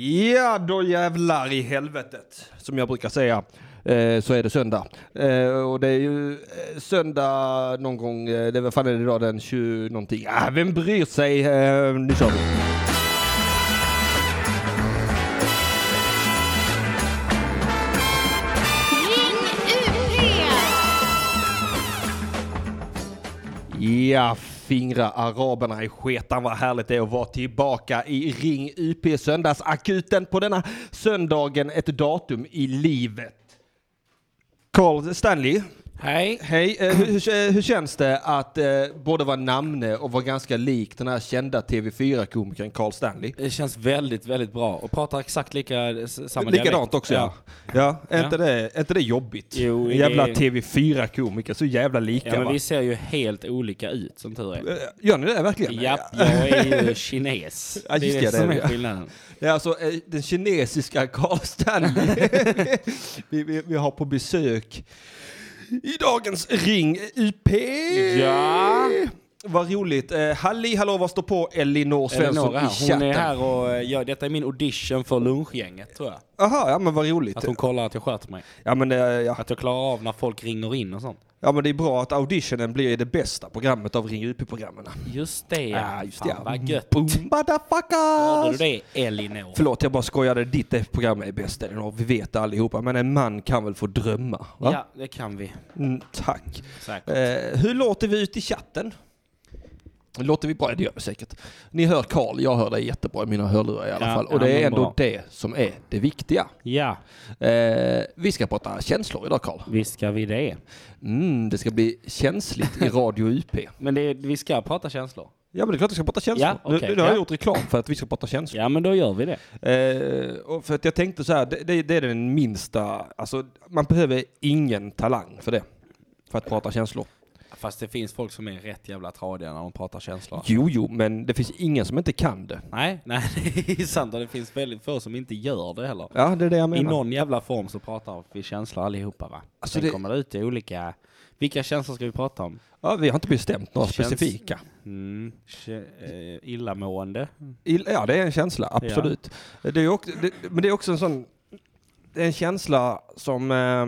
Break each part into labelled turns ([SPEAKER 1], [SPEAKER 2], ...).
[SPEAKER 1] Ja, då jävlar i helvetet. Som jag brukar säga eh, så är det söndag. Eh, och det är ju eh, söndag någon gång, eh, det, vad fan är det idag den 20 någonting? Ah, vem bryr sig? Eh, nu kör vi.
[SPEAKER 2] Ring UP!
[SPEAKER 1] Ja, fingra araberna i sketan. Vad härligt det är att vara tillbaka i Ring UP Söndagsakuten på denna söndagen, ett datum i livet. Carl Stanley,
[SPEAKER 3] Hej.
[SPEAKER 1] hej. Eh, hur, hur, hur känns det att eh, både vara namne och vara ganska lik den här kända TV4-komikern Carl Stanley?
[SPEAKER 3] Det känns väldigt, väldigt bra och pratar exakt lika, s- samma
[SPEAKER 1] Likadant
[SPEAKER 3] dialekt.
[SPEAKER 1] också ja. ja. är, Inte det, är inte det jobbigt?
[SPEAKER 3] Jo, det är-
[SPEAKER 1] jävla TV4-komiker, så jävla lika
[SPEAKER 3] Ja, men
[SPEAKER 1] va?
[SPEAKER 3] vi ser ju helt olika ut som tur är.
[SPEAKER 1] Eh, Gör ni det verkligen?
[SPEAKER 3] Japp, jag är ju kines.
[SPEAKER 1] Ja, just det,
[SPEAKER 3] det är
[SPEAKER 1] det
[SPEAKER 3] det som
[SPEAKER 1] är det.
[SPEAKER 3] är skillnaden.
[SPEAKER 1] Det är alltså eh, den kinesiska Carl Stanley vi, vi, vi har på besök i dagens Ring UP.
[SPEAKER 3] Ja.
[SPEAKER 1] Vad roligt. Eh, Halli hallå, vad står på Elinor Svensson
[SPEAKER 3] Eleonora
[SPEAKER 1] i
[SPEAKER 3] här,
[SPEAKER 1] chatten?
[SPEAKER 3] hon är här och eh, gör, detta är min audition för lunchgänget tror jag.
[SPEAKER 1] Aha, ja men vad roligt.
[SPEAKER 3] Att hon kollar att jag sköter mig.
[SPEAKER 1] Ja men, eh, ja.
[SPEAKER 3] Att jag klarar av när folk ringer in och sånt.
[SPEAKER 1] ja men det är bra att auditionen blir det bästa programmet av Ring UP-programmen.
[SPEAKER 3] Just det
[SPEAKER 1] Ja, just det.
[SPEAKER 3] Fan, vad gött.
[SPEAKER 1] Boom,
[SPEAKER 3] Hörde du
[SPEAKER 1] motherfuckers!
[SPEAKER 3] det Elinor?
[SPEAKER 1] Förlåt, jag bara skojade. Ditt program är bäst, Elinor. Vi vet det allihopa. Men en man kan väl få drömma? Va?
[SPEAKER 3] Ja, det kan vi.
[SPEAKER 1] Mm, tack.
[SPEAKER 3] Säkert.
[SPEAKER 1] Eh, hur låter vi ut i chatten? Låter vi bra? Det gör vi säkert. Ni hör Karl, jag hör dig jättebra i mina hörlurar i alla
[SPEAKER 3] Ja,
[SPEAKER 1] fall. Och
[SPEAKER 3] ja,
[SPEAKER 1] det är
[SPEAKER 3] men
[SPEAKER 1] ändå
[SPEAKER 3] bra.
[SPEAKER 1] det som är det viktiga.
[SPEAKER 3] Ja,
[SPEAKER 1] Eh, vi ska prata känslor idag Karl.
[SPEAKER 3] visst ska vi det.
[SPEAKER 1] Mm, det ska bli känsligt i Radio UP.
[SPEAKER 3] Men det, vi ska prata känslor.
[SPEAKER 1] Ja men det är klart vi ska prata känslor.
[SPEAKER 3] Ja, okej,
[SPEAKER 1] nu, nu har jag
[SPEAKER 3] ja.
[SPEAKER 1] gjort reklam för att vi ska prata känslor.
[SPEAKER 3] Ja, men då gör vi det.
[SPEAKER 1] Eh, och för att jag tänkte så här, det, det, det är den minsta, alltså man behöver ingen talang för det. För att prata känslor.
[SPEAKER 3] Fast det finns folk som är rätt jävla tradiga när de pratar känslor.
[SPEAKER 1] Jo, jo, men det finns ingen som inte kan det.
[SPEAKER 3] Nej, nej, det är sant. Och det finns väldigt få som inte gör det heller.
[SPEAKER 1] Ja, det är det jag menar.
[SPEAKER 3] I någon jävla form så pratar vi känslor allihopa va?
[SPEAKER 1] Alltså,
[SPEAKER 3] Sen
[SPEAKER 1] det-
[SPEAKER 3] kommer det ut i olika... Vilka känslor ska vi prata om?
[SPEAKER 1] Ja, vi har inte bestämt några
[SPEAKER 3] Känns-
[SPEAKER 1] specifika.
[SPEAKER 3] Mm, kä- eh, illamående.
[SPEAKER 1] I- Ja, det är en känsla, absolut. Det är också, det, men det är också en sån... Det är en känsla som eh,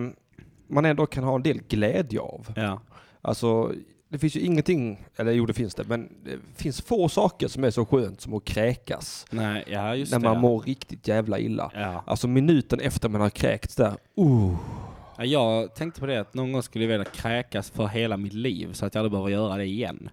[SPEAKER 1] man ändå kan ha en del glädje av.
[SPEAKER 3] Ja.
[SPEAKER 1] Alltså, det finns ju ingenting, eller jo det finns det, men det finns få saker som är så skönt som att kräkas.
[SPEAKER 3] Nej, ja just
[SPEAKER 1] när
[SPEAKER 3] det.
[SPEAKER 1] man
[SPEAKER 3] ja.
[SPEAKER 1] mår riktigt jävla illa.
[SPEAKER 3] Ja.
[SPEAKER 1] Alltså minuten efter man har kräkts där, uh,
[SPEAKER 3] Ja, jag tänkte på det att någon gång skulle jag vilja kräkas för hela mitt liv så att jag aldrig behöver göra det igen.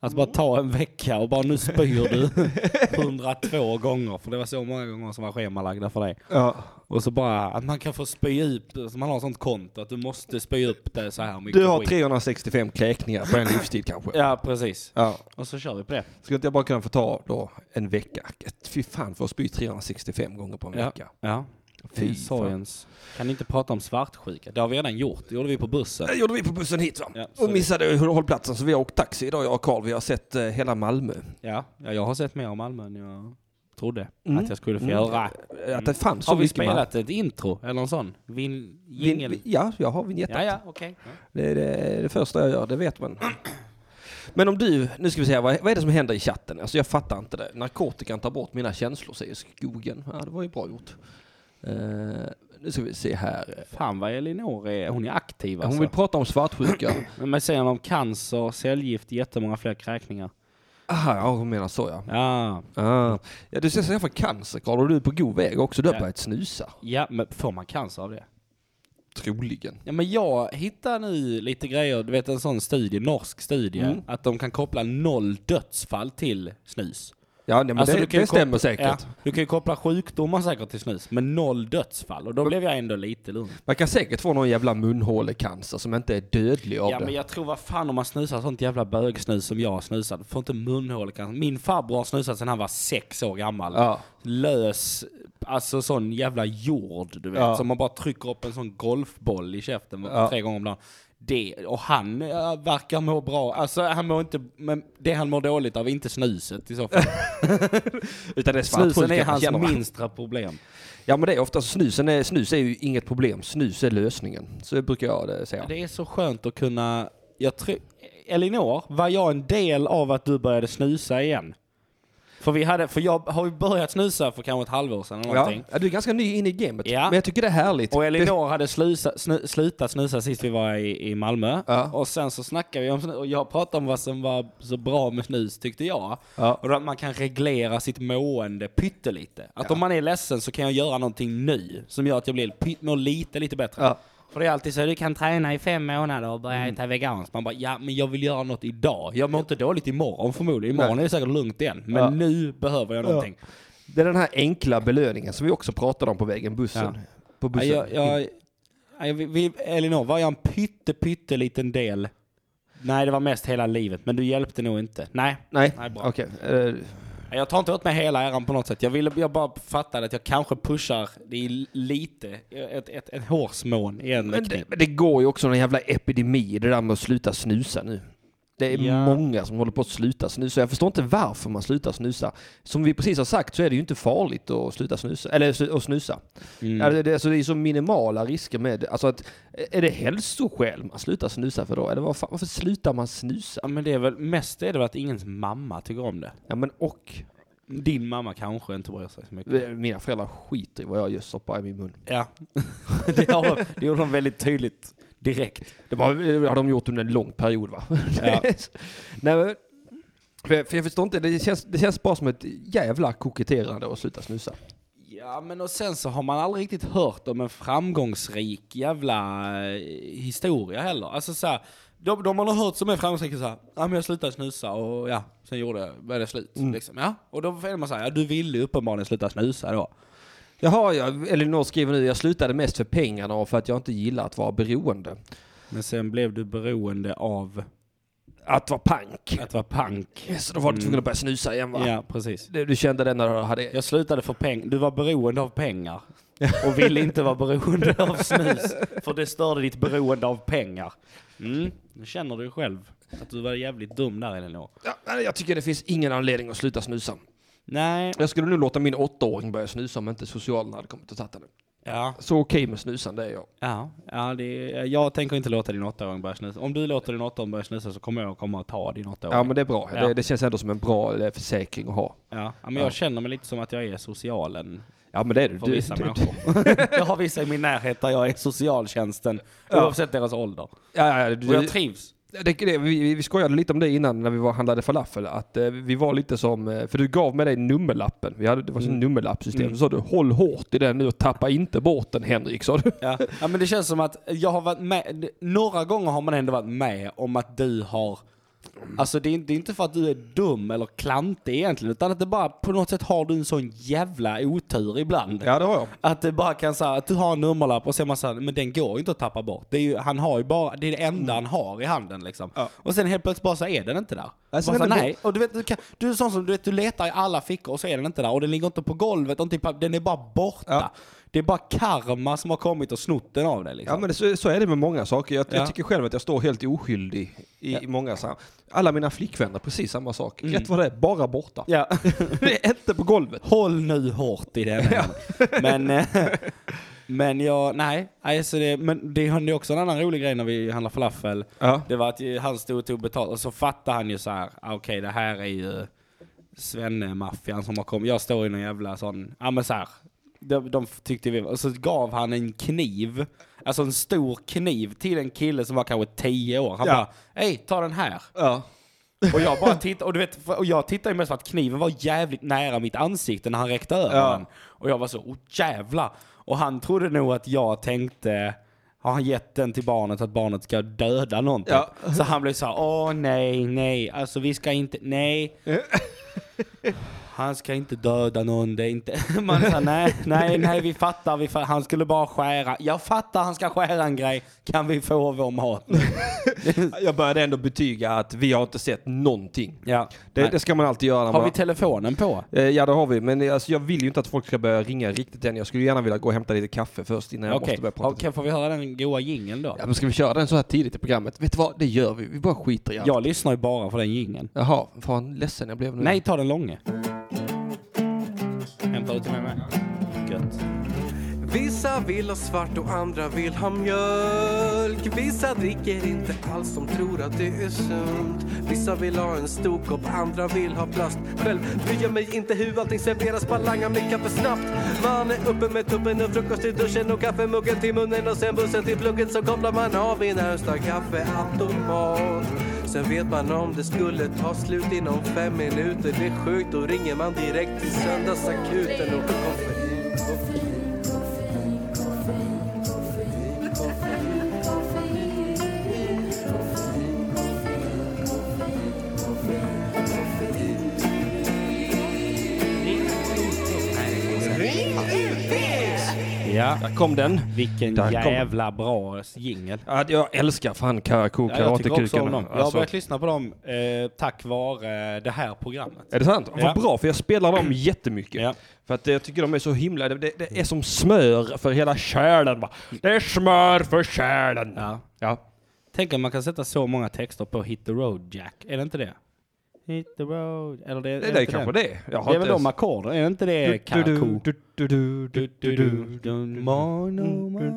[SPEAKER 3] Alltså bara ta en vecka och bara nu spyr du 102 gånger för det var så många gånger som var schemalagda för dig.
[SPEAKER 1] ja.
[SPEAKER 3] Och så bara att man kan få spy upp, så man har sånt konto att du måste spy upp det så här mycket
[SPEAKER 1] Du har
[SPEAKER 3] skit.
[SPEAKER 1] 365 kräkningar på en livstid kanske.
[SPEAKER 3] Ja precis.
[SPEAKER 1] Ja.
[SPEAKER 3] Och så kör vi på det.
[SPEAKER 1] Skulle inte jag bara kunna få ta då en vecka? Fy fan för att spy 365 gånger på en vecka.
[SPEAKER 3] ja.
[SPEAKER 1] Fy
[SPEAKER 3] Fy sorgens. Kan inte prata om svartsjuka? Det har vi redan gjort. Det gjorde vi på bussen.
[SPEAKER 1] Det gjorde vi på bussen hit va?
[SPEAKER 3] Ja, så
[SPEAKER 1] och missade hur- hållplatsen så vi har åkt taxi idag jag och Karl. Vi har sett eh, hela Malmö.
[SPEAKER 3] Ja, ja, jag har sett mer om Malmö än jag trodde
[SPEAKER 1] Mm.
[SPEAKER 3] att jag skulle få
[SPEAKER 1] Mm.
[SPEAKER 3] göra.
[SPEAKER 1] Att det fanns så
[SPEAKER 3] Har vi
[SPEAKER 1] mycket Malmö.
[SPEAKER 3] spelat ett intro eller en sån? Vin, jingel?
[SPEAKER 1] Vin- Ja, jag har vinjetten.
[SPEAKER 3] ja, ja, okej.
[SPEAKER 1] Det är det, det första jag gör, det vet man. Men om du, nu ska vi se här, vad, vad är det som händer i chatten? Alltså jag fattar inte det. Narkotikan tar bort mina känslor säger skogen.
[SPEAKER 3] Alltså.
[SPEAKER 1] Ja, det var ju bra gjort. Eh, nu ska vi se här.
[SPEAKER 3] Fan vad Elinor är, hon är aktiv
[SPEAKER 1] Hon
[SPEAKER 3] alltså.
[SPEAKER 1] vill prata om svartsjuka.
[SPEAKER 3] Men man säger om cancer, cellgift, jättemånga fler kräkningar.
[SPEAKER 1] Aha, Ah, ja, hon menar så ja.
[SPEAKER 3] Ja,
[SPEAKER 1] Ah. Ja, du ser så jag får cancer Karl och du är på god väg också. Du har
[SPEAKER 3] Ja.
[SPEAKER 1] börjat snusa.
[SPEAKER 3] ja, men får man cancer av det?
[SPEAKER 1] Troligen.
[SPEAKER 3] Ja, men jag hittar nu lite grejer, du vet en sån studie, norsk studie, att de kan koppla noll dödsfall till snus.
[SPEAKER 1] Ja, nej, men
[SPEAKER 3] Alltså,
[SPEAKER 1] det,
[SPEAKER 3] du kan ju
[SPEAKER 1] det stämmer
[SPEAKER 3] koppla-
[SPEAKER 1] säkert.
[SPEAKER 3] Ja, du kan ju koppla sjukdomar säkert till snus, men noll dödsfall. Och då blev jag ändå lite lugn.
[SPEAKER 1] Man kan säkert få någon jävla munhålecancer som inte är dödlig av
[SPEAKER 3] Ja
[SPEAKER 1] det.
[SPEAKER 3] men jag tror vad fan om man snusar sånt jävla bögsnus som jag har snusat. Får inte munhålecancer. Min farbror har snusat sedan han var sex år gammal.
[SPEAKER 1] Ja.
[SPEAKER 3] Lös, alltså sån jävla jord du vet.
[SPEAKER 1] Ja.
[SPEAKER 3] Som man bara trycker upp en sån golfboll i käften
[SPEAKER 1] Ja.
[SPEAKER 3] tre gånger om dagen. Det, och han eh, verkar må bra. Alltså han mår inte, men det han mår dåligt av är inte snuset i så fall.
[SPEAKER 1] Utan det är
[SPEAKER 3] Snusen
[SPEAKER 1] svartsjuka,
[SPEAKER 3] är
[SPEAKER 1] man
[SPEAKER 3] hans
[SPEAKER 1] känner man.
[SPEAKER 3] minsta problem.
[SPEAKER 1] Ja men det är ofta snusen är, snus är ju inget problem. Snus är lösningen. Så brukar jag eh, säga.
[SPEAKER 3] Det är så skönt att kunna, jag tror, Elinor, var jag en del av att du började snusa igen? För, vi hade, för jag har ju börjat snusa för kanske ett halvår sedan eller
[SPEAKER 1] Ja.
[SPEAKER 3] någonting.
[SPEAKER 1] Ja, du är ganska ny in i gamet,
[SPEAKER 3] Ja.
[SPEAKER 1] men jag tycker det är härligt.
[SPEAKER 3] Och
[SPEAKER 1] det,
[SPEAKER 3] Elinor hade slusa, snu, slutat snusa sist vi var i, i Malmö.
[SPEAKER 1] Ja.
[SPEAKER 3] Och sen så snackade vi om snus, och jag pratade om vad som var så bra med snus tyckte jag.
[SPEAKER 1] Ja.
[SPEAKER 3] Och då att man kan reglera sitt mående pyttelite. Att om man är ledsen så kan jag göra någonting nu som gör att jag blir, py- mår lite, lite bättre.
[SPEAKER 1] Ja. Mm.
[SPEAKER 3] För det är alltid så, du kan träna i fem månader och börja äta veganskt. Man bara, ja men jag vill göra något idag. Jag mår inte dåligt imorgon förmodligen. Imorgon är det säkert lugnt igen. Men
[SPEAKER 1] Ja.
[SPEAKER 3] nu behöver jag någonting.
[SPEAKER 1] det är den här enkla belöningen som vi också pratade om på vägen bussen.
[SPEAKER 3] Ja.
[SPEAKER 1] På bussen.
[SPEAKER 3] Ja, Jag, jag, nej, vi, vi, Elinor, var jag en pytte, pytteliten del? Nej, det var mest hela livet, men du hjälpte nog inte. Nej,
[SPEAKER 1] Nej,
[SPEAKER 3] Nej, bra.
[SPEAKER 1] okej. Eh,
[SPEAKER 3] Nej, jag tar inte åt mig hela äran på något sätt. Jag, ville, jag bara fattade att jag kanske pushar det i lite, ett, ett, ett hårsmån i en
[SPEAKER 1] Men,
[SPEAKER 3] riktning.
[SPEAKER 1] det- men det går ju också en jävla epidemi, det där med att sluta snusa nu. Det är
[SPEAKER 3] Ja.
[SPEAKER 1] många som håller på att sluta snusa. Jag förstår inte varför man slutar snusa. Som vi precis har sagt så är det ju inte farligt att sluta snusa. Eller sl- att snusa.
[SPEAKER 3] Mm.
[SPEAKER 1] Ja, det, det, alltså det är ju så minimala risker med alltså att, Är det hälsoskäl man slutar snusa för då? Eller vad fan, varför slutar man snusa?
[SPEAKER 3] Ja, men det är väl, mest är det väl att ingens mamma tycker om det.
[SPEAKER 1] Ja men och,
[SPEAKER 3] Din mamma kanske inte bryr sig så mycket.
[SPEAKER 1] eh, mina föräldrar skiter i vad jag gör soppa i min mun.
[SPEAKER 3] Ja, det, har, det gjorde de väldigt tydligt direkt.
[SPEAKER 1] Det var, det har de gjort under en lång period va?
[SPEAKER 3] Ja.
[SPEAKER 1] Nej, men, för, jag- för jag förstår inte, det känns, det känns bara som ett jävla koketterande att sluta snusa.
[SPEAKER 3] Ja, men och sen så har man aldrig riktigt hört om en framgångsrik jävla eh, historia heller. Alltså så här, de, de man har hört som är framgångsrika så här, ja men jag slutade snusa och ja, sen gjorde jag, var det slut. Liksom, ja. Och då är man så här, ja du ville uppenbarligen sluta snusa då.
[SPEAKER 1] Jaha, ja, Elinor skriver nu, jag slutade mest för pengarna och för att jag inte gillar att vara beroende.
[SPEAKER 3] Men sen blev du beroende av
[SPEAKER 1] Att vara pank.
[SPEAKER 3] att vara punk.
[SPEAKER 1] Så då var du tvungen att börja snusa igen va?
[SPEAKER 3] Ja, precis.
[SPEAKER 1] Du, du kände det när du hade...
[SPEAKER 3] Jag slutade för pengar, du var beroende av pengar. Och ville inte vara beroende av snus. För det störde ditt beroende av pengar. Mm, nu känner du ju själv att du var jävligt dum där Elinor.
[SPEAKER 1] Ja, nej, jag tycker det finns ingen anledning att sluta snusa.
[SPEAKER 3] Nej.
[SPEAKER 1] Jag skulle nu låta min åttaåring börja snusa om inte socialen hade kommit och tagit henne.
[SPEAKER 3] Ja.
[SPEAKER 1] Så okej med snusande är jag.
[SPEAKER 3] Ja, ja det, jag tänker inte låta din åttaåring börja snusa. Om du låter din åttaåring börja snusa så kommer jag komma och ta din åttaåring.
[SPEAKER 1] Ja men det är bra.
[SPEAKER 3] Ja.
[SPEAKER 1] Det, det känns ändå som en bra eh, försäkring att ha.
[SPEAKER 3] ja. ja, men jag känner mig lite som att jag är socialen
[SPEAKER 1] Ja men det är du.
[SPEAKER 3] för
[SPEAKER 1] du,
[SPEAKER 3] vissa
[SPEAKER 1] du, du
[SPEAKER 3] människor. jag har vissa i min närhet där jag är socialtjänsten,
[SPEAKER 1] Ja.
[SPEAKER 3] oavsett deras ålder.
[SPEAKER 1] ja, ja,
[SPEAKER 3] Och
[SPEAKER 1] du,
[SPEAKER 3] jag trivs.
[SPEAKER 1] det, det, vi, vi skojade lite om det innan när vi var, handlade falafel. Att eh, vi var lite som, eh, för du gav mig dig nummerlappen. Vi hade, det var ett nummerlappsystem. Så sa du håll hårt i den nu och tappa inte bort den Henrik sa du.
[SPEAKER 3] Ja. ja, men det känns som att jag har varit med, några gånger har man ändå varit med om att du har
[SPEAKER 1] Mm.
[SPEAKER 3] Alltså det är, inte- det är inte för att du är dum eller klantig egentligen, utan att det bara på något sätt har du en sån jävla otur ibland.
[SPEAKER 1] Ja det har jag.
[SPEAKER 3] Att det bara kan säga att du har en nummerlapp och sen man säger men den går ju inte att tappa bort. Det är ju, han har ju bara, det är det enda han har i handen liksom.
[SPEAKER 1] Mm. Ja.
[SPEAKER 3] Och sen helt plötsligt bara så är den inte där.
[SPEAKER 1] Alltså,
[SPEAKER 3] bara, så,
[SPEAKER 1] men-
[SPEAKER 3] nej. Och du vet, du, kan, du är sån som, du vet, du letar i alla fickor och så är den inte där. Och den ligger inte på golvet, och inte, i papp- den är bara borta.
[SPEAKER 1] Ja.
[SPEAKER 3] Det är bara karma som har kommit och snott den av dig liksom.
[SPEAKER 1] Ja men det, så, så är det med många saker. Jag,
[SPEAKER 3] Ja.
[SPEAKER 1] jag tycker själv att jag står helt oskyldig i, i många sammanhang. Alla mina flickvänner precis samma sak. Rätt vad det är, bara borta.
[SPEAKER 3] Mm. Ja.
[SPEAKER 1] Det är inte på golvet.
[SPEAKER 3] Håll nu hårt i den. Men, eh, men jag, nej. Alltså det, men det hände ju också en annan rolig grej när vi handlade falafel.
[SPEAKER 1] Ja.
[SPEAKER 3] Det var att ju han stod och tog betalt och så fattade han ju så här, ah, okej det här är ju svenne-maffian som har kommit. Jag står i någon jävla sån, ja men så här. De, de tyckte vi, och så gav han en kniv, alltså en stor kniv till en kille som var kanske 10 år. Han
[SPEAKER 1] Ja.
[SPEAKER 3] bara, hej ta den här.
[SPEAKER 1] Ja.
[SPEAKER 3] Och jag bara tittade, och du vet, och jag tittade ju mest för att kniven var jävligt nära mitt ansikte när han räckte över
[SPEAKER 1] Ja.
[SPEAKER 3] den. Och jag var så, oh jävla. Och han trodde nog att jag tänkte, har han gett den till barnet att barnet ska döda någonting?
[SPEAKER 1] Ja.
[SPEAKER 3] Så han blev så här, åh nej, nej, alltså vi ska inte, nej. Han ska inte döda någon, det är inte... Man sa nej, nej, nej, vi fattar, vi fattar. Han skulle bara skära. Jag fattar, han ska skära en grej. Kan vi få vår mat?
[SPEAKER 1] Jag började ändå betyga att vi har inte sett någonting.
[SPEAKER 3] Ja.
[SPEAKER 1] Det,
[SPEAKER 3] Nej.
[SPEAKER 1] det ska man alltid göra. när
[SPEAKER 3] Har
[SPEAKER 1] man-
[SPEAKER 3] vi telefonen på?
[SPEAKER 1] Eh, Ja det har vi, men alltså, jag vill ju inte att folk ska börja ringa riktigt än. Jag skulle gärna vilja gå och hämta lite kaffe först innan jag
[SPEAKER 3] Okej,
[SPEAKER 1] måste börja prata.
[SPEAKER 3] okay, får vi höra den goa jingeln då?
[SPEAKER 1] Ja, men ska vi köra den så här tidigt i programmet? Vet du vad, det gör vi. Vi bara skiter i allt.
[SPEAKER 3] Jag lyssnar ju bara för den jingeln.
[SPEAKER 1] Jaha, fan ledsen jag blev nu.
[SPEAKER 3] Nej, ta den långe. Hämtar du till mig med? Gött.
[SPEAKER 4] Vissa vill ha svart och andra vill ha mjölk. Vissa dricker inte alls, de tror att det är sunt. Vissa vill ha en stor kopp, andra vill ha plast. Själv bryr jag mig inte hur allting serveras, bara langar mig kaffe snabbt. Man är uppe med tuppen och frukost i duschen och kaffemuggen till munnen och sen bussen till plugget så kopplar man av i närmsta kaffeautomat. Sen vet man om det skulle ta slut inom fem minuter. Det är sjukt, då ringer man direkt till söndagsakuten och koffein. koffein, koffein, koffein, koffein, koffein, koffein, koffein, koffein.
[SPEAKER 3] Ja.
[SPEAKER 1] Där kom den.
[SPEAKER 3] Vilken
[SPEAKER 1] Där kom-
[SPEAKER 3] jävla bra jingel.
[SPEAKER 1] Ja, jag älskar fan Alltså, Karakou
[SPEAKER 3] Ja, jag tycker också om
[SPEAKER 1] Karatekukar.
[SPEAKER 3] dem. Jag har börjat lyssna på dem eh, tack vare det här programmet.
[SPEAKER 1] Är det sant? Vad
[SPEAKER 3] Ja.
[SPEAKER 1] bra, för jag spelar dem jättemycket.
[SPEAKER 3] Ja.
[SPEAKER 1] För att eh, jag tycker de är så himla... Det, det, det är som smör för hela själen. Va? Det är smör för själen.
[SPEAKER 3] Ja.
[SPEAKER 1] Ja.
[SPEAKER 3] Tänk om man kan sätta så många texter på Hit the Road Jack. Är det inte det? Hit the road... Eller det,
[SPEAKER 1] Det,
[SPEAKER 3] är
[SPEAKER 1] det är
[SPEAKER 3] inte
[SPEAKER 1] kanske
[SPEAKER 3] den?
[SPEAKER 1] det. Jag
[SPEAKER 3] Det är väl
[SPEAKER 1] inte
[SPEAKER 3] de
[SPEAKER 1] ens-
[SPEAKER 3] ackorden? Är det inte det Karakou? Mono, mono.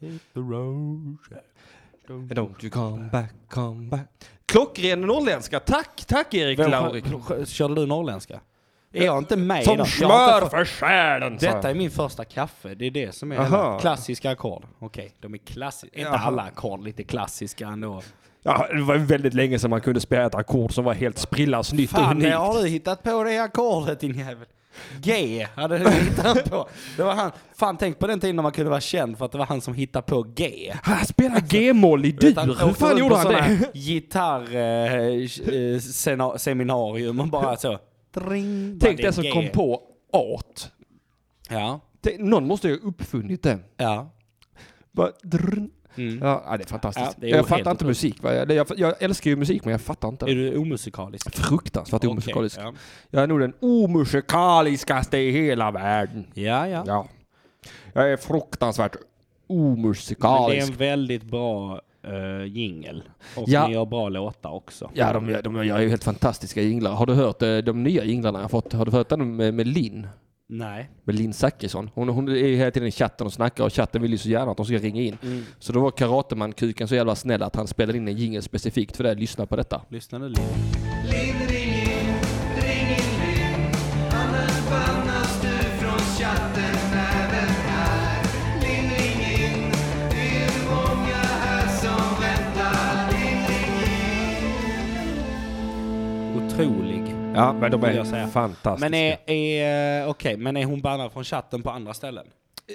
[SPEAKER 3] Hit the road Jack.
[SPEAKER 1] Don't you come back, come back. Klockren norrländska. Tack, tack Erik
[SPEAKER 3] Vem-
[SPEAKER 1] Laurik.
[SPEAKER 3] Körde du norrländska? Är jag inte med i
[SPEAKER 1] Som
[SPEAKER 3] dem? Jag har
[SPEAKER 1] smör
[SPEAKER 3] inte fått-
[SPEAKER 1] för själen. sa
[SPEAKER 3] Detta
[SPEAKER 1] jag.
[SPEAKER 3] är min första kaffe, det är det som är
[SPEAKER 1] Aha.
[SPEAKER 3] hela klassiska ackord. Okej, de är klassiska, inte
[SPEAKER 1] Jaha.
[SPEAKER 3] alla ackord, lite klassiska ändå.
[SPEAKER 1] ja, det var väldigt länge sedan man kunde spela ett ackord som var helt sprillans nytt och
[SPEAKER 3] Fan,
[SPEAKER 1] unikt.
[SPEAKER 3] när har du hittat på det ackordet din jävel? G hade du hittat på. Det var han, fan tänk på den tiden när man kunde vara känd för att det var han som hittade på G.
[SPEAKER 1] Han spelar G-moll i dur.
[SPEAKER 3] Utan
[SPEAKER 1] Hur
[SPEAKER 3] åkte
[SPEAKER 1] fan
[SPEAKER 3] runt
[SPEAKER 1] gjorde
[SPEAKER 3] på
[SPEAKER 1] han
[SPEAKER 3] såna
[SPEAKER 1] det?
[SPEAKER 3] Gitarr, eh, eh, sena- seminarium och bara så. Dring, bara
[SPEAKER 1] Tänk
[SPEAKER 3] är
[SPEAKER 1] den som
[SPEAKER 3] G.
[SPEAKER 1] kom på art.
[SPEAKER 3] Ja,
[SPEAKER 1] Tänk- Någon måste ju ha uppfunnit den.
[SPEAKER 3] ja.
[SPEAKER 1] Bara drrrn.
[SPEAKER 3] Mm.
[SPEAKER 1] Ja, ja, det är fantastiskt.
[SPEAKER 3] Ja, det är
[SPEAKER 1] jag
[SPEAKER 3] ju helt
[SPEAKER 1] fattar inte musik. Va? Jag, jag, jag älskar ju musik, men jag fattar inte.
[SPEAKER 3] Är
[SPEAKER 1] den.
[SPEAKER 3] du omusikalisk?
[SPEAKER 1] Fruktansvärt
[SPEAKER 3] Okej,
[SPEAKER 1] omusikalisk.
[SPEAKER 3] ja.
[SPEAKER 1] Jag är nog den omusikaliskaste i hela världen.
[SPEAKER 3] Ja, ja.
[SPEAKER 1] Ja. Jag är fruktansvärt
[SPEAKER 3] Men det är
[SPEAKER 1] omusikalisk.
[SPEAKER 3] en väldigt bra uh, jingel. Och
[SPEAKER 1] Ja.
[SPEAKER 3] ni gör bra låtar också.
[SPEAKER 1] Ja, de, de, de gör ju helt fantastiska jinglar. Har du hört eh, de nya jinglarna jag har fått? Har du hört den med, med Linn?
[SPEAKER 3] Nej.
[SPEAKER 1] Med Linn Zachrisson. Hon, hon är ju hela tiden i chatten och snackar och chatten vill ju så gärna att de ska ringa in.
[SPEAKER 3] Mm.
[SPEAKER 1] Så då var Karateman-kuken så jävla snäll att han spelade in en jingel specifikt för det. Lyssna på detta.
[SPEAKER 3] Lyssna nu lite. Otrolig.
[SPEAKER 1] Ja, men de
[SPEAKER 3] Vill jag säga.
[SPEAKER 1] fantastiska.
[SPEAKER 3] Men är, är, okej, men är hon bannad från chatten på andra ställen?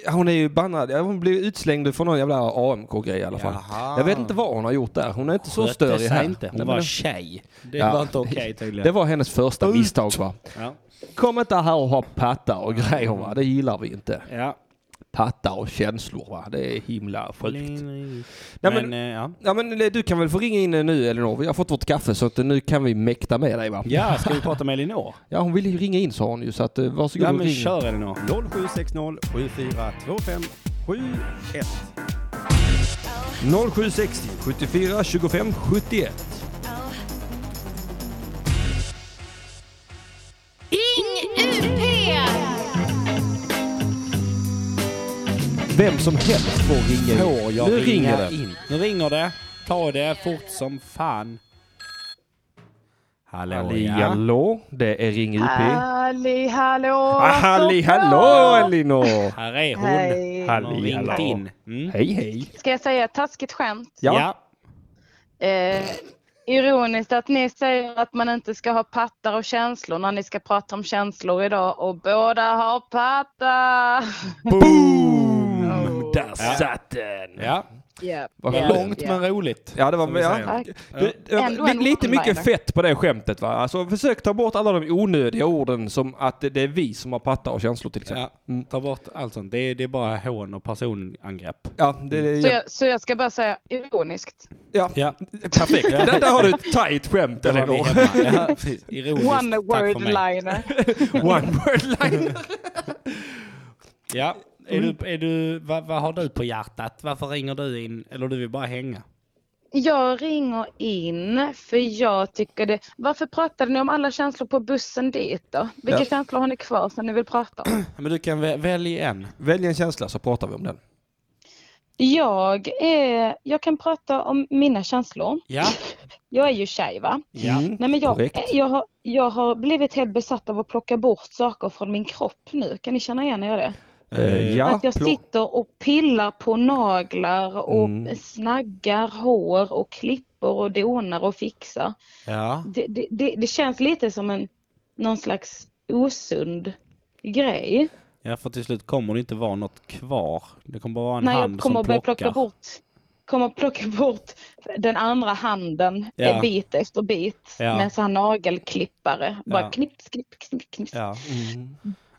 [SPEAKER 1] Ja, Hon är ju bannad. Ja, Hon blev utslängd från någon jävla AMK-grej i alla fall.
[SPEAKER 3] Jaha.
[SPEAKER 1] Jag vet inte vad hon har gjort där. Hon är inte så
[SPEAKER 3] Skötte
[SPEAKER 1] störig
[SPEAKER 3] sig
[SPEAKER 1] här.
[SPEAKER 3] Inte. Hon
[SPEAKER 1] Nej, men
[SPEAKER 3] var
[SPEAKER 1] det-
[SPEAKER 3] tjej. Det
[SPEAKER 1] Ja.
[SPEAKER 3] var inte okej tydligen.
[SPEAKER 1] Det var hennes första misstag va.
[SPEAKER 3] Ja.
[SPEAKER 1] Kom inte här och ha patta och grejer va. Det gillar vi inte.
[SPEAKER 3] Ja.
[SPEAKER 1] Patta och känslor va. Det är himla sjukt.
[SPEAKER 3] Men,
[SPEAKER 1] men-
[SPEAKER 3] eh, ja.
[SPEAKER 1] Ja men du kan väl få ringa in nu Elinor. Vi har fått vårt kaffe så att nu kan vi mäkta med dig va.
[SPEAKER 3] ja, ska vi prata med Elinor?
[SPEAKER 1] Ja hon ville ju ringa in sa hon ju så att eh, varsågod
[SPEAKER 3] Ja,
[SPEAKER 1] och
[SPEAKER 3] men
[SPEAKER 1] ring.
[SPEAKER 3] kör Elinor.
[SPEAKER 5] 0760 7425 71.
[SPEAKER 1] 0760 74 25 71.
[SPEAKER 2] Ring UP!
[SPEAKER 1] Vem som helst får ringa in.
[SPEAKER 3] Får jag
[SPEAKER 1] Nu
[SPEAKER 3] ringa
[SPEAKER 1] ringer det.
[SPEAKER 3] in? Nu ringer det. Ta det fort som fan. Hallå
[SPEAKER 1] Halli
[SPEAKER 3] ja.
[SPEAKER 1] hallå, det är Ring UP.
[SPEAKER 6] Halli hallå!
[SPEAKER 1] Ah, halli hallå Elinor!
[SPEAKER 3] Här är hon.
[SPEAKER 6] Hej.
[SPEAKER 3] Hon har
[SPEAKER 1] Halli
[SPEAKER 3] ringt
[SPEAKER 1] hallå.
[SPEAKER 3] in. Mm.
[SPEAKER 1] Hej hej!
[SPEAKER 6] Ska jag säga ett taskigt skämt?
[SPEAKER 1] Ja.
[SPEAKER 3] Ja.
[SPEAKER 6] Eh, ironiskt att ni säger att man inte ska ha pattar och känslor när ni ska prata om känslor idag och båda har patta!
[SPEAKER 1] Boom!
[SPEAKER 6] Oh.
[SPEAKER 1] Där satt den!
[SPEAKER 3] ja.
[SPEAKER 6] Yep.
[SPEAKER 1] Vad
[SPEAKER 3] Det var
[SPEAKER 1] skönt.
[SPEAKER 3] långt
[SPEAKER 6] Ja.
[SPEAKER 3] men roligt.
[SPEAKER 1] Ja, det var...
[SPEAKER 3] vi
[SPEAKER 1] Ja.
[SPEAKER 3] säger.
[SPEAKER 6] Tack.
[SPEAKER 1] Du, eh,
[SPEAKER 6] Ändå
[SPEAKER 1] li-
[SPEAKER 6] en
[SPEAKER 1] lite mycket
[SPEAKER 6] one-liner.
[SPEAKER 1] fett på det skämtet va? Alltså försök ta bort alla de onödiga orden som att det det är vi som har pattar och känslor till exempel.
[SPEAKER 3] Ja. mm. Ta bort allt sånt. Det, är- det är bara hån och personangrepp.
[SPEAKER 1] Ja, det, det,
[SPEAKER 6] Så,
[SPEAKER 1] ja.
[SPEAKER 6] jag, så jag ska bara säga ironiskt.
[SPEAKER 3] Ja.
[SPEAKER 1] perfekt. där, där har du ett tight skämt
[SPEAKER 3] Det var vi
[SPEAKER 1] Elinor.
[SPEAKER 3] hemma. Ja, precis. Ironiskt.
[SPEAKER 6] One
[SPEAKER 3] Tack
[SPEAKER 6] word
[SPEAKER 3] för mig.
[SPEAKER 6] liner.
[SPEAKER 1] One word line.
[SPEAKER 3] Ja. Är du, är du, vad, vad har du på hjärtat? Varför ringer du in? Eller du vill bara hänga?
[SPEAKER 6] Jag ringer in för jag tycker det. Varför pratade ni om alla känslor på bussen dit då? Vilka
[SPEAKER 1] Ja.
[SPEAKER 6] känslor har ni kvar som ni vill prata om?
[SPEAKER 3] Men du kan vä- välja en.
[SPEAKER 1] Välj en känsla så pratar vi om den.
[SPEAKER 6] Jag, är, jag kan prata om mina känslor.
[SPEAKER 3] Ja.
[SPEAKER 6] Jag är ju tjej va?
[SPEAKER 3] Ja.
[SPEAKER 1] Mm.
[SPEAKER 6] Nej, men jag,
[SPEAKER 1] Korrekt.
[SPEAKER 6] jag, har, jag har blivit helt besatt av att plocka bort saker från min kropp nu. Kan ni känna igen er i det?
[SPEAKER 1] Eh, ja,
[SPEAKER 6] att jag
[SPEAKER 1] plock-
[SPEAKER 6] sitter och pillar på naglar och
[SPEAKER 1] Mm.
[SPEAKER 6] snaggar hår och klipper och donar och fixar.
[SPEAKER 3] Ja.
[SPEAKER 6] Det, det, det, det känns lite som en någon slags osund grej.
[SPEAKER 3] Ja, för till slut kommer det inte vara något kvar. Det kommer bara vara en
[SPEAKER 6] När jag
[SPEAKER 3] hand
[SPEAKER 6] kommer
[SPEAKER 3] som
[SPEAKER 6] att börja
[SPEAKER 3] plockar.
[SPEAKER 6] plocka bort kommer att plocka bort den andra handen
[SPEAKER 3] Ja.
[SPEAKER 6] eh, bit efter bit
[SPEAKER 3] Ja.
[SPEAKER 6] med en sån här nagelklippare. Bara
[SPEAKER 3] Ja.
[SPEAKER 6] knipp, knipp, knipp, knipp.
[SPEAKER 3] Ja.
[SPEAKER 1] Mm.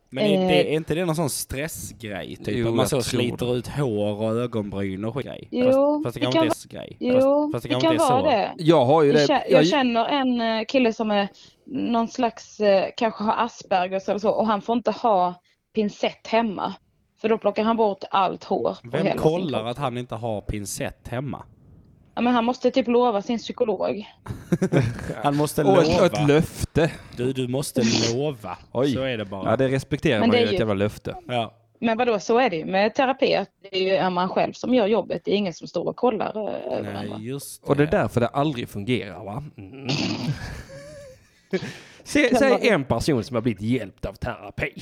[SPEAKER 3] Men är, det,
[SPEAKER 6] Eh.
[SPEAKER 3] är inte det någon sån stressgrej? Typ
[SPEAKER 1] Jo,
[SPEAKER 3] att man
[SPEAKER 1] jag
[SPEAKER 3] så
[SPEAKER 1] tror
[SPEAKER 3] sliter ut hår och ögonbryn och skit. grej.
[SPEAKER 6] Jo,
[SPEAKER 3] fast, fast det
[SPEAKER 6] det
[SPEAKER 3] kanske inte
[SPEAKER 6] kan
[SPEAKER 3] är så grej.
[SPEAKER 6] Jo,
[SPEAKER 3] fast, fast
[SPEAKER 6] det, kan
[SPEAKER 3] inte är
[SPEAKER 6] vara
[SPEAKER 3] så.
[SPEAKER 6] det.
[SPEAKER 1] Jag har ju
[SPEAKER 6] Jag,
[SPEAKER 1] det.
[SPEAKER 6] kä- jag känner en eh, kille som är någon slags, eh, kanske har Aspergers eller så och han får inte ha pincett hemma. För då plockar han bort allt hår. på hela
[SPEAKER 3] Vem
[SPEAKER 6] sin
[SPEAKER 3] kollar
[SPEAKER 6] kropp.
[SPEAKER 3] att han inte har pincett hemma?
[SPEAKER 6] Ja, men han måste typ lova sin psykolog.
[SPEAKER 3] Han måste
[SPEAKER 1] och ett,
[SPEAKER 3] lova.
[SPEAKER 1] ett löfte.
[SPEAKER 3] du, du måste lova.
[SPEAKER 1] Oj.
[SPEAKER 3] Så är det bara.
[SPEAKER 1] Ja, det respekterar
[SPEAKER 6] Men
[SPEAKER 1] man
[SPEAKER 6] det
[SPEAKER 1] ju.
[SPEAKER 6] är
[SPEAKER 1] Ett
[SPEAKER 6] ju-
[SPEAKER 1] jävla löfte.
[SPEAKER 3] Ja.
[SPEAKER 6] Men vadå, så är det ju med terapi. Att det är ju är man själv som gör jobbet. Det är ingen som står och kollar eh, över andra.
[SPEAKER 3] Nej, just det.
[SPEAKER 1] Och det är därför det aldrig fungerar va? Mm. Se, säg en person som har blivit hjälpt av terapi.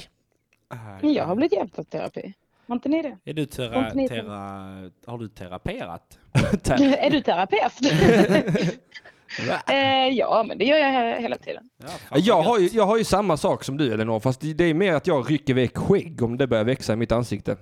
[SPEAKER 6] Men jag har blivit hjälpt av terapi. Har inte ni det?
[SPEAKER 3] Är du
[SPEAKER 6] Kom till
[SPEAKER 3] tera,
[SPEAKER 6] mig.
[SPEAKER 3] tera, har du teraperat?
[SPEAKER 6] är du terapeut? eh, ja, men det gör jag he- hela tiden.
[SPEAKER 3] Ja, fan,
[SPEAKER 1] Jag
[SPEAKER 3] vad
[SPEAKER 1] har,
[SPEAKER 3] gött.
[SPEAKER 1] ju, jag har ju samma sak som du Elinor, fast det det är mer att jag rycker iväg skägg om det börjar växa i mitt ansikte.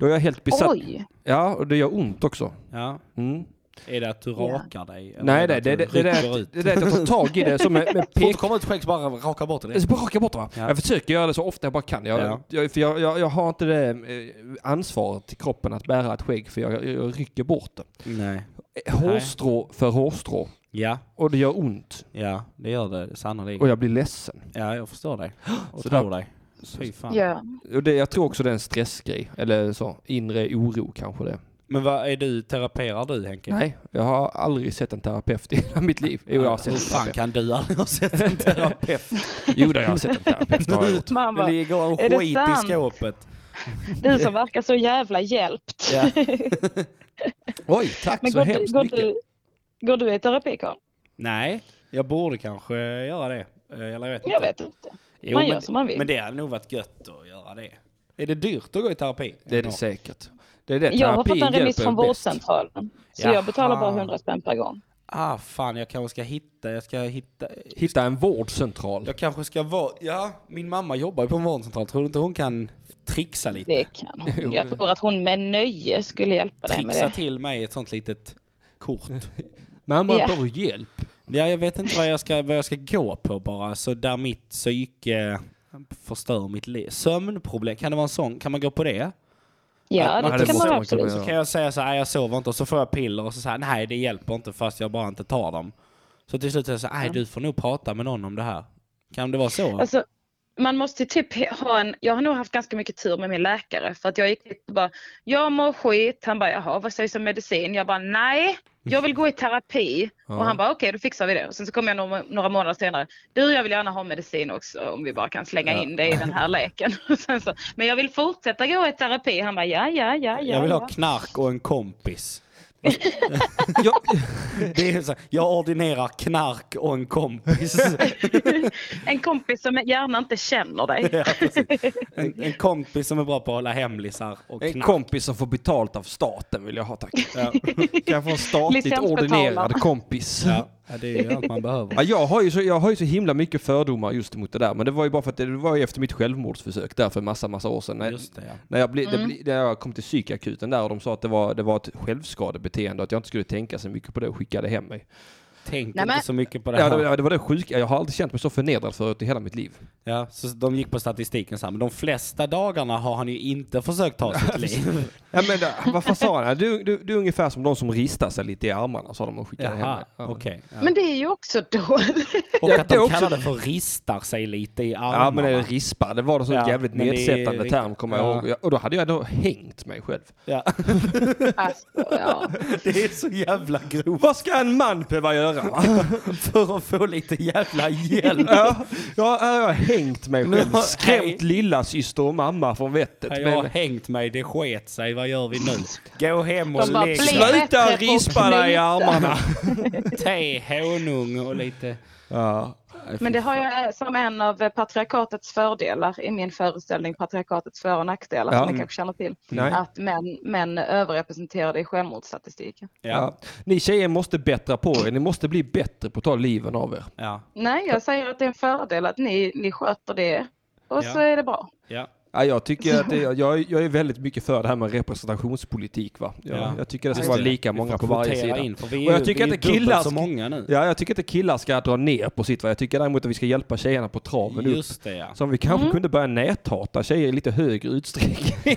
[SPEAKER 1] Då är jag helt besatt.
[SPEAKER 6] Oj!
[SPEAKER 1] Ja, och det gör ont också.
[SPEAKER 3] Ja.
[SPEAKER 1] Mm.
[SPEAKER 3] Är det att du
[SPEAKER 6] Ja.
[SPEAKER 3] rakar dig? Eller
[SPEAKER 1] Nej,
[SPEAKER 3] är
[SPEAKER 1] nej, det, det,
[SPEAKER 3] att
[SPEAKER 1] det,
[SPEAKER 3] du
[SPEAKER 1] det,
[SPEAKER 3] rycker
[SPEAKER 1] är-
[SPEAKER 3] ut?
[SPEAKER 1] det är att jag tar tag i det som med, med pek...
[SPEAKER 3] kommer ut skägg så bara raka bort
[SPEAKER 1] Jag ska bara raka bort det, va?
[SPEAKER 3] Ja.
[SPEAKER 1] Jag försöker göra det så ofta jag bara kan. Jag,
[SPEAKER 3] Ja.
[SPEAKER 1] jag, för jag, jag, jag har inte det eh, ansvaret i kroppen att bära ett skägg för jag, jag, jag rycker bort det. Eh,
[SPEAKER 3] Nej.
[SPEAKER 1] Hårstrå för hårstrå.
[SPEAKER 3] Ja,
[SPEAKER 1] Och det gör ont.
[SPEAKER 3] ja, det gör det sannolikt.
[SPEAKER 1] Och jag blir ledsen.
[SPEAKER 3] Ja, jag förstår dig. Och
[SPEAKER 1] Så
[SPEAKER 3] tror dig. Fy fan.
[SPEAKER 6] Ja.
[SPEAKER 1] Och det, jag tror också det är en stressgrej. Eller så. Inre oro kanske det är.
[SPEAKER 3] Men vad är du, teraperar du Henke?
[SPEAKER 1] Nej, jag har aldrig sett en terapeut i hela mitt liv. Jo, jag har sett
[SPEAKER 3] Hur
[SPEAKER 1] en
[SPEAKER 3] fan
[SPEAKER 1] terapeut.
[SPEAKER 3] kan du aldrig ha sett en terapeut?
[SPEAKER 1] Jo, då, jag har sett en terapeut. det har jag gjort.
[SPEAKER 6] Man
[SPEAKER 3] Det
[SPEAKER 6] bara,
[SPEAKER 3] ligger och
[SPEAKER 6] Är det
[SPEAKER 3] skit i
[SPEAKER 6] sant?
[SPEAKER 3] skåpet.
[SPEAKER 6] Du som verkar så jävla hjälpt.
[SPEAKER 3] Ja.
[SPEAKER 1] Oj, tack
[SPEAKER 6] Men
[SPEAKER 1] så
[SPEAKER 6] går du,
[SPEAKER 1] hemskt
[SPEAKER 6] går,
[SPEAKER 1] mycket.
[SPEAKER 6] du, går du i terapi Karl?
[SPEAKER 3] Nej, jag borde kanske göra det. Eh, Eller jag vet inte.
[SPEAKER 6] Jag vet inte.
[SPEAKER 3] Jo,
[SPEAKER 6] man
[SPEAKER 3] men,
[SPEAKER 6] gör som man vill.
[SPEAKER 3] Men det hade nog varit gött att göra det. Är det dyrt att gå i terapi?
[SPEAKER 1] Det är det säkert. Det är det
[SPEAKER 6] Jag har fått
[SPEAKER 1] terapin
[SPEAKER 6] en remiss
[SPEAKER 1] hjälper
[SPEAKER 6] från
[SPEAKER 1] bäst.
[SPEAKER 6] vårdcentralen. Så
[SPEAKER 3] Jaha.
[SPEAKER 6] jag betalar bara 100 spänn per gång.
[SPEAKER 3] Ah, fan, jag kanske ska hitta, jag ska hitta.
[SPEAKER 1] Hitta en vårdcentral.
[SPEAKER 3] Jag kanske ska vara, ja, min mamma jobbar ju på en vårdcentral. Tror du inte hon kan trixa lite?
[SPEAKER 6] Det kan hon. Jag tror att hon med nöje skulle hjälpa dig med
[SPEAKER 3] trixa
[SPEAKER 6] det.
[SPEAKER 3] till mig ett sånt litet kort.
[SPEAKER 1] Mamma
[SPEAKER 6] Ja.
[SPEAKER 1] behöver hjälp.
[SPEAKER 3] ja, jag vet inte vad jag, ska, vad jag ska gå på bara, så där mitt psyke förstör mitt liv. Sömnproblem, kan det vara en sån? Kan man gå på det?
[SPEAKER 6] Ja,
[SPEAKER 3] Man
[SPEAKER 6] det
[SPEAKER 3] hade
[SPEAKER 6] kan man
[SPEAKER 1] måste-
[SPEAKER 6] absolut.
[SPEAKER 1] Ja.
[SPEAKER 3] Kan jag säga så här, "Nej, jag sover inte och så får jag piller och så säger nej det hjälper inte fast jag bara inte tar dem. Så till slut säger jag så här, nej du får nog prata med någon om det här. Kan det vara så?
[SPEAKER 6] Alltså, man måste ju typ ha en, jag har nog haft ganska mycket tur med min läkare för att jag gick dit och bara, jag mår skit. Han bara, jaha vad sägs om medicin? Jag bara, nej, jag vill gå i terapi. Och han bara, okej då fixar vi det. Och sen så kom jag några, några månader senare, du jag vill gärna ha medicin också om vi bara kan slänga in det i den här leken. Och sen så, men jag vill fortsätta gå i terapi. Han bara, ja ja ja ja.
[SPEAKER 3] jag vill
[SPEAKER 6] ja.
[SPEAKER 3] ha knark och en kompis.
[SPEAKER 1] Jag,
[SPEAKER 3] Det är så här, jag ordinerar knark och en kompis.
[SPEAKER 6] En kompis som gärna inte känner dig.
[SPEAKER 3] Ja, precis. en, en kompis som är bra på att hålla hemlisar och
[SPEAKER 1] en
[SPEAKER 3] knark.
[SPEAKER 1] kompis som får betalt av staten vill jag ha tack.
[SPEAKER 3] Ja.
[SPEAKER 1] Kan jag få en statligt
[SPEAKER 6] Licensbetalare.
[SPEAKER 1] ordinerad kompis?
[SPEAKER 3] Ja, ja, det är ju allt man behöver.
[SPEAKER 1] Ja, jag, har ju så, jag har ju så himla mycket fördomar just mot det där, men det var ju bara för att det, var ju efter mitt självmordsförsök där för massa, massa år sedan. När,
[SPEAKER 3] Just det, ja.
[SPEAKER 1] när, jag bli,
[SPEAKER 6] Mm.
[SPEAKER 1] det, bli- när jag kom till psykakuten där och de sa att det var, det var ett självskadebeteende och att jag inte skulle tänka så mycket på det och skickade hem mig.
[SPEAKER 3] tänk
[SPEAKER 6] Nej, men-
[SPEAKER 3] inte så mycket på det
[SPEAKER 1] Ja,
[SPEAKER 3] här.
[SPEAKER 1] det, ja, det var det sjuka. Jag har aldrig känt mig så förnedrad förut i hela mitt liv.
[SPEAKER 3] Ja, så de gick på statistiken så här, men de flesta dagarna har han ju inte försökt ta sitt liv.
[SPEAKER 1] Ja, men, det- vad fan sa han? Du, du, du är ungefär som de som ristar sig lite i armarna, sa de och skickade hem
[SPEAKER 3] Jaha,
[SPEAKER 1] mig. Ja.
[SPEAKER 3] okej. Ja.
[SPEAKER 6] Men det är ju också dåligt.
[SPEAKER 3] Och
[SPEAKER 1] Ja,
[SPEAKER 3] att
[SPEAKER 1] det
[SPEAKER 3] de
[SPEAKER 1] också-
[SPEAKER 3] kallar det för ristar sig lite i armarna.
[SPEAKER 1] Ja men det är rispa, det var något sånt
[SPEAKER 3] Ja,
[SPEAKER 1] jävligt
[SPEAKER 3] men det är
[SPEAKER 1] nedsättande
[SPEAKER 3] riktigt-
[SPEAKER 1] term kommer jag
[SPEAKER 3] Ja.
[SPEAKER 1] ihåg. Ja, Och då hade jag ändå hängt mig själv.
[SPEAKER 3] Ja.
[SPEAKER 6] Alltså, ja.
[SPEAKER 3] det är så jävla grovt
[SPEAKER 1] Vad ska en man behöva göra?
[SPEAKER 3] för att få lite jävla hjälp.
[SPEAKER 1] ja, ja, här har jag hängt mig själv.
[SPEAKER 3] Nej.
[SPEAKER 1] Skrämt lilla syster och mamma från vettet.
[SPEAKER 3] Jag har
[SPEAKER 1] Men,
[SPEAKER 3] hängt mig, det sket sig, vad gör vi nu? Gå hem och
[SPEAKER 6] De bara
[SPEAKER 3] lägg
[SPEAKER 6] blir-
[SPEAKER 3] dig.
[SPEAKER 1] sluta
[SPEAKER 6] bättre på
[SPEAKER 1] rispa dig i
[SPEAKER 6] knyta.
[SPEAKER 1] armarna!
[SPEAKER 3] te, honung och lite...
[SPEAKER 1] Ja.
[SPEAKER 6] Men det har jag eh, som en av patriarkatets fördelar i min föreställning Patriarkatets för och nackdelar
[SPEAKER 1] Ja.
[SPEAKER 6] som ni kanske känner till.
[SPEAKER 1] Nej.
[SPEAKER 6] Att män, män är överrepresenterade i självmordsstatistiken.
[SPEAKER 3] Ja.
[SPEAKER 1] Ja. Ni tjejer måste bättra på er, ni måste bli bättre på att ta liven av er.
[SPEAKER 3] Ja.
[SPEAKER 6] Nej, jag säger att det är en fördel att ni, ni sköter det och
[SPEAKER 3] Ja.
[SPEAKER 6] så är det bra.
[SPEAKER 3] ja.
[SPEAKER 1] Ja, jag, tycker att det, jag, jag är väldigt mycket för det här med representationspolitik. Va? Jag,
[SPEAKER 3] Ja.
[SPEAKER 1] jag tycker det ska
[SPEAKER 3] Just
[SPEAKER 1] vara
[SPEAKER 3] det.
[SPEAKER 1] lika
[SPEAKER 3] Vi
[SPEAKER 1] många
[SPEAKER 3] får
[SPEAKER 1] på varje
[SPEAKER 3] kvotera
[SPEAKER 1] sida.
[SPEAKER 3] In, för vi är
[SPEAKER 1] Och
[SPEAKER 3] ju,
[SPEAKER 1] jag tycker
[SPEAKER 3] vi är
[SPEAKER 1] att det killar
[SPEAKER 3] dubbelt så
[SPEAKER 1] ska-
[SPEAKER 3] många nu.
[SPEAKER 1] Ja, jag tycker inte killar ska dra ner på sitt. Va? Jag tycker däremot att vi ska hjälpa tjejerna på traven upp.
[SPEAKER 3] Just det ja.
[SPEAKER 1] Så om vi kanske
[SPEAKER 6] Mm.
[SPEAKER 1] kunde börja näthata tjejer i lite högre utsträckning.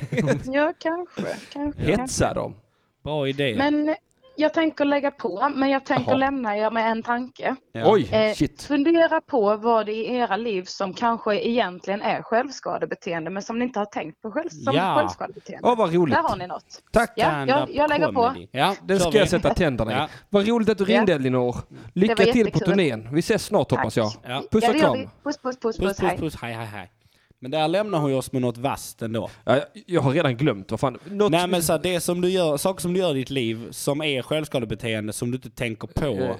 [SPEAKER 6] Ja, kanske. kanske, kanske.
[SPEAKER 1] Hetsa dem.
[SPEAKER 3] Bra idé.
[SPEAKER 6] Men jag tänker lägga på, men jag tänker
[SPEAKER 1] Jaha.
[SPEAKER 6] lämna er med en tanke.
[SPEAKER 3] Ja.
[SPEAKER 1] Oj,
[SPEAKER 6] Eh,
[SPEAKER 1] shit.
[SPEAKER 6] Fundera på vad det i era liv som kanske egentligen är självskadebeteende men som ni inte har tänkt på själv, som
[SPEAKER 3] Ja.
[SPEAKER 6] självskadebeteende.
[SPEAKER 1] Åh, vad roligt.
[SPEAKER 6] Där har ni något.
[SPEAKER 1] Tack.
[SPEAKER 6] Ja, jag, jag lägger på.
[SPEAKER 3] Stand-up comedy. Ja,
[SPEAKER 1] Den
[SPEAKER 3] kör
[SPEAKER 1] ska jag
[SPEAKER 3] vi.
[SPEAKER 1] sätta tänderna i.
[SPEAKER 3] Ja.
[SPEAKER 1] Vad roligt att du
[SPEAKER 6] Ja.
[SPEAKER 1] ringde Elinor. Lycka
[SPEAKER 6] Det var
[SPEAKER 1] till på
[SPEAKER 6] jättekul.
[SPEAKER 1] turnén. Vi ses snart hoppas jag.
[SPEAKER 3] Ja.
[SPEAKER 1] Puss
[SPEAKER 6] ja,
[SPEAKER 1] och
[SPEAKER 6] det gör
[SPEAKER 1] kram.
[SPEAKER 6] vi. Puss, puss, puss,
[SPEAKER 3] Puss,
[SPEAKER 6] puss.
[SPEAKER 3] puss,
[SPEAKER 6] hej.
[SPEAKER 3] puss. Hej, hej, hej. Men där lämnar hon ju oss med något vasst ändå.
[SPEAKER 1] Ja, jag- jag har redan glömt. Vad fan. Något...
[SPEAKER 3] Nej men så här, det som du gör, saker som du gör i ditt liv som är självskadebeteende som du inte tänker
[SPEAKER 1] Eh,
[SPEAKER 3] på.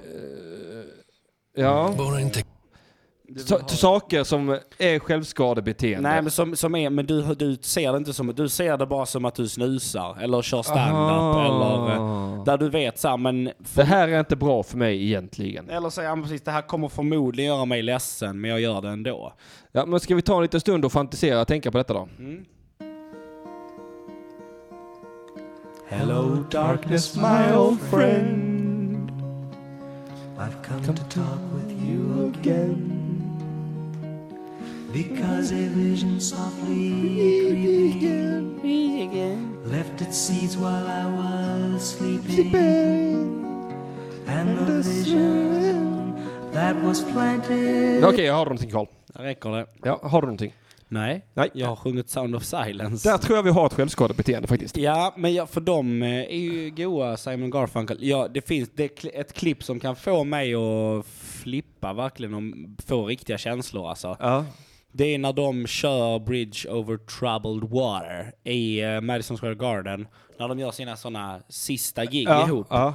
[SPEAKER 1] Ja. Sa- saker som är självskadebeteende.
[SPEAKER 3] Nej men som, som är, men du, du ser det inte som, du ser det bara som att du snusar eller kör stand-up
[SPEAKER 1] Aha.
[SPEAKER 3] eller eh, där du vet så här, men
[SPEAKER 1] Det här är inte bra för mig egentligen.
[SPEAKER 3] Eller säger han precis, det här kommer förmodligen göra mig ledsen, men jag gör det ändå.
[SPEAKER 1] Ja, men ska vi ta en liten stund och fantisera och tänka på detta då?
[SPEAKER 7] Hmm?
[SPEAKER 3] Hello
[SPEAKER 7] darkness, my old friend. I've come, to talk with you again. Because a vision softly creeping left its seeds while I was sleeping. And the vision that was planted.
[SPEAKER 1] Okej, jag har någonting Carl.
[SPEAKER 3] Räcker det?
[SPEAKER 1] Ja, har du någonting?
[SPEAKER 3] Nej.
[SPEAKER 1] Nej.
[SPEAKER 3] Jag har sjungit Sound of Silence.
[SPEAKER 1] Där tror jag vi har ett självskadebeteende faktiskt.
[SPEAKER 3] Ja, men ja, för de eh, är ju goa, Simon Garfunkel. Ja, det finns det är kli- ett klipp som kan få mig att flippa verkligen och få riktiga känslor alltså.
[SPEAKER 1] Ja.
[SPEAKER 3] Det är när de kör Bridge over Troubled Water i eh, Madison Square Garden. När de gör sina sådana sista gig ihop.
[SPEAKER 1] ja.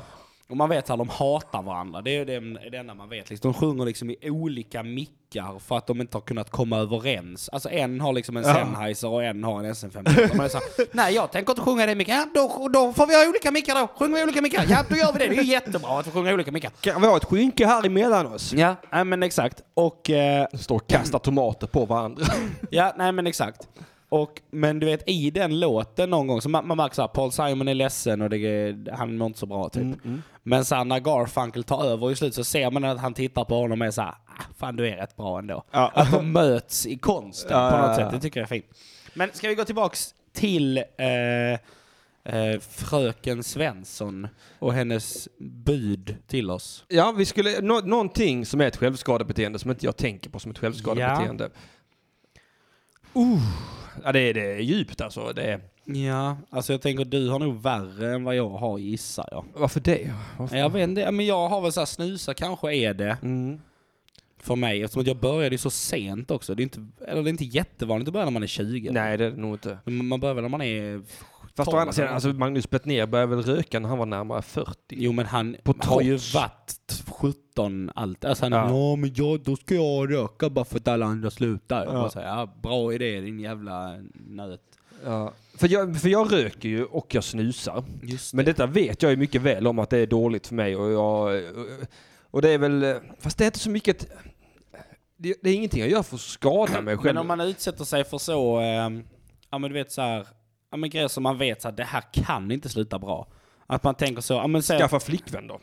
[SPEAKER 3] Och man vet att de hatar varandra. Det är ju den, det enda man vet. Liksom, de sjunger liksom i olika mickar för att de inte har kunnat komma överens. Alltså en har liksom en Sennheiser och en har en SM55. Och Man är så här, Nej, jag tänker inte sjunga i den micken. Ja, då, då får vi ha olika mickar då. Sjunger vi i olika mickar? Ja, då gör vi det. Det är ju jättebra att vi sjunger i olika mickar.
[SPEAKER 1] Kan vi ha ett skynke här emellan oss?
[SPEAKER 3] Ja, nej, men exakt. Och... Eh,
[SPEAKER 1] Står och kastar tomater på varandra.
[SPEAKER 3] Ja, nej men exakt. Och, men du vet i den låten någon gång, så man, man märker såhär, Paul Simon är ledsen och det, han mår inte så bra typ.
[SPEAKER 7] Hmm?
[SPEAKER 3] Men sen när Garfunkel tar över i slut så ser man att han tittar på honom och är såhär, ah, fan du är rätt bra ändå. Att de möts i konsten
[SPEAKER 1] Ja,
[SPEAKER 3] på
[SPEAKER 1] ja,
[SPEAKER 3] något
[SPEAKER 1] ja.
[SPEAKER 3] sätt, det tycker jag är fint. Men ska vi gå tillbaks till eh, eh, fröken Svensson och hennes bud till oss?
[SPEAKER 1] Ja, vi skulle... Nå- någonting som är ett självskadebeteende som inte jag tänker på som ett självskadebeteende. Uh, ja, det, det är djupt alltså. Det är...
[SPEAKER 3] Ja, alltså jag tänker du har nog värre än vad jag har gissar jag.
[SPEAKER 1] Varför det?
[SPEAKER 3] Nej, Jag vet inte, Ja, men jag har väl såhär snusa kanske är det
[SPEAKER 1] Mm.
[SPEAKER 3] för mig eftersom att jag började ju så sent också. Det är inte, eller det är inte jättevanligt att börja när man är 20.
[SPEAKER 1] Nej, det är det nog inte.
[SPEAKER 3] Men Man börjar väl när man är...
[SPEAKER 1] Fast å andra sidan, alltså Magnus Bettner började väl röka när han var närmare 40.
[SPEAKER 3] Jo men han
[SPEAKER 1] På
[SPEAKER 3] har ju
[SPEAKER 1] trots.
[SPEAKER 3] varit t- 17 allt. Alltså han,
[SPEAKER 1] Ja.
[SPEAKER 3] ja. men jag, då ska jag röka bara för att alla andra slutar. Jag bara säger, ja, bra idé din jävla nöt.
[SPEAKER 1] Ja. För, jag, för jag röker ju och jag snusar.
[SPEAKER 3] Just
[SPEAKER 1] Men detta vet jag ju mycket väl om att det är dåligt för mig och jag... Och det är väl... Fast det är inte så mycket... att- Det, det är ingenting jag gör för att skada mig själv.
[SPEAKER 3] Men om man utsätter sig för så, eh, ja men du vet så här, ja men grejer som man vet så här, det här kan inte sluta bra. Att man tänker så, ja men säg att-
[SPEAKER 1] Skaffa flickvän då.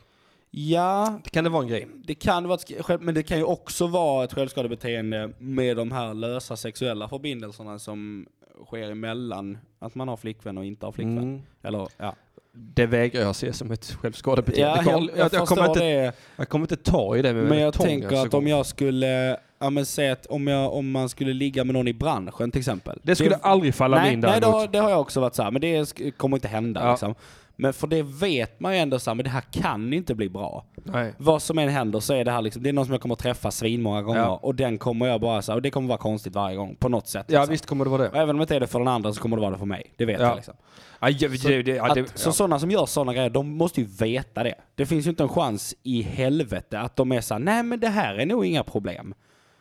[SPEAKER 3] Ja,
[SPEAKER 1] Kan det vara en grej?
[SPEAKER 3] det kan vara ett sk- själv- men det kan ju också vara ett självskadebeteende med de här lösa sexuella förbindelserna som sker emellan att man har flickvän och inte har flickvän.
[SPEAKER 1] Mm.
[SPEAKER 3] Eller, ja.
[SPEAKER 1] Det vägrar jag se som ett självskadebeteende.
[SPEAKER 3] Ja, jag, jag,
[SPEAKER 1] kommer
[SPEAKER 3] förstår
[SPEAKER 1] inte,
[SPEAKER 3] det.
[SPEAKER 1] jag kommer inte ta i det med
[SPEAKER 3] Men
[SPEAKER 1] en
[SPEAKER 3] jag
[SPEAKER 1] tång
[SPEAKER 3] tänker
[SPEAKER 1] alltså.
[SPEAKER 3] att om jag skulle, ja men säg att om, jag, om man skulle ligga med någon i branschen till exempel.
[SPEAKER 1] Det skulle aldrig falla mig
[SPEAKER 3] nej,
[SPEAKER 1] in
[SPEAKER 3] nej det,
[SPEAKER 1] däremot.
[SPEAKER 3] har, det har jag också varit så här, men det sk- kommer inte hända
[SPEAKER 1] Ja.
[SPEAKER 3] liksom. Men för det vet man ju ändå så här, men det här kan inte bli bra.
[SPEAKER 1] Nej.
[SPEAKER 3] Vad som än händer så är det här liksom, det är någon som jag kommer träffa svinmånga gånger
[SPEAKER 1] Ja.
[SPEAKER 3] och den kommer jag bara så här, och det kommer vara konstigt varje gång på något sätt.
[SPEAKER 1] Ja
[SPEAKER 3] liksom.
[SPEAKER 1] visst kommer det vara
[SPEAKER 3] Och
[SPEAKER 1] det.
[SPEAKER 3] även om det inte är det för den andra så kommer det vara det för mig. Det vet
[SPEAKER 1] Ja.
[SPEAKER 3] jag liksom.
[SPEAKER 1] Ja, ja, det, det, ja,
[SPEAKER 3] Att,
[SPEAKER 1] det
[SPEAKER 3] Så sådana som gör sådana grejer, de måste ju veta det. Det finns ju inte en chans i helvete att de är såhär, nej men det här är nog inga problem.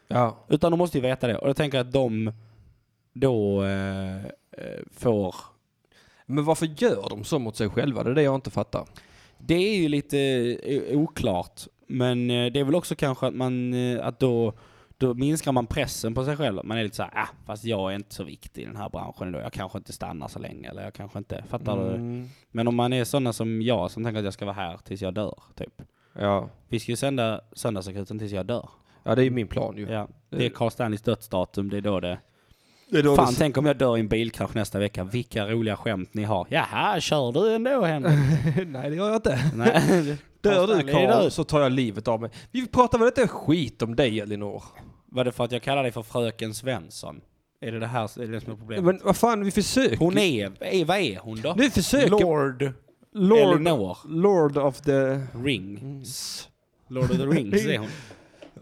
[SPEAKER 1] ja.
[SPEAKER 3] Utan de måste ju veta det. Och jag tänker att de då eh, eh, får...
[SPEAKER 1] Men varför gör de så mot sig själva? Det är det jag inte fattar.
[SPEAKER 3] Det är ju lite eh, oklart. Men eh, det är väl också kanske att man, eh, att då, då minskar man pressen på sig själv. Man är lite såhär, ah, fast jag är inte så viktig i den här branschen idag. Jag kanske inte stannar så länge. Eller jag kanske inte, fattar du?
[SPEAKER 1] Mm.
[SPEAKER 3] Men om man är sådana som jag som tänker att jag ska vara här tills jag dör, typ.
[SPEAKER 1] Ja.
[SPEAKER 3] Vi ska ju sända Söndagsakuten tills jag dör.
[SPEAKER 1] ja, det är ju min plan ju. Eh.
[SPEAKER 3] Ja. Det är Carl Stanleys dödsdatum, det är då det...
[SPEAKER 1] Det är då
[SPEAKER 3] Fan,
[SPEAKER 1] det-
[SPEAKER 3] tänk om jag dör i en bilkrasch nästa vecka. Vilka roliga skämt ni har. Jaha, kör du ändå Henrik?
[SPEAKER 1] Nej det gör jag inte.
[SPEAKER 3] Nej.
[SPEAKER 1] Dör du
[SPEAKER 3] Stanley är
[SPEAKER 1] Karl
[SPEAKER 3] död.
[SPEAKER 1] så tar jag livet av mig. Vi pratar väl inte skit om dig Elinor?
[SPEAKER 3] Var det för att jag kallar dig för fröken Svensson? Är det det här är det som är problemet?
[SPEAKER 1] Men vad fan vi försöker.
[SPEAKER 3] hon är, är... Vad är hon då?
[SPEAKER 1] Nu försöker...
[SPEAKER 3] Lord,
[SPEAKER 1] Lord,
[SPEAKER 3] Elinor
[SPEAKER 1] Lord of the... Mm.
[SPEAKER 3] Rings. Lord of the Rings är hon.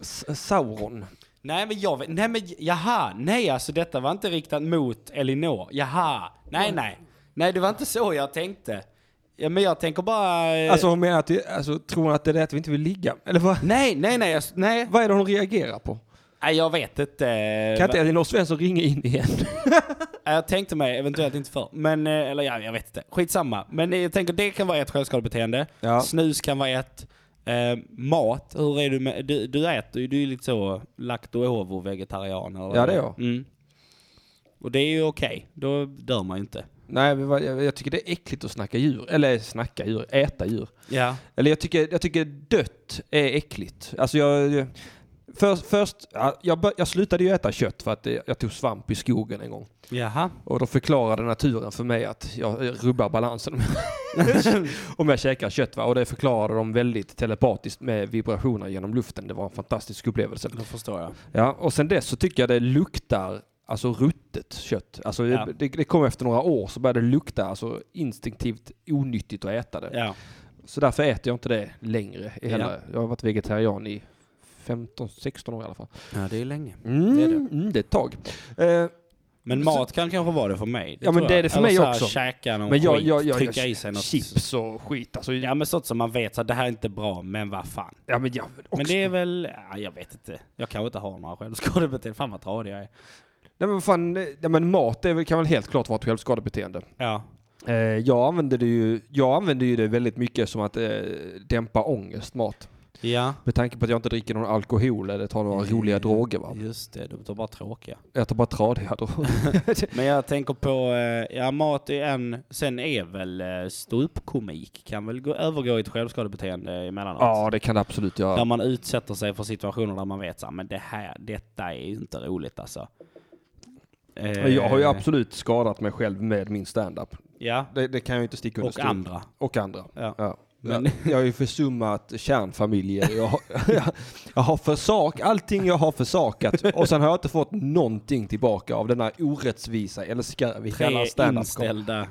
[SPEAKER 1] S- Sauron.
[SPEAKER 3] Nej men jag vet, nej men jaha, nej alltså detta var inte riktat mot Elinor, jaha, nej nej. Nej det var inte så jag tänkte. Ja, men jag tänker bara... eh,
[SPEAKER 1] Alltså hon menar att det, alltså, tror hon att det är det att vi inte vill ligga? Eller vad,
[SPEAKER 3] nej, nej, nej, jag, nej.
[SPEAKER 1] vad är det hon reagerar på?
[SPEAKER 3] Nej jag vet inte.
[SPEAKER 1] Kan inte Elinor Svensson ringa in igen?
[SPEAKER 3] Nej, Jag tänkte mig eventuellt inte för. Men, eh, eller ja, jag vet inte. Skitsamma. Men eh, jag tänker det kan vara ett självskadebeteende.
[SPEAKER 1] Ja.
[SPEAKER 3] Snus kan vara ett. Eh, mat, hur är du med, du, du äter ju, du är ju lite så lacto ovo vegetarian eller vad
[SPEAKER 1] Ja, det är jag.
[SPEAKER 3] Mm. Och det är ju okej, då dör man ju inte.
[SPEAKER 1] Nej, men vad- jag, jag tycker det är äckligt att snacka djur. Eller snacka djur, äta djur.
[SPEAKER 3] Ja.
[SPEAKER 1] Eller jag tycker, jag tycker dött är äckligt. Alltså jag... Först, först ja, jag, bör, jag slutade ju äta kött för att eh, jag tog svamp i skogen en gång.
[SPEAKER 3] Jaha.
[SPEAKER 1] Och då förklarade naturen för mig att jag eh, rubbar balansen om jag- om jag käkar kött. Va? Och det förklarade de väldigt telepatiskt med vibrationer genom luften. Det var en fantastisk upplevelse.
[SPEAKER 3] Då förstår jag.
[SPEAKER 1] Ja, och sen dess så tycker jag det luktar alltså ruttet kött. Alltså
[SPEAKER 3] Ja.
[SPEAKER 1] det, det kom efter några år så började det lukta alltså instinktivt onyttigt att äta det.
[SPEAKER 3] Ja.
[SPEAKER 1] Så därför äter jag inte det längre. i hela-
[SPEAKER 3] Ja.
[SPEAKER 1] Jag har varit vegetarian i 15-16 år i alla fall.
[SPEAKER 3] ja, det är länge.
[SPEAKER 1] Mm,
[SPEAKER 3] Det
[SPEAKER 1] det,
[SPEAKER 3] är
[SPEAKER 1] är
[SPEAKER 3] det.
[SPEAKER 1] Mm, det är ett tag. Eh,
[SPEAKER 3] Men mat kan kanske vara det för mig.
[SPEAKER 1] Ja, men
[SPEAKER 3] tror
[SPEAKER 1] det är
[SPEAKER 3] jag.
[SPEAKER 1] det för
[SPEAKER 3] eller
[SPEAKER 1] mig
[SPEAKER 3] så här,
[SPEAKER 1] också.
[SPEAKER 3] käka någon
[SPEAKER 1] men jag,
[SPEAKER 3] skit,
[SPEAKER 1] jag, jag,
[SPEAKER 3] trycka
[SPEAKER 1] jag,
[SPEAKER 3] i sig något.
[SPEAKER 1] chips och skit. Alltså, ja.
[SPEAKER 3] Ja men sånt som man vet, så här, det här är inte bra, men vad fan.
[SPEAKER 1] men jag, också,
[SPEAKER 3] Men det är väl, ja, jag vet inte. Jag kanske inte har några självskadebeteende. Fan vad tradig jag är.
[SPEAKER 1] nej, men vad fan, eh, ja, men mat är väl, kan väl helt klart vara ett självskadebeteende.
[SPEAKER 3] Ja.
[SPEAKER 1] Eh, jag, använder det ju, jag använder ju det väldigt mycket som att eh, dämpa ångest, mat.
[SPEAKER 3] Ja.
[SPEAKER 1] Med tanke på att jag inte dricker någon alkohol eller tar några roliga droger. Va?
[SPEAKER 3] Just det, de är bara tråkiga.
[SPEAKER 1] Jag tar bara tradiga droger.
[SPEAKER 3] Men jag tänker på, eh, ja mat är en, sen är väl eh, ståuppkomik kan väl gå, övergå i ett självskadebeteende emellanåt.
[SPEAKER 1] ja, det kan det absolut göra.
[SPEAKER 3] Där man utsätter sig för situationer där man vet så här, men det här, detta är ju inte roligt alltså. Eh,
[SPEAKER 1] Jag har ju absolut skadat mig själv med min standup.
[SPEAKER 3] Ja,
[SPEAKER 1] Det, det kan jag ju inte sticka under
[SPEAKER 3] och
[SPEAKER 1] stol.
[SPEAKER 3] andra.
[SPEAKER 1] Och andra.
[SPEAKER 3] Ja.
[SPEAKER 1] Ja.
[SPEAKER 3] Men-
[SPEAKER 1] Jag, jag har ju försummat kärnfamiljer. Jag har, jag, jag har försak, allting jag har försakat och sen har jag inte fått någonting tillbaka av denna orättvisa, eller ska vi kalla
[SPEAKER 3] Tre
[SPEAKER 1] standup
[SPEAKER 3] inställda.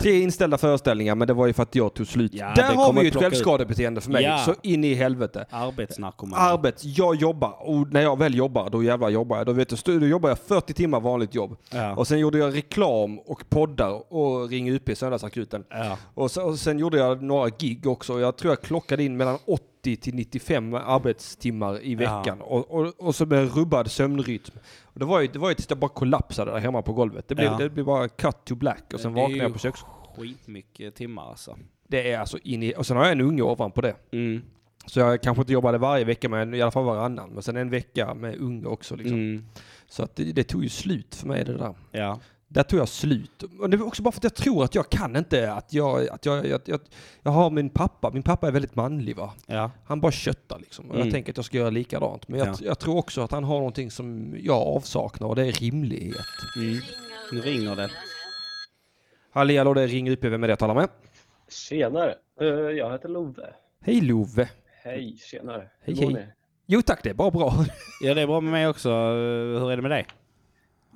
[SPEAKER 1] Tre inställda föreställningar, men det var ju för att jag tog slut.
[SPEAKER 3] Ja, det
[SPEAKER 1] Där har
[SPEAKER 3] kommer
[SPEAKER 1] vi ju ett
[SPEAKER 3] plocka ut.
[SPEAKER 1] självskadebeteende för mig,
[SPEAKER 3] Ja.
[SPEAKER 1] så in i helvete. Ah,
[SPEAKER 3] Arbetsnarkoman.
[SPEAKER 1] Arbets, jag jobbar och när jag väl jobbar, då jävlar jobbar jag. Då, vet du, då jobbar jag 40 timmar vanligt jobb.
[SPEAKER 3] Ja.
[SPEAKER 1] Och sen gjorde jag reklam och poddar och Ring UP Söndagsakuten.
[SPEAKER 3] Ja.
[SPEAKER 1] Och, så, och sen gjorde jag några gig också. och Jag tror jag klockade in mellan 80 till 95 arbetstimmar i veckan. Och, och, och så med en rubbad sömnrytm. Och det var ju, det var ju tills jag bara kollapsade där hemma på golvet. Det blev,
[SPEAKER 3] Ja.
[SPEAKER 1] det blev bara cut to black och sen
[SPEAKER 3] Det är
[SPEAKER 1] vaknade
[SPEAKER 3] ju
[SPEAKER 1] jag på köks...
[SPEAKER 3] Skitmycket timmar alltså.
[SPEAKER 1] Det är alltså in i... Och sen har jag en unge ovanpå det.
[SPEAKER 3] Mm.
[SPEAKER 1] Så jag kanske inte jobbade varje vecka, men i alla fall varannan. Men sen en vecka med unge också. Liksom.
[SPEAKER 3] Mm.
[SPEAKER 1] Så att det, det tog ju slut för mig det där.
[SPEAKER 3] Ja.
[SPEAKER 1] Där tog jag slut. Och det var också bara för att jag tror att jag kan inte, att jag, att jag, jag, jag, jag har min pappa, min pappa är väldigt manlig va.
[SPEAKER 3] Ja.
[SPEAKER 1] Han bara köttar liksom. Och
[SPEAKER 3] Mm.
[SPEAKER 1] jag tänker att jag ska göra likadant. Men jag,
[SPEAKER 3] Ja.
[SPEAKER 1] jag tror också att han har någonting som jag avsaknar och det är rimlighet.
[SPEAKER 3] Mm. Nu ringer det.
[SPEAKER 1] Halli hallå, det är Ring UP. Vem är det jag talar med?
[SPEAKER 8] Tjenare! Eh, Jag heter Love.
[SPEAKER 1] Hej Love.
[SPEAKER 8] Hej, tjenare!
[SPEAKER 1] Hej,
[SPEAKER 8] Hur mår
[SPEAKER 1] hej.
[SPEAKER 8] ni?
[SPEAKER 1] Jo tack, det är bara bra.
[SPEAKER 3] Ja, det är bra med mig också. Hur är det med dig?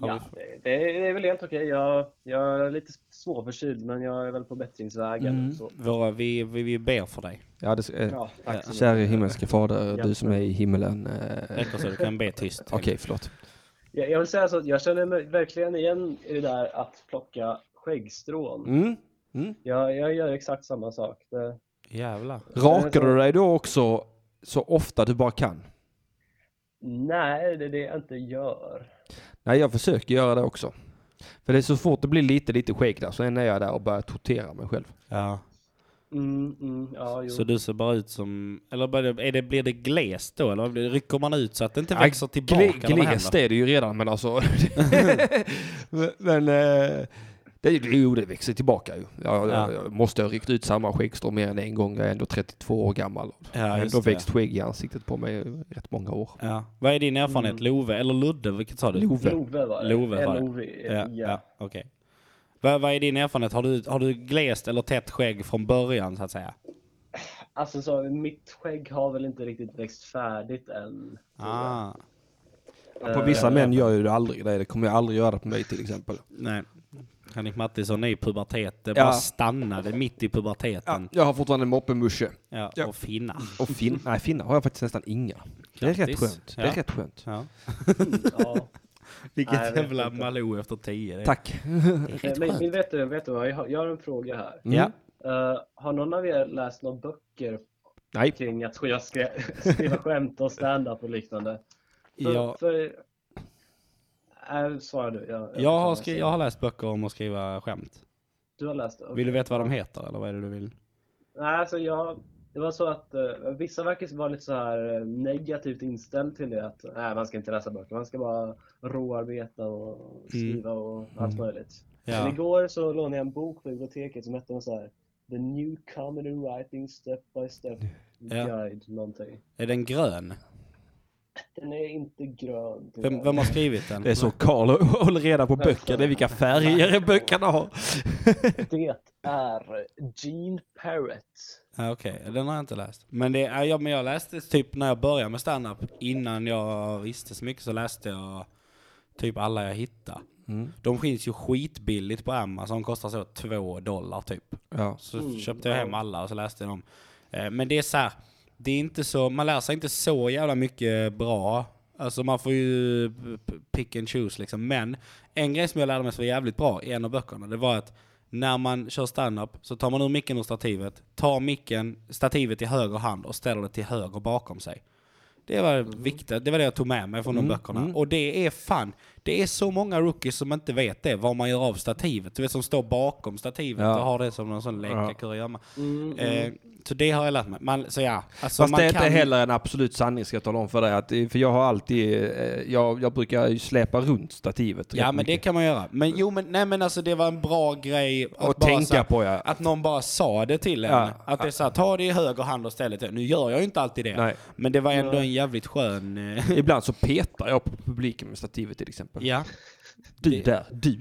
[SPEAKER 3] Har
[SPEAKER 8] Ja, det, det är- det är väl helt okej. Jag, jag är lite småförkyld, men jag är väl på bättringsvägen.
[SPEAKER 3] Mm.
[SPEAKER 8] Så.
[SPEAKER 3] Våra, vi, vi, vi ber för dig.
[SPEAKER 1] Mm. Ja, det, eh,
[SPEAKER 8] Ja, tack så mycket.
[SPEAKER 1] Käre himmelske fader,
[SPEAKER 8] Ja.
[SPEAKER 1] du som är i himmelen. Eh, Okej,
[SPEAKER 3] Räcker så du kan be tyst.
[SPEAKER 1] förlåt.
[SPEAKER 8] Jag, jag vill säga så att jag känner mig verkligen igen i det där att plocka skäggstrån.
[SPEAKER 1] Mm.
[SPEAKER 8] Jag, jag gör exakt samma sak. Det,
[SPEAKER 3] Jävlar.
[SPEAKER 1] Rakar du dig då också så ofta du bara kan?
[SPEAKER 8] nej, det är det jag inte gör.
[SPEAKER 1] Nej, jag försöker göra det också. För det är så fort det blir lite, lite skägg där, sen är jag där och börjar tortera mig själv.
[SPEAKER 3] Ja.
[SPEAKER 8] Mm, mm, ja, jo.
[SPEAKER 3] Så du ser bara ut som... Eller bara- är det, blir det glest då? Eller blir- rycker man ut så att det inte
[SPEAKER 1] Nej,
[SPEAKER 3] växer tillbaka? eller vad händer?
[SPEAKER 1] glest är det ju redan, men alltså... men... Eh, det, är ju- jo, det växer tillbaka ju. Jag,
[SPEAKER 3] Ja.
[SPEAKER 1] jag, jag måste ha ryckt ut samma skäggstrå mer än en gång. Jag är ändå 32 år gammal. Jag
[SPEAKER 3] Ja,
[SPEAKER 1] har
[SPEAKER 3] just
[SPEAKER 1] ändå
[SPEAKER 3] det.
[SPEAKER 1] växt skägg i ansiktet på mig i rätt många år.
[SPEAKER 3] Ja. Vad är din erfarenhet? Love eller Ludde? Vilket sa du?
[SPEAKER 1] Mm. Love.
[SPEAKER 8] Love var det.
[SPEAKER 3] Love var det.
[SPEAKER 8] L-O-V.
[SPEAKER 3] Ja, ja okej. Vad, vad är din erfarenhet? Har du, har du glest eller tätt skägg från början så att säga?
[SPEAKER 8] Alltså, så, mitt skägg har väl inte riktigt växt färdigt än.
[SPEAKER 3] Ah,
[SPEAKER 1] Ah. På vissa
[SPEAKER 3] Eh,
[SPEAKER 1] män gör ju det aldrig det. Det kommer jag aldrig göra på mig till exempel.
[SPEAKER 3] nej. Henrik Mattisson är i pubertet. Det bara
[SPEAKER 1] Ja.
[SPEAKER 3] stannade mitt i puberteten.
[SPEAKER 1] Jag har fortfarande en moppemusche.
[SPEAKER 3] Ja.
[SPEAKER 1] Ja.
[SPEAKER 3] Och finna.
[SPEAKER 1] Och fin nej, finnar har jag faktiskt nästan inga. Det är rätt
[SPEAKER 3] Grattis.
[SPEAKER 1] skönt. Det är
[SPEAKER 3] Ja.
[SPEAKER 1] rätt skönt.
[SPEAKER 3] Ja.
[SPEAKER 8] Ja.
[SPEAKER 3] Vilket
[SPEAKER 8] Nej, jag vet
[SPEAKER 3] jävla
[SPEAKER 8] inte.
[SPEAKER 3] Malou efter tio. det är. Mm.
[SPEAKER 1] Tack.
[SPEAKER 8] Eh, Men, men vet du, vet du vad? Jag har, jag har en fråga här.
[SPEAKER 3] Ja.
[SPEAKER 8] Eh, har någon av er läst några böcker
[SPEAKER 1] Nej.
[SPEAKER 8] kring att skriva, skriva skämt och stand-up och liknande? För,
[SPEAKER 3] Jag,
[SPEAKER 8] för, nej, svara du. Jag, jag
[SPEAKER 3] jag, har
[SPEAKER 8] förstår
[SPEAKER 3] skri-
[SPEAKER 8] vad
[SPEAKER 3] jag har läst böcker om att skriva skämt.
[SPEAKER 8] Du har läst det? okej.
[SPEAKER 3] Vill du veta vad de heter eller vad är det du vill?
[SPEAKER 8] Nej, alltså jag... Det var så att eh, vissa verkar vara lite så här eh, negativt inställd till det. Att nej, man ska inte läsa böcker. Man ska bara råarbeta och skriva och allt möjligt.
[SPEAKER 3] Mm. Ja.
[SPEAKER 8] Men igår så lånade jag en bok på biblioteket som hette något så här The New Comedy Writing Step by Step
[SPEAKER 3] Ja.
[SPEAKER 8] Guide någonting.
[SPEAKER 3] Är den grön?
[SPEAKER 8] Den är inte grön. tyvärr.
[SPEAKER 3] Vem, vem har skrivit den?
[SPEAKER 1] Det är så Karl håller reda på böcker. Det är vilka färger böckerna har.
[SPEAKER 8] Det är Gene Parrott.
[SPEAKER 3] Ja, Okej, den har jag inte läst. Men, det, ja, ja, men jag läste typ när jag började med standup, innan jag visste så mycket så läste jag typ alla jag hittade. De finns ju skitbilligt på Amazon, kostar så två dollar typ.
[SPEAKER 1] Ja.
[SPEAKER 3] Så köpte jag hem alla och så läste jag dem. Eh, Men det är så här, det är inte så, man lär sig inte så jävla mycket bra. Alltså man får ju p- p- pick and choose liksom. Men en grej som jag lärde mig som var jävligt bra i en av böckerna, det var att när man kör stand-up så tar man ur micken ur stativet, tar micken, stativet i höger hand och ställer det till höger bakom sig. Det var viktigt, det var det jag tog med mig
[SPEAKER 1] Mm,
[SPEAKER 3] från de böckerna. Och det är fan, det är så många rookies som inte vet det, vad man gör av stativet. Du vet som står bakom stativet
[SPEAKER 1] Ja.
[SPEAKER 3] och har det som någon sån lekakuriömma.
[SPEAKER 1] Mm,
[SPEAKER 3] Eh, så det har jag lärt mig. Man, så ja, alltså
[SPEAKER 1] Fast
[SPEAKER 3] man
[SPEAKER 1] det är inte
[SPEAKER 3] kan,
[SPEAKER 1] heller en absolut sanning ska jag tala om för dig. Att, för jag har alltid, eh, jag, jag brukar ju släpa runt stativet.
[SPEAKER 3] Ja
[SPEAKER 1] rätt
[SPEAKER 3] men det
[SPEAKER 1] mycket.
[SPEAKER 3] kan man göra. Men jo men nej men alltså det var en bra grej att
[SPEAKER 1] Och
[SPEAKER 3] bara
[SPEAKER 1] tänka
[SPEAKER 3] så här-
[SPEAKER 1] på, ja.
[SPEAKER 3] Att någon bara sa det till en.
[SPEAKER 1] Ja.
[SPEAKER 3] Att det är såhär, ta det i höger hand och ställ det till. Nu gör jag ju inte alltid det.
[SPEAKER 1] Nej.
[SPEAKER 3] Men det var ändå en jävligt skön... eh,
[SPEAKER 1] Ibland så petar jag på publiken med stativet till exempel.
[SPEAKER 3] ja.
[SPEAKER 1] Du där, du.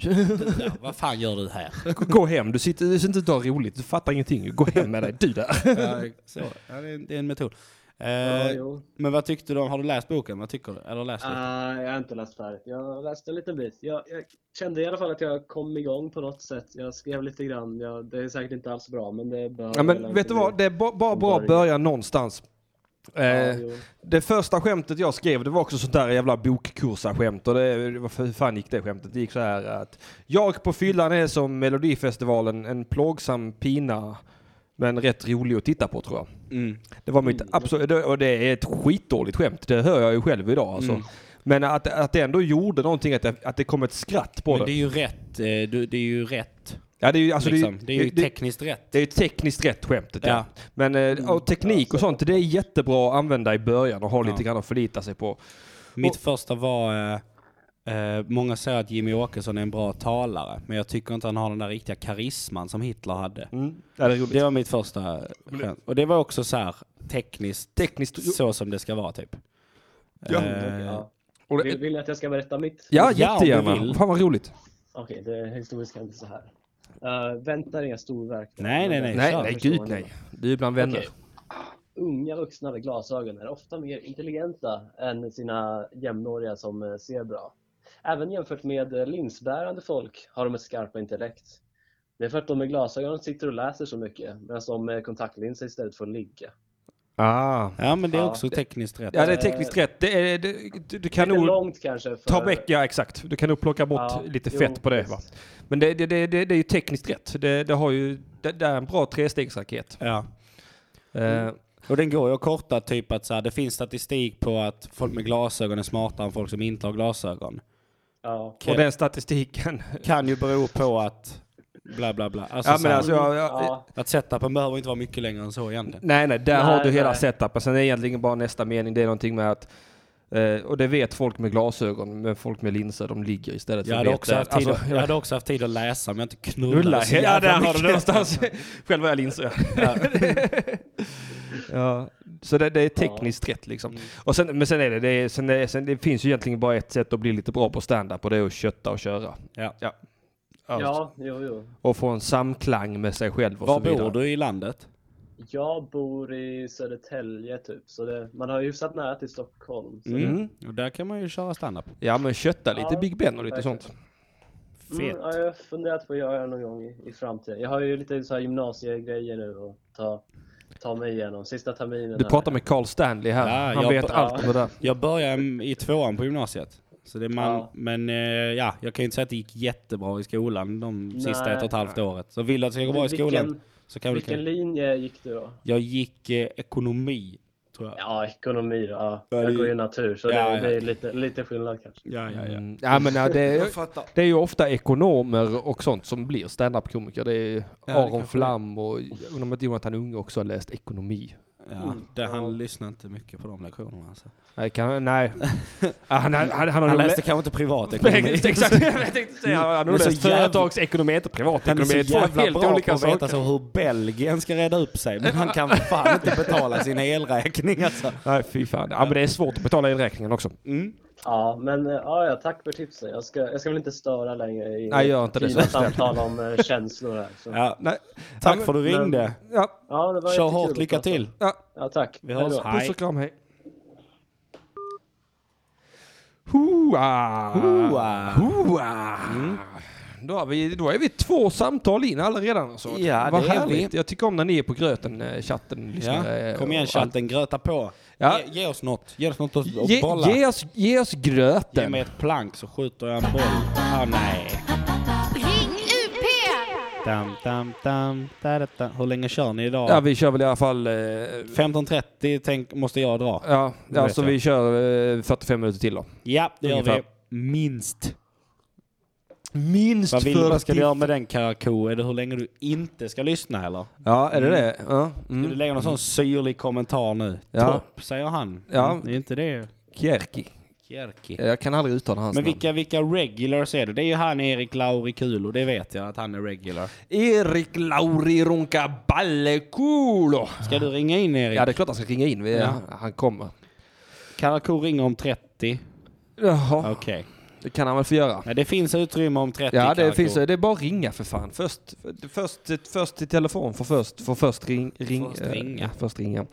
[SPEAKER 3] ja. Vad fan gör du här?
[SPEAKER 1] Gå hem, du sitter, du sitter inte och har roligt. Du fattar ingenting. Gå hem med dig, du där.
[SPEAKER 3] Ja, så. Ja, det, är en, det är en metod. Eh,
[SPEAKER 8] Ja, jo.
[SPEAKER 3] men vad tyckte du om, har du läst boken? Vad tycker du? Eller läst lite?
[SPEAKER 8] Ah, jag har inte läst färdigt. Jag läste en liten bit. Jag, jag kände i alla fall att jag kom igång på något sätt. Jag skrev lite grann. Jag, det är säkert inte alls bra, men det behöver
[SPEAKER 1] Ja,
[SPEAKER 8] väl
[SPEAKER 1] men
[SPEAKER 8] inte
[SPEAKER 1] vet du vad,
[SPEAKER 8] bli.
[SPEAKER 1] det är ba- bara bra att börja någonstans. Eh,
[SPEAKER 8] Ja, jo.
[SPEAKER 1] det första skämtet jag skrev, det var också sånt där jävla bokkursa-skämt. Och det, vad f- fan gick det skämtet? Det gick så här att jag på fyllan är som Melodifestivalen, en plågsam pina. Men rätt rolig att titta på tror jag.
[SPEAKER 3] Mm.
[SPEAKER 1] Det var mitt absolut, det- och det är ett skitdåligt skämt. Det hör jag ju själv idag alltså.
[SPEAKER 3] Mm.
[SPEAKER 1] Men att, att det ändå gjorde någonting, att det, att det kom ett skratt på
[SPEAKER 3] Men
[SPEAKER 1] det.
[SPEAKER 3] det är ju rätt. eh, du- Det är ju rätt.
[SPEAKER 1] ja, det är ju, alltså,
[SPEAKER 3] liksom.
[SPEAKER 1] det,
[SPEAKER 3] det, är ju
[SPEAKER 1] det-
[SPEAKER 3] tekniskt rätt.
[SPEAKER 1] det är ju tekniskt rätt skämtet. Ja.
[SPEAKER 3] Ja. Mm, alltså.
[SPEAKER 1] Men eh, och teknik och sånt, det är jättebra att använda i början och ha lite grann att förlita sig på.
[SPEAKER 3] Mitt första var... eh, Eh, många säger att Jimmy Åkesson är en bra talare, men jag tycker inte han har den där riktiga karisman som Hitler hade.
[SPEAKER 1] Mm. Ja, det är roligt.
[SPEAKER 3] Det var mitt första skämt. Och det var också så här tekniskt,
[SPEAKER 1] Tekniskt.
[SPEAKER 3] så som det ska vara typ.
[SPEAKER 1] Ja.
[SPEAKER 3] Eh,
[SPEAKER 8] Ja.
[SPEAKER 1] Och
[SPEAKER 8] Vill,
[SPEAKER 1] det,
[SPEAKER 8] vill ni att jag ska berätta mitt?
[SPEAKER 1] ja,
[SPEAKER 3] Ja, om du
[SPEAKER 1] jättegärna.
[SPEAKER 3] vill.
[SPEAKER 1] Fan vad roligt.
[SPEAKER 8] Okej, det historiska är inte så här. Uh, väntar inga storverk.
[SPEAKER 3] Nej, nej, nej.
[SPEAKER 1] Nej,
[SPEAKER 3] kör.
[SPEAKER 1] nej, gud nej. Du är bland vänner.
[SPEAKER 8] Okej. Unga vuxna med glasögon är ofta mer intelligenta än sina jämnåriga som eh, ser bra. Även jämfört med eh, linsbärande folk har de ett skarpa intellekt. Det är för att de med glasögon sitter och läser så mycket medan de med kontaktlinser istället får ligga.
[SPEAKER 1] Ah. Eh,
[SPEAKER 3] Ja men det är
[SPEAKER 8] Ja.
[SPEAKER 3] också tekniskt rätt.
[SPEAKER 1] Ja, det är tekniskt rätt. Det är, det, du, du kan
[SPEAKER 8] Eh, Lite
[SPEAKER 1] nog
[SPEAKER 8] långt kanske. För...
[SPEAKER 1] ta bort, ja exakt. Du kan nog plocka bort
[SPEAKER 8] Ja,
[SPEAKER 1] lite
[SPEAKER 8] jo,
[SPEAKER 1] fett på det.
[SPEAKER 8] visst.
[SPEAKER 1] Va? Men det, det, det, det, det är ju tekniskt rätt. Det, det, har ju, det, det är en bra trestegsraket.
[SPEAKER 3] Ja.
[SPEAKER 1] Eh,
[SPEAKER 3] Och den går ju att korta typ att så här, det finns statistik på att folk med glasögon är smartare än folk som inte har glasögon.
[SPEAKER 8] Ja.
[SPEAKER 1] Och den statistiken.
[SPEAKER 3] Kan ju bero på att bla bla bla. Alltså,
[SPEAKER 1] ja,
[SPEAKER 3] så
[SPEAKER 1] men
[SPEAKER 3] här,
[SPEAKER 1] alltså, jag, jag,
[SPEAKER 8] Ja.
[SPEAKER 3] Att setupen behöver inte vara mycket längre än så egentligen.
[SPEAKER 1] Nej, nej, där har
[SPEAKER 8] Nej,
[SPEAKER 1] du hela
[SPEAKER 8] nej.
[SPEAKER 1] setupen. Sen är egentligen bara nästa mening, det är någonting med att eh, och det vet folk med glasögon, men folk med linser, de ligger istället
[SPEAKER 3] Jag
[SPEAKER 1] för
[SPEAKER 3] hade,
[SPEAKER 1] vet
[SPEAKER 3] också
[SPEAKER 1] det.
[SPEAKER 3] haft tid
[SPEAKER 1] Alltså,
[SPEAKER 3] att, jag hade också haft tid att läsa men jag har inte
[SPEAKER 1] Knulla,
[SPEAKER 3] knullat så
[SPEAKER 1] ja
[SPEAKER 3] jävla
[SPEAKER 1] där har du
[SPEAKER 3] mycket.
[SPEAKER 1] det någonstans. Själv har jag linser. Ja. ja. Så det, det är tekniskt rätt liksom. Och sen, men sen är det, det, är, sen är, sen det finns ju egentligen bara ett sätt att bli lite bra på stand-up och det är att kötta och köra.
[SPEAKER 3] Ja.
[SPEAKER 1] Alltså,
[SPEAKER 8] ja, jo, jo.
[SPEAKER 1] Och få en samklang med sig själv och
[SPEAKER 3] Var
[SPEAKER 1] så vidare.
[SPEAKER 3] bor du i landet?
[SPEAKER 8] Jag bor i Södertälje typ, så det, man har ju hyfsat nära till Stockholm. Så
[SPEAKER 1] Mm.
[SPEAKER 3] Och där kan man ju köra standup.
[SPEAKER 1] Ja men kötta lite
[SPEAKER 8] Ja,
[SPEAKER 1] Big Ben och lite
[SPEAKER 8] verkligen.
[SPEAKER 1] sånt.
[SPEAKER 3] Fet.
[SPEAKER 8] Mm, ja, jag har funderat på att göra det någon gång i, i framtiden. Jag har ju lite så här gymnasiegrejer nu att ta, ta mig igenom. Sista terminen.
[SPEAKER 1] Du
[SPEAKER 8] här.
[SPEAKER 1] pratar med Carl Stanley här.
[SPEAKER 3] Ja,
[SPEAKER 1] Han
[SPEAKER 3] jag-
[SPEAKER 1] vet
[SPEAKER 3] ja.
[SPEAKER 1] allt om det där.
[SPEAKER 3] Jag började i tvåan på gymnasiet. Så det är man,
[SPEAKER 8] Ja.
[SPEAKER 3] Men eh, ja, jag kan ju inte säga att det gick jättebra i skolan de sista
[SPEAKER 8] Nej.
[SPEAKER 3] ett och ett halvt året. Så vill du att det ska gå bra i
[SPEAKER 8] Vilken-
[SPEAKER 3] skolan så kan du
[SPEAKER 8] Vilken
[SPEAKER 3] kan...
[SPEAKER 8] linje gick du då?
[SPEAKER 3] Jag gick eh, ekonomi, tror jag.
[SPEAKER 8] Ja, ekonomi då. Ja.
[SPEAKER 3] Ja, det-
[SPEAKER 8] Jag går ju natur, så
[SPEAKER 3] Ja,
[SPEAKER 8] det,
[SPEAKER 3] ja.
[SPEAKER 8] det är lite, lite skillnad kanske.
[SPEAKER 3] Ja, ja, ja.
[SPEAKER 1] Mm. Ja, men, ja, det, är,
[SPEAKER 4] Jag fattar.
[SPEAKER 1] det är ju ofta ekonomer och sånt som blir standup-komiker. Det är
[SPEAKER 3] det
[SPEAKER 1] Aron
[SPEAKER 3] kanske
[SPEAKER 1] Flam och jag undrar om inte Jonathan Unge också har läst ekonomi.
[SPEAKER 3] ja.
[SPEAKER 8] Mm.
[SPEAKER 3] Det, han lyssnar inte mycket på de lektionerna. Alltså.
[SPEAKER 1] Nej, kan, nej. Ah, han, han, han, han har
[SPEAKER 3] Han
[SPEAKER 1] nog lä-
[SPEAKER 3] läste kanske inte privatekonomi.
[SPEAKER 1] Exakt, jag tänkte säga. Han har nog
[SPEAKER 3] Men så
[SPEAKER 1] läst
[SPEAKER 3] jävla-
[SPEAKER 1] företagsekonomi, inte
[SPEAKER 3] Han är
[SPEAKER 1] privatekonomi.
[SPEAKER 3] så
[SPEAKER 1] Det är två
[SPEAKER 3] jävla
[SPEAKER 1] helt
[SPEAKER 3] bra på
[SPEAKER 1] olika
[SPEAKER 3] att veta
[SPEAKER 1] saker.
[SPEAKER 3] så hur Belgien ska reda upp sig, men han kan fan inte betala sin elräkning alltså.
[SPEAKER 1] Nej, fy fan. Ja, men det är svårt att betala elräkningen också.
[SPEAKER 3] Mm.
[SPEAKER 8] Ja, men eh, ja, ja, tack för tipsen. Jag ska, jag ska väl inte störa längre i
[SPEAKER 1] Nej, gör inte det,
[SPEAKER 8] i
[SPEAKER 1] så
[SPEAKER 8] något
[SPEAKER 1] snäll.
[SPEAKER 8] samtal om eh, känslor här. Så. Ja.
[SPEAKER 3] Ja,
[SPEAKER 1] Nej.
[SPEAKER 3] tack för att du ringde.
[SPEAKER 1] Ja,
[SPEAKER 8] det var
[SPEAKER 3] Kör
[SPEAKER 8] jättekul
[SPEAKER 3] hårt,
[SPEAKER 8] att
[SPEAKER 3] lycka
[SPEAKER 8] prata.
[SPEAKER 3] till.
[SPEAKER 1] ja.
[SPEAKER 8] Ja, tack.
[SPEAKER 3] Vi hörs.
[SPEAKER 8] Hej då.
[SPEAKER 1] Puss
[SPEAKER 3] Hej.
[SPEAKER 1] och kram, hej. Hoa.
[SPEAKER 3] Hoa.
[SPEAKER 1] Hoa.
[SPEAKER 3] Mm.
[SPEAKER 1] Då, har vi, då är vi två samtal in alla redan. Så.
[SPEAKER 3] Ja,
[SPEAKER 1] Vad
[SPEAKER 3] det är
[SPEAKER 1] härligt. Jag tycker om när ni är på gröten, eh, chatten. lyssnare,
[SPEAKER 3] Ja.
[SPEAKER 1] eh,
[SPEAKER 3] Kom
[SPEAKER 1] och
[SPEAKER 3] igen
[SPEAKER 1] allt.
[SPEAKER 3] chatten, gröta på.
[SPEAKER 1] Ja.
[SPEAKER 3] Ge, ge oss något, ge oss något att att
[SPEAKER 1] Ge,
[SPEAKER 3] bolla.
[SPEAKER 1] ge, oss, ge oss
[SPEAKER 3] Ge
[SPEAKER 1] gröten.
[SPEAKER 3] mig ett plank så skjuter jag en boll. Ah nej.
[SPEAKER 2] Ring UP!
[SPEAKER 3] Dam, dam, dam, da, da, da. Hur länge kör ni idag?
[SPEAKER 1] Ja, vi kör väl i alla fall... eh,
[SPEAKER 3] 15.30 tänk, måste jag dra.
[SPEAKER 1] Ja,
[SPEAKER 3] Det
[SPEAKER 1] ja
[SPEAKER 3] vet
[SPEAKER 1] så
[SPEAKER 3] jag.
[SPEAKER 1] vi kör eh, 45 minuter till då.
[SPEAKER 3] Ja, det gör vi.
[SPEAKER 1] Ungefär.
[SPEAKER 3] Minst.
[SPEAKER 1] Minst
[SPEAKER 3] Vad vill du, vad ska du göra med den Karakou? Är det hur länge du inte ska lyssna eller? Mm.
[SPEAKER 1] Ja, är det det? Ja.
[SPEAKER 3] Ska du
[SPEAKER 1] Mm.
[SPEAKER 3] lägga någon sån syrlig kommentar nu?
[SPEAKER 1] Ja.
[SPEAKER 3] Topp, säger han.
[SPEAKER 1] Ja.
[SPEAKER 3] Mm, Det är inte det.
[SPEAKER 1] Kjerki.
[SPEAKER 3] Kjerki.
[SPEAKER 1] Jag kan aldrig uttala hans
[SPEAKER 3] Men
[SPEAKER 1] namn.
[SPEAKER 3] vilka, vilka regulars är det? Det är ju han Erik Laurikulo, det vet jag att han är regular.
[SPEAKER 1] Erik Lauri Runka Ballekulo.
[SPEAKER 3] Ska du ringa in Erik?
[SPEAKER 1] Ja, det är klart han ska ringa in. Vi,
[SPEAKER 3] Ja.
[SPEAKER 1] Han kommer.
[SPEAKER 3] Karakou ringer om 30.
[SPEAKER 1] Jaha,
[SPEAKER 3] Okej.
[SPEAKER 1] det kan han väl få göra.
[SPEAKER 3] Ja, det finns utrymme om 30
[SPEAKER 1] Ja, det
[SPEAKER 3] Karakou.
[SPEAKER 1] finns det. Det är bara att ringa för fan. Först, först, först till telefon, för först, för först, ring, ring,
[SPEAKER 3] Först
[SPEAKER 1] eh,
[SPEAKER 3] ringa.
[SPEAKER 1] ja, först ringa.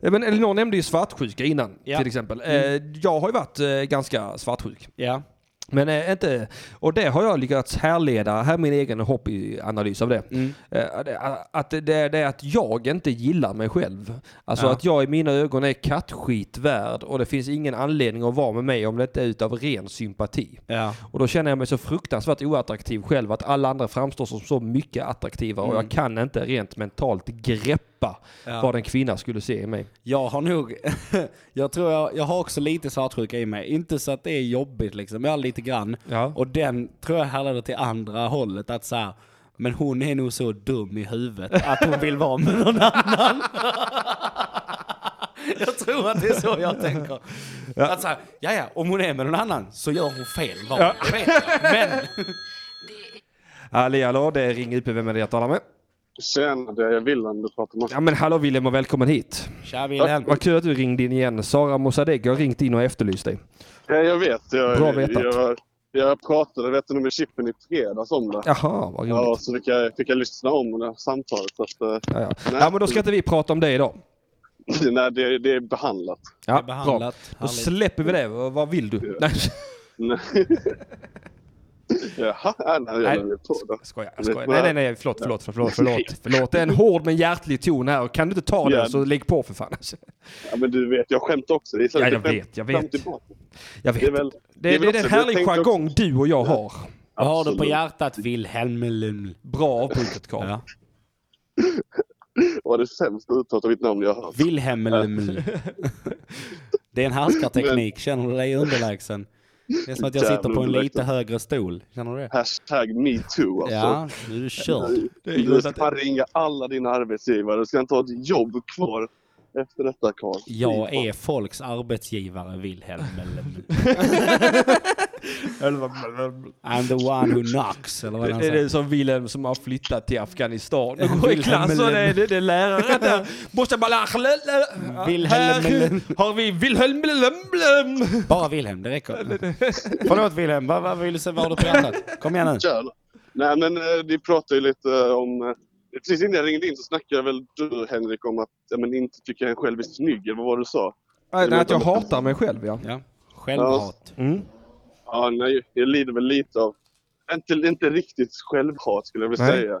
[SPEAKER 1] Eh, Men Elinor nämnde ju svartsjuka innan,
[SPEAKER 3] Ja. Mm.
[SPEAKER 1] till exempel. Eh, Jag har ju varit eh, ganska svartsjuk.
[SPEAKER 3] Ja.
[SPEAKER 1] Men eh, inte, och det har jag lyckats härleda, här är min egen hobbyanalys av det.
[SPEAKER 3] Mm.
[SPEAKER 1] Eh, det- Att det- det är det är att jag inte gillar mig själv. Alltså
[SPEAKER 3] Ja.
[SPEAKER 1] att jag i mina ögon är kattskit värd och det finns ingen anledning att vara med mig om det inte är utav ren sympati.
[SPEAKER 3] Ja.
[SPEAKER 1] Och då känner jag mig så fruktansvärt oattraktiv själv att alla andra framstår som så mycket attraktiva och jag kan inte rent mentalt greppa
[SPEAKER 3] Ja.
[SPEAKER 1] vad en kvinna skulle se i mig.
[SPEAKER 3] Jag har nog, jag tror jag, jag har också lite svartsjuka i mig. Inte så att det är jobbigt liksom, jag har lite grann.
[SPEAKER 1] Ja.
[SPEAKER 3] Och den tror jag härleder till andra hållet, att så här, men hon är nog så dum i huvudet att hon vill vara med någon annan. Jag tror att det är så jag tänker. Att så här, ja, ja, om hon är med någon annan så gör hon fel val. Det vet jag. Men
[SPEAKER 1] Halli hallå, det är Ring UP. Vem är det jag talar med?
[SPEAKER 9] Sen, det är Wilhelm du pratar med.
[SPEAKER 1] Ja men hallå Wilhelm och välkommen hit.
[SPEAKER 3] Tja Wilhelm.
[SPEAKER 1] Vad kul att du ringde in igen. Sara Mossadegh har ringt in och efterlyst dig.
[SPEAKER 9] Ja, jag vet. Jag,
[SPEAKER 1] Bra vetat.
[SPEAKER 9] Jag, jag pratade vet du, med Chippen i fredags om det.
[SPEAKER 1] Jaha, vad
[SPEAKER 9] Ja,
[SPEAKER 1] roligt.
[SPEAKER 9] så fick jag, fick jag lyssna om det samtalet. Så att, eh,
[SPEAKER 1] Ja, ja. ja men då ska inte vi prata om det idag.
[SPEAKER 9] nej, det, det är behandlat.
[SPEAKER 1] Ja,
[SPEAKER 3] är behandlat.
[SPEAKER 1] bra. Då
[SPEAKER 3] Härligt.
[SPEAKER 1] släpper vi det. Vad vad vill du? Nej,
[SPEAKER 9] Nej. Jaha, nej, nej, jag lämnar på det.
[SPEAKER 1] skojar. jag skojar. Nej, nej, nej. Förlåt, förlåt, förlåt, förlåt. förlåt. Det är en hård men hjärtlig ton här. Kan du inte ta
[SPEAKER 9] Ja.
[SPEAKER 1] det så lägg på för fan. alltså.
[SPEAKER 9] Ja, men du vet, jag skämtar också. Det är så
[SPEAKER 1] Ja,
[SPEAKER 9] att
[SPEAKER 1] jag
[SPEAKER 9] det är
[SPEAKER 1] vet, jag
[SPEAKER 9] fram
[SPEAKER 1] vet.
[SPEAKER 9] tillbaka.
[SPEAKER 1] Jag
[SPEAKER 9] Det är
[SPEAKER 1] vet.
[SPEAKER 9] väl- det
[SPEAKER 1] Det
[SPEAKER 9] är
[SPEAKER 1] är
[SPEAKER 9] väl
[SPEAKER 1] den
[SPEAKER 9] också- jag
[SPEAKER 1] härlig
[SPEAKER 9] tänkte också-
[SPEAKER 1] jargong du och jag har.
[SPEAKER 3] vad har du på
[SPEAKER 9] Absolut.
[SPEAKER 3] hjärtat Wilhelm?
[SPEAKER 1] Bra avbrutet Karl.
[SPEAKER 3] Ja.
[SPEAKER 9] Det var det sämsta uttalet av mitt namn jag har hört.
[SPEAKER 3] Wilhelm. Det är en härskarteknik. Känner du dig underlägsen? Det är som att jag sitter på en
[SPEAKER 9] Jävla
[SPEAKER 3] lite
[SPEAKER 9] underlägsen.
[SPEAKER 3] högre stol. Känner du det?
[SPEAKER 9] Hashtag metoo alltså.
[SPEAKER 3] Ja, nu är du körd.
[SPEAKER 9] Du ska ringa alla dina arbetsgivare. Du ska inte ha ett jobb kvar efter detta Karl.
[SPEAKER 3] Jag är folks arbetsgivare, Wilhelm. I'm the one who knocks, eller vad han
[SPEAKER 1] Det är
[SPEAKER 3] säger.
[SPEAKER 1] det som Wilhelm som har flyttat till Afghanistan och går i
[SPEAKER 3] Wilhelm
[SPEAKER 1] klass och det är,
[SPEAKER 3] Wilhelm.
[SPEAKER 1] det, det är läraren där. Måste bara...
[SPEAKER 3] Wilhelm
[SPEAKER 1] Här
[SPEAKER 3] Wilhelm.
[SPEAKER 1] har vi Wilhelm Wilhelm.
[SPEAKER 3] Bara Wilhelm, det räcker. Förlåt Wilhelm, vad, vad vill du säga? Vad har du på hjärtat? Kom igen nu.
[SPEAKER 9] Kör. Nej men eh, ni pratade ju lite eh, om... eh, Precis innan jag ringde in så snackade väl du Henrik om att ja, men inte tycker jag själv är snygg, eller vad var det du sa?
[SPEAKER 1] Nej,
[SPEAKER 9] nej,
[SPEAKER 1] att jag hatar mig själv ja.
[SPEAKER 3] Ja. Självhat.
[SPEAKER 9] Mm. Ja, nej, jag lider väl lite av... Inte, inte riktigt självhat skulle jag vilja
[SPEAKER 1] Nej.
[SPEAKER 9] säga.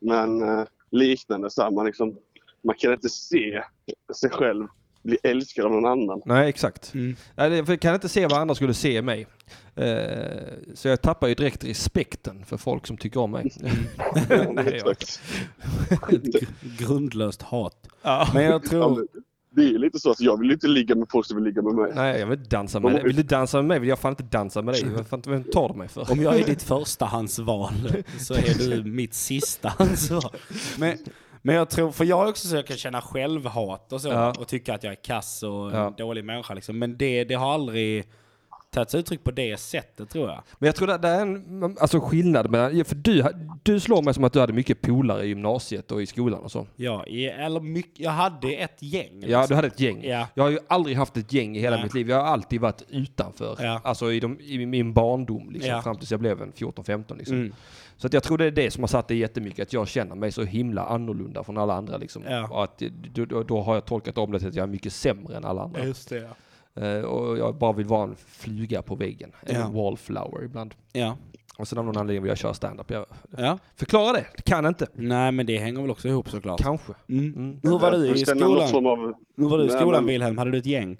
[SPEAKER 9] Men eh, liknande samma liksom. Man kan inte se sig själv bli älskad av någon annan.
[SPEAKER 1] Nej, exakt.
[SPEAKER 3] Mm.
[SPEAKER 1] Nej, det- för jag kan inte se vad andra skulle se i mig. Eh, så jag tappar ju direkt respekten för folk som tycker om mig.
[SPEAKER 3] Mm.
[SPEAKER 1] Nej, jag-
[SPEAKER 9] Exakt.
[SPEAKER 3] Grundlöst hat.
[SPEAKER 1] Ja.
[SPEAKER 3] Men jag
[SPEAKER 9] Ja,
[SPEAKER 3] tror...
[SPEAKER 9] men det är ju lite så att jag vill ju inte ligga med folk som vill ligga med mig.
[SPEAKER 1] Nej, jag vill inte dansa med dig. Vill du dansa med mig vill jag fan inte dansa med dig. Vad fan, vem tar du mig för?
[SPEAKER 3] Om jag är ditt förstahandsval så är du mitt sistahandsval. Men, men jag tror, för jag är också så jag kan känna självhat och så
[SPEAKER 1] Ja.
[SPEAKER 3] och tycka att jag är kass och en
[SPEAKER 1] Ja.
[SPEAKER 3] dålig människa liksom. Men det, det har aldrig tagits uttryck på det sättet tror jag.
[SPEAKER 1] Men jag tror det, det är en alltså, skillnad mellan... För du, du slår mig som att du hade mycket polare i gymnasiet och i skolan och så.
[SPEAKER 3] Ja, i, eller mycket, jag hade ett gäng.
[SPEAKER 1] Ja, du
[SPEAKER 3] liksom.
[SPEAKER 1] hade ett gäng.
[SPEAKER 3] Ja.
[SPEAKER 1] Jag har ju aldrig haft ett gäng i hela
[SPEAKER 3] Nej.
[SPEAKER 1] mitt liv. Jag har alltid varit utanför.
[SPEAKER 3] Ja.
[SPEAKER 1] Alltså i, de, i min barndom, liksom,
[SPEAKER 3] Ja.
[SPEAKER 1] fram tills jag blev en 14-15. Liksom.
[SPEAKER 3] Mm.
[SPEAKER 1] Så att jag tror det är det som har satt det jättemycket, att jag känner mig så himla annorlunda från alla andra. Liksom.
[SPEAKER 3] Ja.
[SPEAKER 1] Och att, då, då, då har jag tolkat om det till att jag är mycket sämre än alla andra.
[SPEAKER 3] Just det, ja.
[SPEAKER 1] Eh, och jag bara vill vara en fluga på väggen.
[SPEAKER 3] Ja.
[SPEAKER 1] En wallflower ibland.
[SPEAKER 3] Ja.
[SPEAKER 1] Och sen av någon anledning vill jag köra stand-up. Jag,
[SPEAKER 3] ja.
[SPEAKER 1] förklara det, det kan inte.
[SPEAKER 3] Nej, men det hänger väl också ihop såklart.
[SPEAKER 1] Kanske.
[SPEAKER 3] Mm. Hur var du
[SPEAKER 9] Jag
[SPEAKER 3] i
[SPEAKER 9] känner
[SPEAKER 3] skolan?
[SPEAKER 9] någon form av...
[SPEAKER 3] Hur var du i
[SPEAKER 9] Nej,
[SPEAKER 3] skolan
[SPEAKER 9] men-
[SPEAKER 3] Wilhelm? Hade du ett gäng?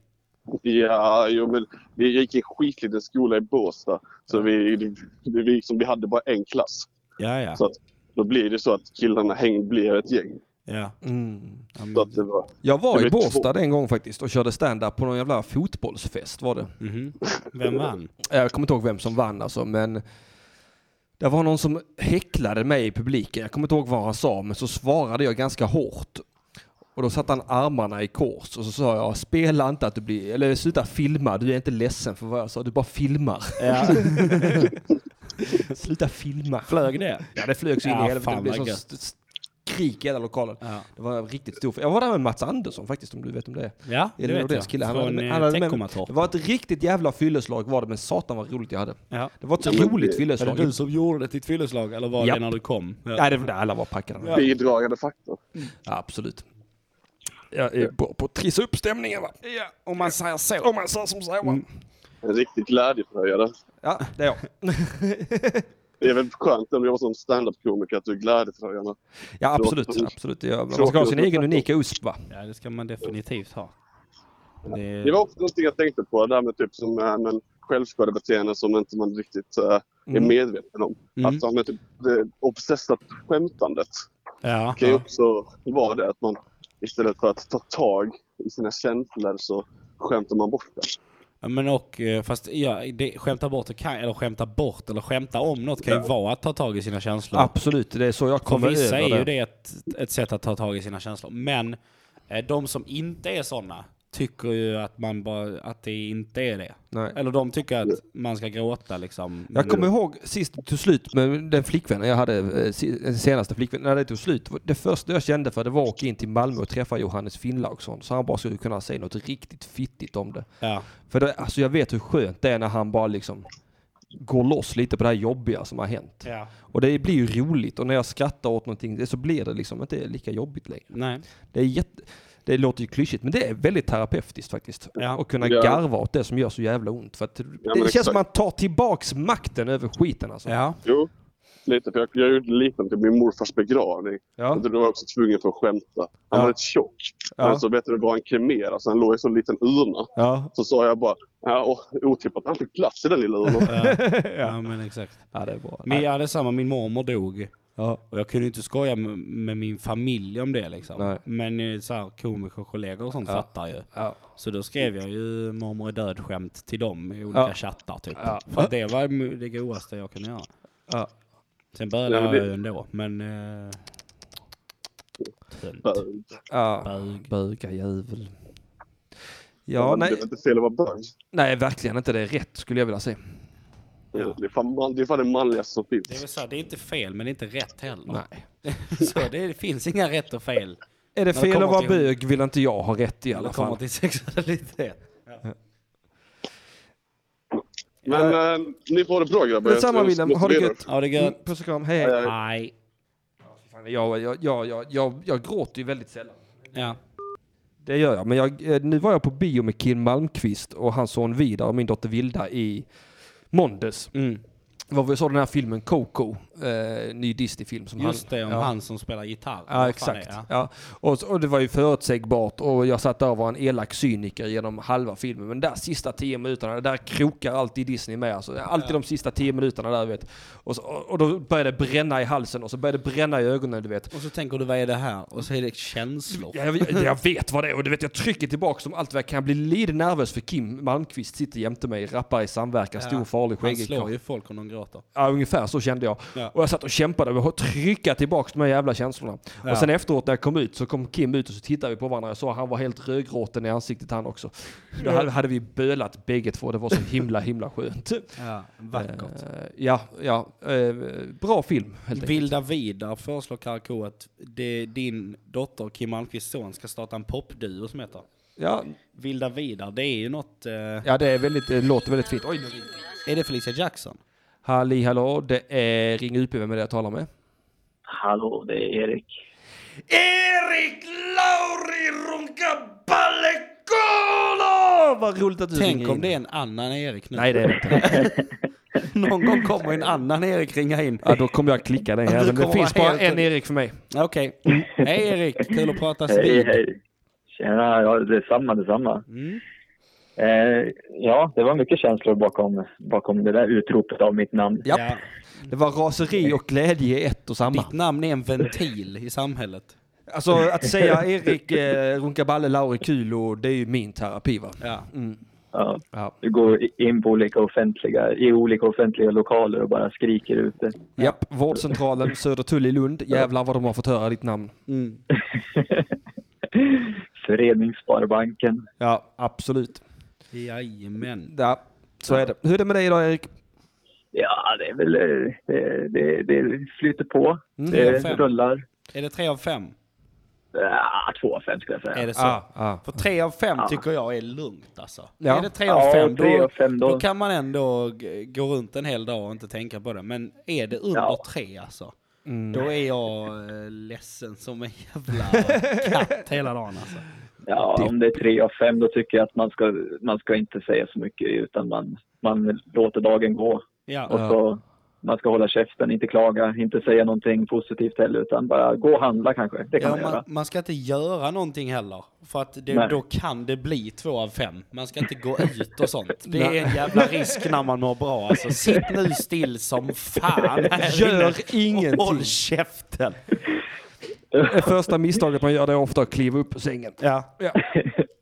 [SPEAKER 9] Ja, jo, men vi gick i en skitliten skola i Båstad. Så vi, vi, vi, liksom, vi hade bara en klass.
[SPEAKER 3] Ja, ja.
[SPEAKER 9] Så att, då blir det så att killarna häng blir ett gäng.
[SPEAKER 3] ja.
[SPEAKER 1] Mm.
[SPEAKER 3] Ja, men-
[SPEAKER 9] Så att det var...
[SPEAKER 1] Jag
[SPEAKER 9] Det
[SPEAKER 1] var i
[SPEAKER 9] blir två.
[SPEAKER 1] Båstad en gång faktiskt och körde stand-up på någon jävla fotbollsfest var det.
[SPEAKER 3] Mhm. Vem vann?
[SPEAKER 1] Jag kommer inte ihåg vem som vann alltså, men det var någon som häcklade mig i publiken. Jag kommer inte ihåg vad han sa, men så svarade jag ganska hårt. Och då satte han armarna i kors och så sa jag spela inte att du blir, eller sluta filma, du är inte ledsen för vad jag sa, du bara filmar.
[SPEAKER 3] Ja.
[SPEAKER 1] Sluta filma.
[SPEAKER 3] Flög det?
[SPEAKER 1] Ja det flög så in
[SPEAKER 3] Ja,
[SPEAKER 1] i helvete, det
[SPEAKER 3] fan
[SPEAKER 1] blev
[SPEAKER 3] vad
[SPEAKER 1] sån
[SPEAKER 3] gött.
[SPEAKER 1] st- st- skrik i hela lokalen.
[SPEAKER 3] Ja.
[SPEAKER 1] Det var en riktigt stor Jag var där med Mats Andersson faktiskt om du vet om det är.
[SPEAKER 3] Ja, det
[SPEAKER 1] Elin
[SPEAKER 3] vet
[SPEAKER 1] Nordens
[SPEAKER 3] jag.
[SPEAKER 1] kille. Han
[SPEAKER 3] Från
[SPEAKER 1] hade-
[SPEAKER 3] eh,
[SPEAKER 1] han hade med-
[SPEAKER 3] Teckomatorp.
[SPEAKER 1] Det var ett riktigt jävla fylleslag var det, men satan vad roligt jag hade.
[SPEAKER 3] Ja.
[SPEAKER 1] Det var ett
[SPEAKER 9] men
[SPEAKER 1] roligt
[SPEAKER 9] det-
[SPEAKER 3] Var typ
[SPEAKER 1] fylleslag.
[SPEAKER 3] det du som gjorde det till ett fylleslag eller var
[SPEAKER 1] Japp.
[SPEAKER 3] det när du kom? Ja.
[SPEAKER 1] Nej, det var där alla var packade. Ja.
[SPEAKER 9] Bidragande faktor.
[SPEAKER 1] absolut. Jag är bra på att trissa upp stämningen va? Ja, om man säger så. Om man säger som så
[SPEAKER 3] Mm.
[SPEAKER 1] va?
[SPEAKER 9] En riktig glädjefröjare.
[SPEAKER 1] Ja, det är jag.
[SPEAKER 9] Det är väl skönt om jag var som standup-komiker att du är glädjefröjare.
[SPEAKER 1] Ja, absolut.
[SPEAKER 9] Tråkigt.
[SPEAKER 1] absolut. det gör jag. Man ska ha sin egen unika USP va?
[SPEAKER 3] Ja, det ska man definitivt ha. Det,
[SPEAKER 9] Det var också någonting jag tänkte på, det där med typ som eh, men, självskadebeteende som inte man riktigt eh, är medveten om.
[SPEAKER 3] Mm.
[SPEAKER 9] Att ja, men, typ, det obsessat skämtandet
[SPEAKER 3] ja,
[SPEAKER 9] kan ju
[SPEAKER 3] ja.
[SPEAKER 9] också vara det att man istället för att ta tag i sina känslor så skämtar man bort det.
[SPEAKER 3] Ja, Men och, eh, fast ja, det, skämta bort, och kan, eller skämta bort eller skämta om något kan ju vara att ta tag i sina känslor.
[SPEAKER 1] Absolut, det är så jag
[SPEAKER 3] För
[SPEAKER 1] kommer
[SPEAKER 3] vissa
[SPEAKER 1] över
[SPEAKER 3] är
[SPEAKER 1] det.
[SPEAKER 3] ju det ett, ett sätt att ta tag i sina känslor. Men eh, de som inte är sådana tycker ju att, man bara, att det inte är det.
[SPEAKER 1] Nej.
[SPEAKER 3] Eller de tycker att man ska gråta liksom.
[SPEAKER 1] Jag kommer ihåg sist det tog slut med den flickvännen jag hade, eh, si- den senaste flickvännen, när det tog slut. Det första jag kände för det var att åka in till Malmö och träffa Johannes Finnlaugsson. Så han bara skulle kunna säga något riktigt fittigt om det.
[SPEAKER 3] Ja.
[SPEAKER 1] För det, alltså jag vet hur skönt det är när han bara liksom går loss lite på det här jobbiga som har hänt.
[SPEAKER 3] Ja.
[SPEAKER 1] Och det blir ju roligt och när jag skrattar åt någonting det- så blir det liksom inte lika jobbigt längre.
[SPEAKER 3] Nej.
[SPEAKER 1] Det, är jätte, det låter ju klyschigt men det är väldigt terapeutiskt faktiskt.
[SPEAKER 3] Ja.
[SPEAKER 1] Att kunna
[SPEAKER 9] Ja.
[SPEAKER 1] garva åt det som gör så jävla ont. För att det
[SPEAKER 9] men
[SPEAKER 1] känns
[SPEAKER 9] exakt.
[SPEAKER 1] som att man tar tillbaks makten över skiten alltså.
[SPEAKER 3] Ja.
[SPEAKER 9] Jo, lite. För jag, jag gjorde liten till min morfars begravning.
[SPEAKER 1] Ja.
[SPEAKER 9] Och Då var jag också tvungen för att skämta. Han
[SPEAKER 1] Ja.
[SPEAKER 9] var rätt tjock.
[SPEAKER 1] Ja.
[SPEAKER 9] Men så vet du, var han kremerad så han låg i en sån liten urna.
[SPEAKER 1] Ja.
[SPEAKER 9] Så sa jag bara, ja, och, otippat, han fick plats i den lilla urnan.
[SPEAKER 3] ja, men exakt.
[SPEAKER 1] ja, det är bra.
[SPEAKER 3] Men jag hade samma, min mormor dog.
[SPEAKER 1] Ja.
[SPEAKER 3] Och jag kunde inte skoja med, med min familj om det liksom.
[SPEAKER 1] Nej.
[SPEAKER 3] Men eh, så här, komiker och kollegor och sånt fattar ju.
[SPEAKER 1] Ja.
[SPEAKER 3] Så då skrev jag ju mormor är död-skämt till dem i olika
[SPEAKER 1] Ja.
[SPEAKER 3] chattar typ.
[SPEAKER 1] Ja.
[SPEAKER 3] För att det var mu- det godaste jag kunde göra.
[SPEAKER 1] Ja.
[SPEAKER 3] Sen började
[SPEAKER 9] Ja, men det-
[SPEAKER 3] jag ju ändå, men... Eh, tönt.
[SPEAKER 1] Ja.
[SPEAKER 3] Bög.
[SPEAKER 1] Böga jävel.
[SPEAKER 9] Ja,
[SPEAKER 1] Ja,
[SPEAKER 9] Det
[SPEAKER 1] nej,
[SPEAKER 9] var inte fel att vara bög.
[SPEAKER 1] nej, verkligen inte. Det är rätt skulle jag vilja säga.
[SPEAKER 9] Det, är fan, man- det är fan det manligaste som finns.
[SPEAKER 3] Det är väl så här, det är inte fel men det är inte rätt heller.
[SPEAKER 1] Nej.
[SPEAKER 3] så det, det finns inga rätt och fel.
[SPEAKER 1] Är det
[SPEAKER 3] När det
[SPEAKER 1] fel att
[SPEAKER 3] kommer
[SPEAKER 1] vara
[SPEAKER 3] till-
[SPEAKER 1] bög vill inte jag ha rätt i
[SPEAKER 3] När
[SPEAKER 1] alla
[SPEAKER 3] det kommer
[SPEAKER 1] fall.
[SPEAKER 3] till sexualitet.
[SPEAKER 9] Men eh, ni får ha det bra grabbar. Jag
[SPEAKER 1] Detsamma
[SPEAKER 9] måste-
[SPEAKER 1] William,
[SPEAKER 9] måste
[SPEAKER 1] ha det
[SPEAKER 9] vidare.
[SPEAKER 1] gött.
[SPEAKER 3] Ja det är
[SPEAKER 1] Mm,
[SPEAKER 3] gött.
[SPEAKER 1] Puss och kram, hej hej.
[SPEAKER 3] Nej.
[SPEAKER 1] Fan, Jag, jag, jag, jag, jag, jag gråter ju väldigt sällan.
[SPEAKER 3] Ja.
[SPEAKER 1] Det gör jag, men jag, eh, nu var jag på bio med Kim Malmqvist och hans son Vidar och min dotter Vilda i måndags.
[SPEAKER 3] Mm.
[SPEAKER 1] Vad vi såg den här filmen Coco, eh, ny Disney-film som
[SPEAKER 3] Just det, om
[SPEAKER 1] ja.
[SPEAKER 3] han som spelar gitarr.
[SPEAKER 1] Ja,
[SPEAKER 3] Vad fan
[SPEAKER 1] exakt.
[SPEAKER 3] är det?
[SPEAKER 1] Ja. Och, så- och det var ju förutsägbart och jag satt där och var en elak cyniker genom halva filmen. Men där sista tio minuterna, där krokar alltid Disney med. Alltså, alltid de sista tio minuterna där, du vet. Och, så, och och då började det bränna i halsen och så började det bränna i ögonen, du vet.
[SPEAKER 3] Och så tänker du, vad är det här? Och så är det känslor.
[SPEAKER 1] Jag, jag, jag vet vad det är och du vet jag trycker tillbaka som allt vad jag kan. Jag blir lite nervös för Kim Malmqvist sitter jämte mig, rappar i samverkan, stor farlig
[SPEAKER 3] Han
[SPEAKER 1] skäggig
[SPEAKER 3] slår
[SPEAKER 1] karl.
[SPEAKER 3] ju folk om de gråter.
[SPEAKER 1] Ja, ungefär så kände jag.
[SPEAKER 3] Ja.
[SPEAKER 1] Och jag satt och kämpade med att trycka tillbaka de här jävla känslorna.
[SPEAKER 3] Ja.
[SPEAKER 1] Och sen efteråt när jag kom ut så kom Kim ut och så tittade vi på varandra. Jag sa han var helt rödgråten i ansiktet han också. Då hade, hade vi bölat bägge två. Det var så himla himla skönt.
[SPEAKER 3] Ja, vackert.
[SPEAKER 1] Eh, ja, ja. eh, bra film helt enkelt.
[SPEAKER 3] Vilda Vidar föreslår Karko att det, din dotter Kim Malmqvists son ska starta en popduo som heter
[SPEAKER 1] Ja,
[SPEAKER 3] Vilda Vidar. Det är ju något... Eh,
[SPEAKER 1] ja, det är väldigt, eh, det låter väldigt fint. Oj, nu ringer det.
[SPEAKER 3] Är det Felicia Jackson?
[SPEAKER 1] Halli hallå, det är Ring UP, vem är det jag talar med?
[SPEAKER 8] Hallå, det är Erik.
[SPEAKER 1] Erik Lauri Runka Ballekola! Vad roligt att du
[SPEAKER 3] Tänk
[SPEAKER 1] ringer
[SPEAKER 3] om
[SPEAKER 1] in.
[SPEAKER 3] det är en annan Erik nu.
[SPEAKER 1] Nej det är det inte.
[SPEAKER 3] Någon gång kommer en annan Erik ringa in.
[SPEAKER 1] Ja, då kommer jag klicka den här.
[SPEAKER 3] Du
[SPEAKER 1] Men det
[SPEAKER 3] kommer
[SPEAKER 1] finns
[SPEAKER 3] vara
[SPEAKER 1] bara
[SPEAKER 3] helt-
[SPEAKER 1] en Erik för mig.
[SPEAKER 3] Okej. Hej Erik, kul att prata
[SPEAKER 10] Hej,
[SPEAKER 3] vid.
[SPEAKER 10] hej. Tjena, ja, detsamma, detsamma.
[SPEAKER 3] Mm.
[SPEAKER 10] Eh, ja, det var mycket känslor bakom, bakom det där utropet av mitt namn.
[SPEAKER 1] Japp.
[SPEAKER 3] Ja.
[SPEAKER 1] Det var raseri och glädje i ett och samma.
[SPEAKER 3] Ditt namn är en ventil i samhället.
[SPEAKER 1] Alltså att säga Erik eh, Runkaballe Lauri Kulo, det är ju min terapi va? Mm.
[SPEAKER 3] Ja.
[SPEAKER 10] Ja,
[SPEAKER 1] Ja.
[SPEAKER 10] du går i- in på olika offentliga, i olika offentliga lokaler och bara skriker ut det.
[SPEAKER 1] Japp, vårdcentralen Södertull i Lund. Jävlar vad de har fått höra ditt namn.
[SPEAKER 3] Mm.
[SPEAKER 10] Föreningssparbanken.
[SPEAKER 1] Ja, absolut.
[SPEAKER 3] Jajamän.
[SPEAKER 1] Ja, så är det. Hur är det med dig idag Erik?
[SPEAKER 10] Ja, det är väl... eh, Det, det, det flyter på. det
[SPEAKER 3] Mm. fem.
[SPEAKER 10] rullar.
[SPEAKER 3] Är det tre av fem?
[SPEAKER 10] Ja, två av fem skulle jag
[SPEAKER 3] Är
[SPEAKER 10] säga.
[SPEAKER 3] det så?
[SPEAKER 1] Ah, ah.
[SPEAKER 3] För tre av fem tycker jag är lugnt alltså.
[SPEAKER 1] Ja.
[SPEAKER 3] Är det tre
[SPEAKER 10] Ja,
[SPEAKER 3] av fem,
[SPEAKER 10] tre
[SPEAKER 3] då,
[SPEAKER 10] av fem, då-
[SPEAKER 3] då kan man ändå g- gå runt en hel dag och inte tänka på det. Men är det under
[SPEAKER 10] Ja.
[SPEAKER 3] tre alltså,
[SPEAKER 1] Mm.
[SPEAKER 3] då är jag eh, ledsen som en jävla katt hela dagen alltså.
[SPEAKER 10] Ja, om det är tre av fem då tycker jag att man ska, man ska inte säga så mycket utan man, man låter dagen gå. Och
[SPEAKER 3] Ja,
[SPEAKER 10] så man ska hålla käften, inte klaga, inte säga någonting positivt heller utan bara gå och handla kanske. Det kan
[SPEAKER 3] ja
[SPEAKER 10] man göra.
[SPEAKER 3] man, man ska inte göra någonting heller. För att det,
[SPEAKER 10] Nej.
[SPEAKER 3] då kan det bli två av fem. Man ska inte gå ut och sånt. Det är en jävla risk när man mår bra alltså. Sitt nu still som fan här inne
[SPEAKER 1] Gör
[SPEAKER 3] och
[SPEAKER 1] ingenting.
[SPEAKER 3] Håll käften.
[SPEAKER 1] Det första misstaget man gör det är ofta att kliva upp ur sängen.
[SPEAKER 3] Ja.
[SPEAKER 1] Ja.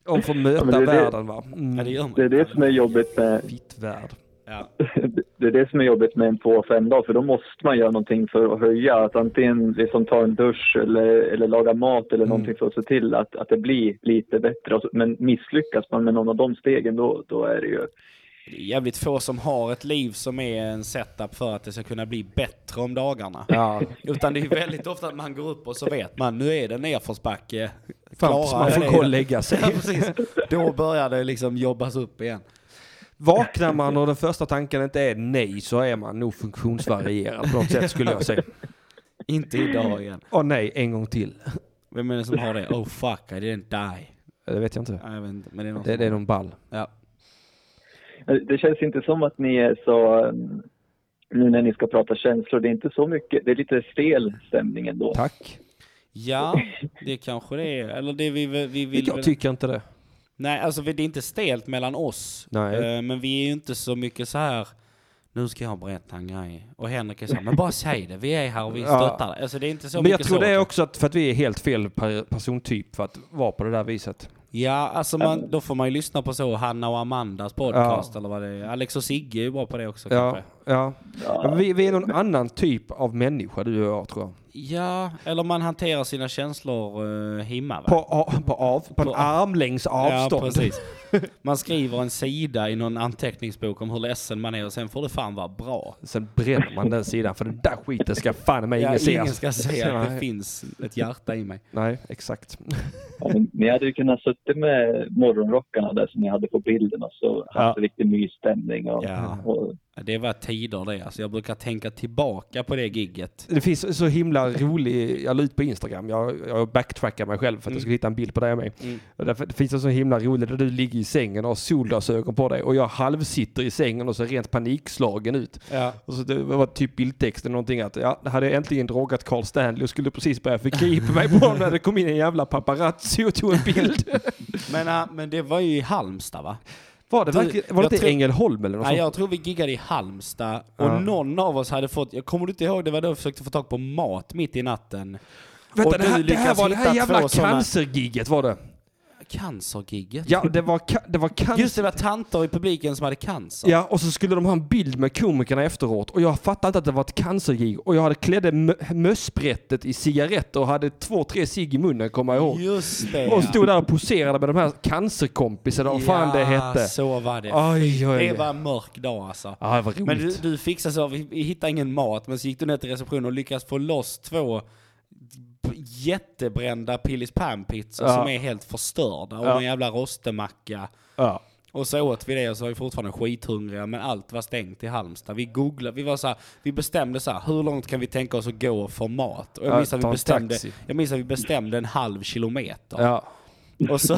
[SPEAKER 1] Och få möta
[SPEAKER 10] men det är det-
[SPEAKER 1] världen va?
[SPEAKER 3] ja,
[SPEAKER 1] Mm.
[SPEAKER 3] det gör man.
[SPEAKER 10] Det är det som är jobbigt med,
[SPEAKER 1] Fitt värld.
[SPEAKER 3] Ja.
[SPEAKER 10] Det är det som är jobbigt med en två och fem dag för då måste man göra någonting för att höja. Att antingen liksom ta en dusch eller, eller laga mat
[SPEAKER 3] Mm.
[SPEAKER 10] eller någonting för att se till att, att det blir lite bättre. Alltså, Men misslyckas man med någon av de stegen då, då är det ju...
[SPEAKER 3] Det är jävligt få som har ett liv som är en setup för att det ska kunna bli bättre om dagarna.
[SPEAKER 1] Ja.
[SPEAKER 3] Utan det är väldigt ofta att man går upp och så vet man, nu är det nedförsbacke.
[SPEAKER 1] Fram tills man
[SPEAKER 3] jag
[SPEAKER 1] får
[SPEAKER 3] det?
[SPEAKER 1] gå och lägga sig.
[SPEAKER 3] Ja, precis. Då börjar det liksom jobbas upp igen.
[SPEAKER 1] Vaknar man och den första tanken inte är nej så är man nog funktionsvarierad på något sätt skulle jag säga.
[SPEAKER 3] Inte idag igen.
[SPEAKER 1] Åh nej, en gång till.
[SPEAKER 3] Vem är det som har det? Oh fuck, I didn't die.
[SPEAKER 1] Det vet jag inte.
[SPEAKER 3] Nej, jag vet inte, men det är någon
[SPEAKER 1] Det,
[SPEAKER 3] som-
[SPEAKER 1] det är någon ball.
[SPEAKER 3] Ja.
[SPEAKER 10] Eh, Det känns inte som att ni är så... um, Nu när ni ska prata känslor, det är inte så mycket. Det är lite stel stämning ändå.
[SPEAKER 1] Tack.
[SPEAKER 3] Ja, det kanske det är. Eller det vi, vi vill...
[SPEAKER 1] Jag tycker inte det.
[SPEAKER 3] Nej, alltså vi- det är inte stelt mellan oss.
[SPEAKER 1] Nej.
[SPEAKER 3] Eh, Men vi är ju inte så mycket så här. nu ska jag berätta en grej. Och Henrik är så här, men bara säg det, vi är här och vi stöttar dig. Alltså det är inte så
[SPEAKER 1] Men jag
[SPEAKER 3] mycket
[SPEAKER 1] tror
[SPEAKER 3] så.
[SPEAKER 1] det är också att, för att vi är helt fel per- persontyp för att vara på det där viset.
[SPEAKER 3] Ja, alltså man, då får man ju lyssna på så Hanna och Amandas podcast eller vad det är. Alex och Sigge är ju bra på det också
[SPEAKER 1] Ja,
[SPEAKER 3] kanske.
[SPEAKER 1] ja. Men Vi, vi är någon annan typ av människa du och jag tror jag.
[SPEAKER 3] Ja, eller man hanterar sina känslor uh, himma va?
[SPEAKER 1] På, a- på, av, på en armlängds avstånd.
[SPEAKER 3] Ja, precis. Man skriver en sida i någon anteckningsbok om hur ledsen man är och sen får det fan vara bra.
[SPEAKER 1] Sen bränner man den sidan för den där skiten ska fan mig
[SPEAKER 3] Ja,
[SPEAKER 1] ingen se.
[SPEAKER 3] ingen
[SPEAKER 1] alltså.
[SPEAKER 3] ska se att det
[SPEAKER 1] Nej.
[SPEAKER 3] finns ett hjärta i mig.
[SPEAKER 1] Nej, exakt.
[SPEAKER 10] Ja, men Ni hade ju kunnat sitta med morgonrockarna där som ni hade på bilden och så haft en riktig mysstämning. Och, och,
[SPEAKER 3] Det var tider det. Alltså jag brukar tänka tillbaka på det gigget.
[SPEAKER 1] Det finns så himla rolig, jag la ut på Instagram, jag, jag backtrackar mig själv för att
[SPEAKER 3] Mm.
[SPEAKER 1] jag skulle hitta en bild på dig och mig.
[SPEAKER 3] Mm.
[SPEAKER 1] Och därför, det finns en så himla rolig där du ligger i sängen och har solglasögon på dig och jag halvsitter i sängen och ser rent panikslagen ut.
[SPEAKER 3] Ja.
[SPEAKER 1] Och så det var typ bildtexten någonting att ja, det hade jag äntligen drogat Carl Stanley och skulle precis börja förgripa mig på honom när det kom in en jävla paparazzi och tog en bild.
[SPEAKER 3] Men, äh, men det var ju i Halmstad va?
[SPEAKER 1] Var det,
[SPEAKER 3] Du,
[SPEAKER 1] verkligen, var det
[SPEAKER 3] jag
[SPEAKER 1] inte
[SPEAKER 3] tror-
[SPEAKER 1] Ängelholm eller något
[SPEAKER 3] Nej,
[SPEAKER 1] sånt?
[SPEAKER 3] jag tror vi giggade i Halmstad och
[SPEAKER 1] Ja.
[SPEAKER 3] någon av oss hade fått, jag kommer du inte ihåg, det var då jag försökte få tag på mat mitt i natten.
[SPEAKER 1] Vänta, det
[SPEAKER 3] du
[SPEAKER 1] här, det här
[SPEAKER 3] lyckas
[SPEAKER 1] var det
[SPEAKER 3] hitta
[SPEAKER 1] här
[SPEAKER 3] två
[SPEAKER 1] jävla
[SPEAKER 3] såna-
[SPEAKER 1] cancergigget var det.
[SPEAKER 3] Cancergigget?
[SPEAKER 1] Ja, det var, ka- det var cancer.
[SPEAKER 3] Just det, det var tanter i publiken som hade cancer.
[SPEAKER 1] Ja, och så skulle de ha en bild med komikerna efteråt och jag fattade inte att det var ett cancergig och jag hade klädde mö- mössbrättet i cigaretter och hade två, tre cigg i munnen kommer jag ihåg.
[SPEAKER 3] Just det.
[SPEAKER 1] Och stod där och poserade med de här cancerkompisarna, vad fan det hette.
[SPEAKER 3] så var det.
[SPEAKER 1] Oj, oj,
[SPEAKER 3] Det
[SPEAKER 1] oj.
[SPEAKER 3] var en mörk dag alltså.
[SPEAKER 1] Ja, det var roligt.
[SPEAKER 3] Men du, du fixade så, vi, vi hittade ingen mat, men så gick du ner till receptionen och lyckades få loss två b- jättebrända Pillis Pan-pizzor
[SPEAKER 1] Ja.
[SPEAKER 3] som är helt förstörda och
[SPEAKER 1] Ja.
[SPEAKER 3] en jävla rostemacka.
[SPEAKER 1] Ja.
[SPEAKER 3] Och så åt vi det och så var vi fortfarande skithungriga men allt var stängt i Halmstad. Vi googlade, vi var så här, vi bestämde så här, hur långt kan vi tänka oss att gå för mat? Och jag
[SPEAKER 1] Ja,
[SPEAKER 3] minns att
[SPEAKER 1] ta
[SPEAKER 3] vi
[SPEAKER 1] en
[SPEAKER 3] bestämde,
[SPEAKER 1] taxi.
[SPEAKER 3] jag minns att vi bestämde en halv kilometer.
[SPEAKER 1] Ja.
[SPEAKER 3] Och så,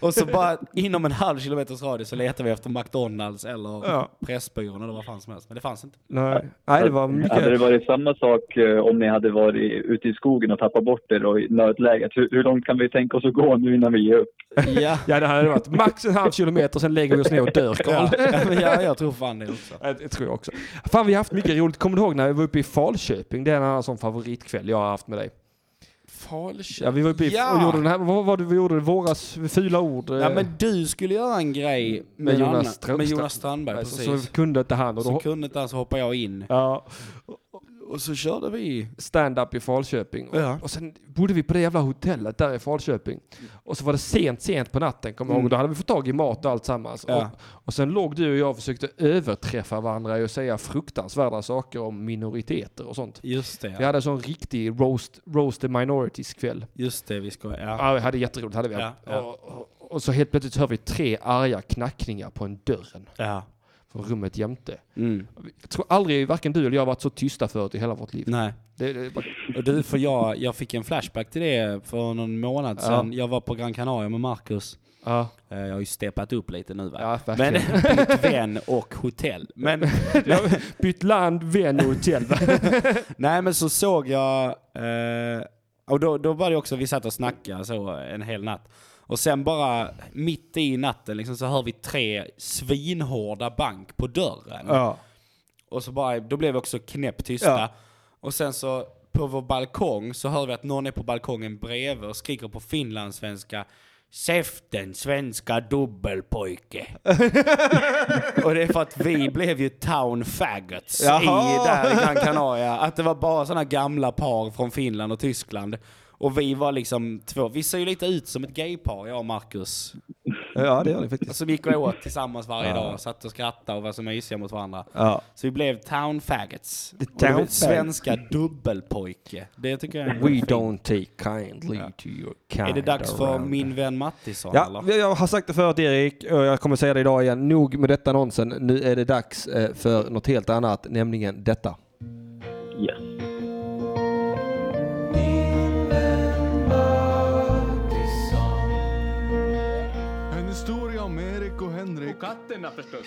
[SPEAKER 3] och så bara inom en halv kilometers radie så letade vi efter McDonalds eller
[SPEAKER 1] Ja.
[SPEAKER 3] Pressbyrån eller vad fan som helst. Men det fanns inte.
[SPEAKER 1] Nej. Nej, det var mycket...
[SPEAKER 10] Hade det varit samma sak eh, om ni hade varit ute i skogen och tappat bort er och i nödläget? Hur, hur långt kan vi tänka oss att gå nu innan vi ger upp?
[SPEAKER 3] Ja,
[SPEAKER 1] Ja, det hade varit max en halv kilometer, sen lägger vi oss ner och dör, Carl.
[SPEAKER 3] ja, ja jag tror fan det också.
[SPEAKER 1] Ja, Det tror jag också. Fan, vi har haft mycket roligt. Kommer du ihåg när vi var uppe i Falköping? Det är en annan sån favoritkväll jag har haft med dig.
[SPEAKER 3] Falköping.
[SPEAKER 1] Ja, vi var uppe i
[SPEAKER 3] Ja.
[SPEAKER 1] och gjorde den här, vad var det vi gjorde? Våras fula ord? eh,
[SPEAKER 3] Ja men du skulle göra en grej med,
[SPEAKER 1] med Jonas
[SPEAKER 3] Jonas,
[SPEAKER 1] Strömström.
[SPEAKER 3] med Jonas Strandberg,
[SPEAKER 1] så, så
[SPEAKER 3] precis.
[SPEAKER 1] kunde inte han. Och
[SPEAKER 3] Så
[SPEAKER 1] då,
[SPEAKER 3] kunde inte han så hoppade jag in.
[SPEAKER 1] ja,
[SPEAKER 3] Och så körde vi.
[SPEAKER 1] stand-up i Falköping. Och,
[SPEAKER 3] Ja.
[SPEAKER 1] och sen bodde vi på det jävla hotellet där i Falköping. Och så var det sent, sent på natten, kommer jag ihåg. Då hade vi fått tag i mat och allt sammans.
[SPEAKER 3] Mm. Ja.
[SPEAKER 1] Och, och sen låg du och jag och försökte överträffa varandra i att säga fruktansvärda saker om minoriteter och sånt.
[SPEAKER 3] Just det,
[SPEAKER 1] Vi
[SPEAKER 3] ja.
[SPEAKER 1] hade en sån riktig roast, roast the minorities-kväll.
[SPEAKER 3] Just det, vi ska... Ja.
[SPEAKER 1] Ja, vi hade jätteroligt. Hade vi.
[SPEAKER 3] Ja, ja.
[SPEAKER 1] Och, och, och så helt plötsligt hör vi tre arga knackningar på en dörren
[SPEAKER 3] ja.
[SPEAKER 1] från rummet jämte.
[SPEAKER 3] Mm.
[SPEAKER 1] Jag tror aldrig varken du eller jag har varit så tysta förut i hela vårt liv.
[SPEAKER 3] Nej.
[SPEAKER 1] Det, det, bara,
[SPEAKER 3] Och du, för jag, jag fick en flashback till det för någon månad sedan. Jag var på Gran Canaria med Marcus.
[SPEAKER 1] ja,
[SPEAKER 3] Eh, Jag har ju steppat upp lite nu va?
[SPEAKER 1] ja,
[SPEAKER 3] men
[SPEAKER 1] verkligen.
[SPEAKER 3] bytt vän och hotell. Men, men,
[SPEAKER 1] Bytt land, vän och hotell. va?
[SPEAKER 3] nej men så såg jag, eh, och då, då var det också, vi satt och snackade så en hel natt. Och sen bara mitt i natten liksom, så hör vi tre svinhårda bank på dörren.
[SPEAKER 1] ja.
[SPEAKER 3] Och så bara, då blev vi också knäpptysta.
[SPEAKER 1] Ja.
[SPEAKER 3] Och sen så på vår balkong så hör vi att någon är på balkongen bredvid och skriker på finlandssvenska Säften svenska dubbelpojke. och det är för att vi blev ju town faggots i
[SPEAKER 7] Jaha.
[SPEAKER 3] där i Gran Canaria. Att det var bara sådana gamla par från Finland och Tyskland. Och vi var liksom två, vi ser ju lite ut som ett gaypar jag och Marcus.
[SPEAKER 1] Ja, det gör ni faktiskt.
[SPEAKER 3] Som gick åt tillsammans varje
[SPEAKER 1] Ja.
[SPEAKER 3] dag, satt och skrattade och var så mysiga mot varandra.
[SPEAKER 1] Ja.
[SPEAKER 3] Så vi blev town faggots. Och det
[SPEAKER 1] town
[SPEAKER 3] blev
[SPEAKER 1] faggots.
[SPEAKER 3] Svenska dubbelpojke. Det tycker jag är
[SPEAKER 1] We
[SPEAKER 3] fint.
[SPEAKER 1] don't take kindly to your kind
[SPEAKER 3] Är det dags för
[SPEAKER 1] around.
[SPEAKER 3] min vän Mattisson
[SPEAKER 1] Ja,
[SPEAKER 3] eller?
[SPEAKER 1] jag- jag har sagt det förut Erik och jag kommer säga det idag igen. Nog med detta nonsen. Nu är det dags eh, för något helt annat, nämligen detta.
[SPEAKER 11] En historia om Erik och Henrik. Och katterna förstås.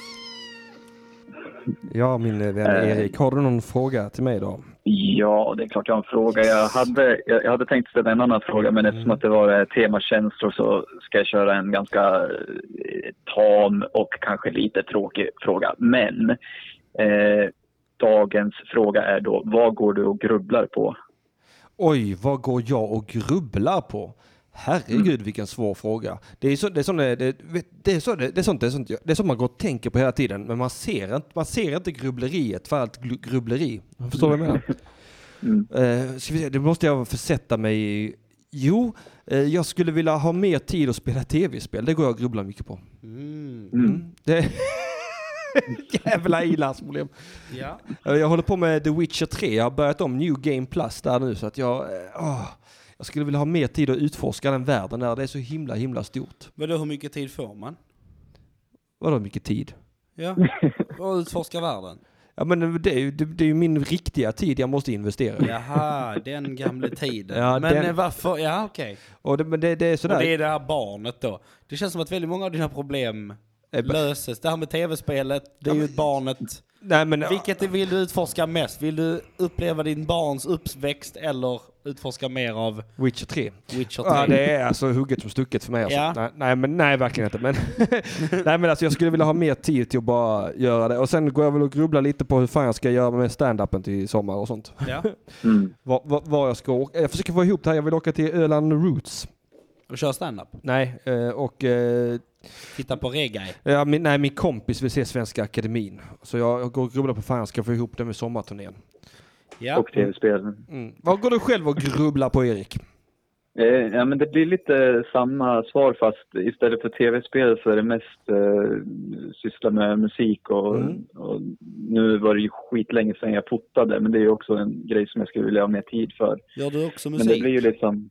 [SPEAKER 1] Ja, min eh, vän
[SPEAKER 10] Eh.
[SPEAKER 1] Erik, har du någon fråga till mig idag?
[SPEAKER 10] Ja, det är klart jag har en fråga. Jag hade, jag jag hade tänkt ställa en annan fråga, men eftersom att det var eh, tema känslor så ska jag köra en ganska eh, tam och kanske lite tråkig fråga. Men eh, dagens fråga är då, vad går du och grubblar på?
[SPEAKER 1] Oj, vad går jag och grubblar på? Herregud vilken svår fråga. Det är, så, det, är sån, det, det, vet- det, är så, det, det är sånt, det är sånt, jag- det är sånt man går och tänker på hela tiden, men man ser inte, man ser inte grubbleriet för allt glu- grubbleri. Förstår du vad jag menar? Eh, ska vi se, det måste jag försätta mig i. Jo, eh, jag skulle vilja ha mer tid att spela tv-spel. Det går jag och grubblar mycket på. Mm. Det Jävla i-landsproblem.
[SPEAKER 3] Ja.
[SPEAKER 1] Eh, Jag håller på med The Witcher 3. Jag har börjat om New Game Plus där nu så att jag... eh, åh, jag skulle vilja ha mer tid att utforska den världen där. Det är så himla, himla stort.
[SPEAKER 3] Vadå hur mycket tid får man?
[SPEAKER 1] Vadå mycket tid?
[SPEAKER 3] Ja. Och utforska världen.
[SPEAKER 1] Ja men det är ju, det, det är ju min riktiga tid jag måste investera i.
[SPEAKER 3] Jaha, den gamla tiden.
[SPEAKER 1] Ja,
[SPEAKER 3] men
[SPEAKER 1] den-
[SPEAKER 3] eh, varför? Ja, okej.
[SPEAKER 1] Och det, men det, det är sådär...
[SPEAKER 3] Och det är det här barnet då. Det känns som att väldigt många av dina
[SPEAKER 1] Eh,
[SPEAKER 3] problem löses. Det här med tv-spelet, det är ju barnet.
[SPEAKER 1] Nej, men,
[SPEAKER 3] Vilket vill du utforska mest? Vill du uppleva din barns uppväxt eller utforska mer av
[SPEAKER 1] Witcher 3.
[SPEAKER 3] Witcher 3?
[SPEAKER 1] Ja, det är alltså hugget som stucket för mig. Alltså.
[SPEAKER 3] Ja.
[SPEAKER 1] Nej, nej, men, nej, verkligen inte. Men, nej, men alltså, jag skulle vilja ha mer tid till att bara göra det. Och sen går jag väl och grubblar lite på hur fan jag ska göra med stand-upen till sommar och sånt.
[SPEAKER 3] Ja.
[SPEAKER 10] Mm.
[SPEAKER 1] Var, var, var jag ska åka. Jag försöker få ihop det här. Jag vill åka till Öland Roots.
[SPEAKER 3] Och köra stand-up?
[SPEAKER 1] Nej, eh, och... eh,
[SPEAKER 3] Titta på reggae?
[SPEAKER 1] Ja, min, nej, min kompis vill se Svenska Akademin. Så jag, jag går och grubblar på fan jag ska få ihop det med sommarturnén.
[SPEAKER 3] Ja.
[SPEAKER 10] Och tv-spel.
[SPEAKER 1] Mm. Vad går du själv och grubblar på Erik?
[SPEAKER 10] Eh, ja, men det blir lite samma svar fast istället för tv-spel så är det mest eh, syssla med musik och,
[SPEAKER 1] Mm.
[SPEAKER 10] och nu var det ju skitlänge sedan jag fotade men det är ju också en grej som jag skulle vilja ha mer tid för.
[SPEAKER 3] Gör du också
[SPEAKER 10] Men
[SPEAKER 3] musik?
[SPEAKER 10] det blir ju liksom,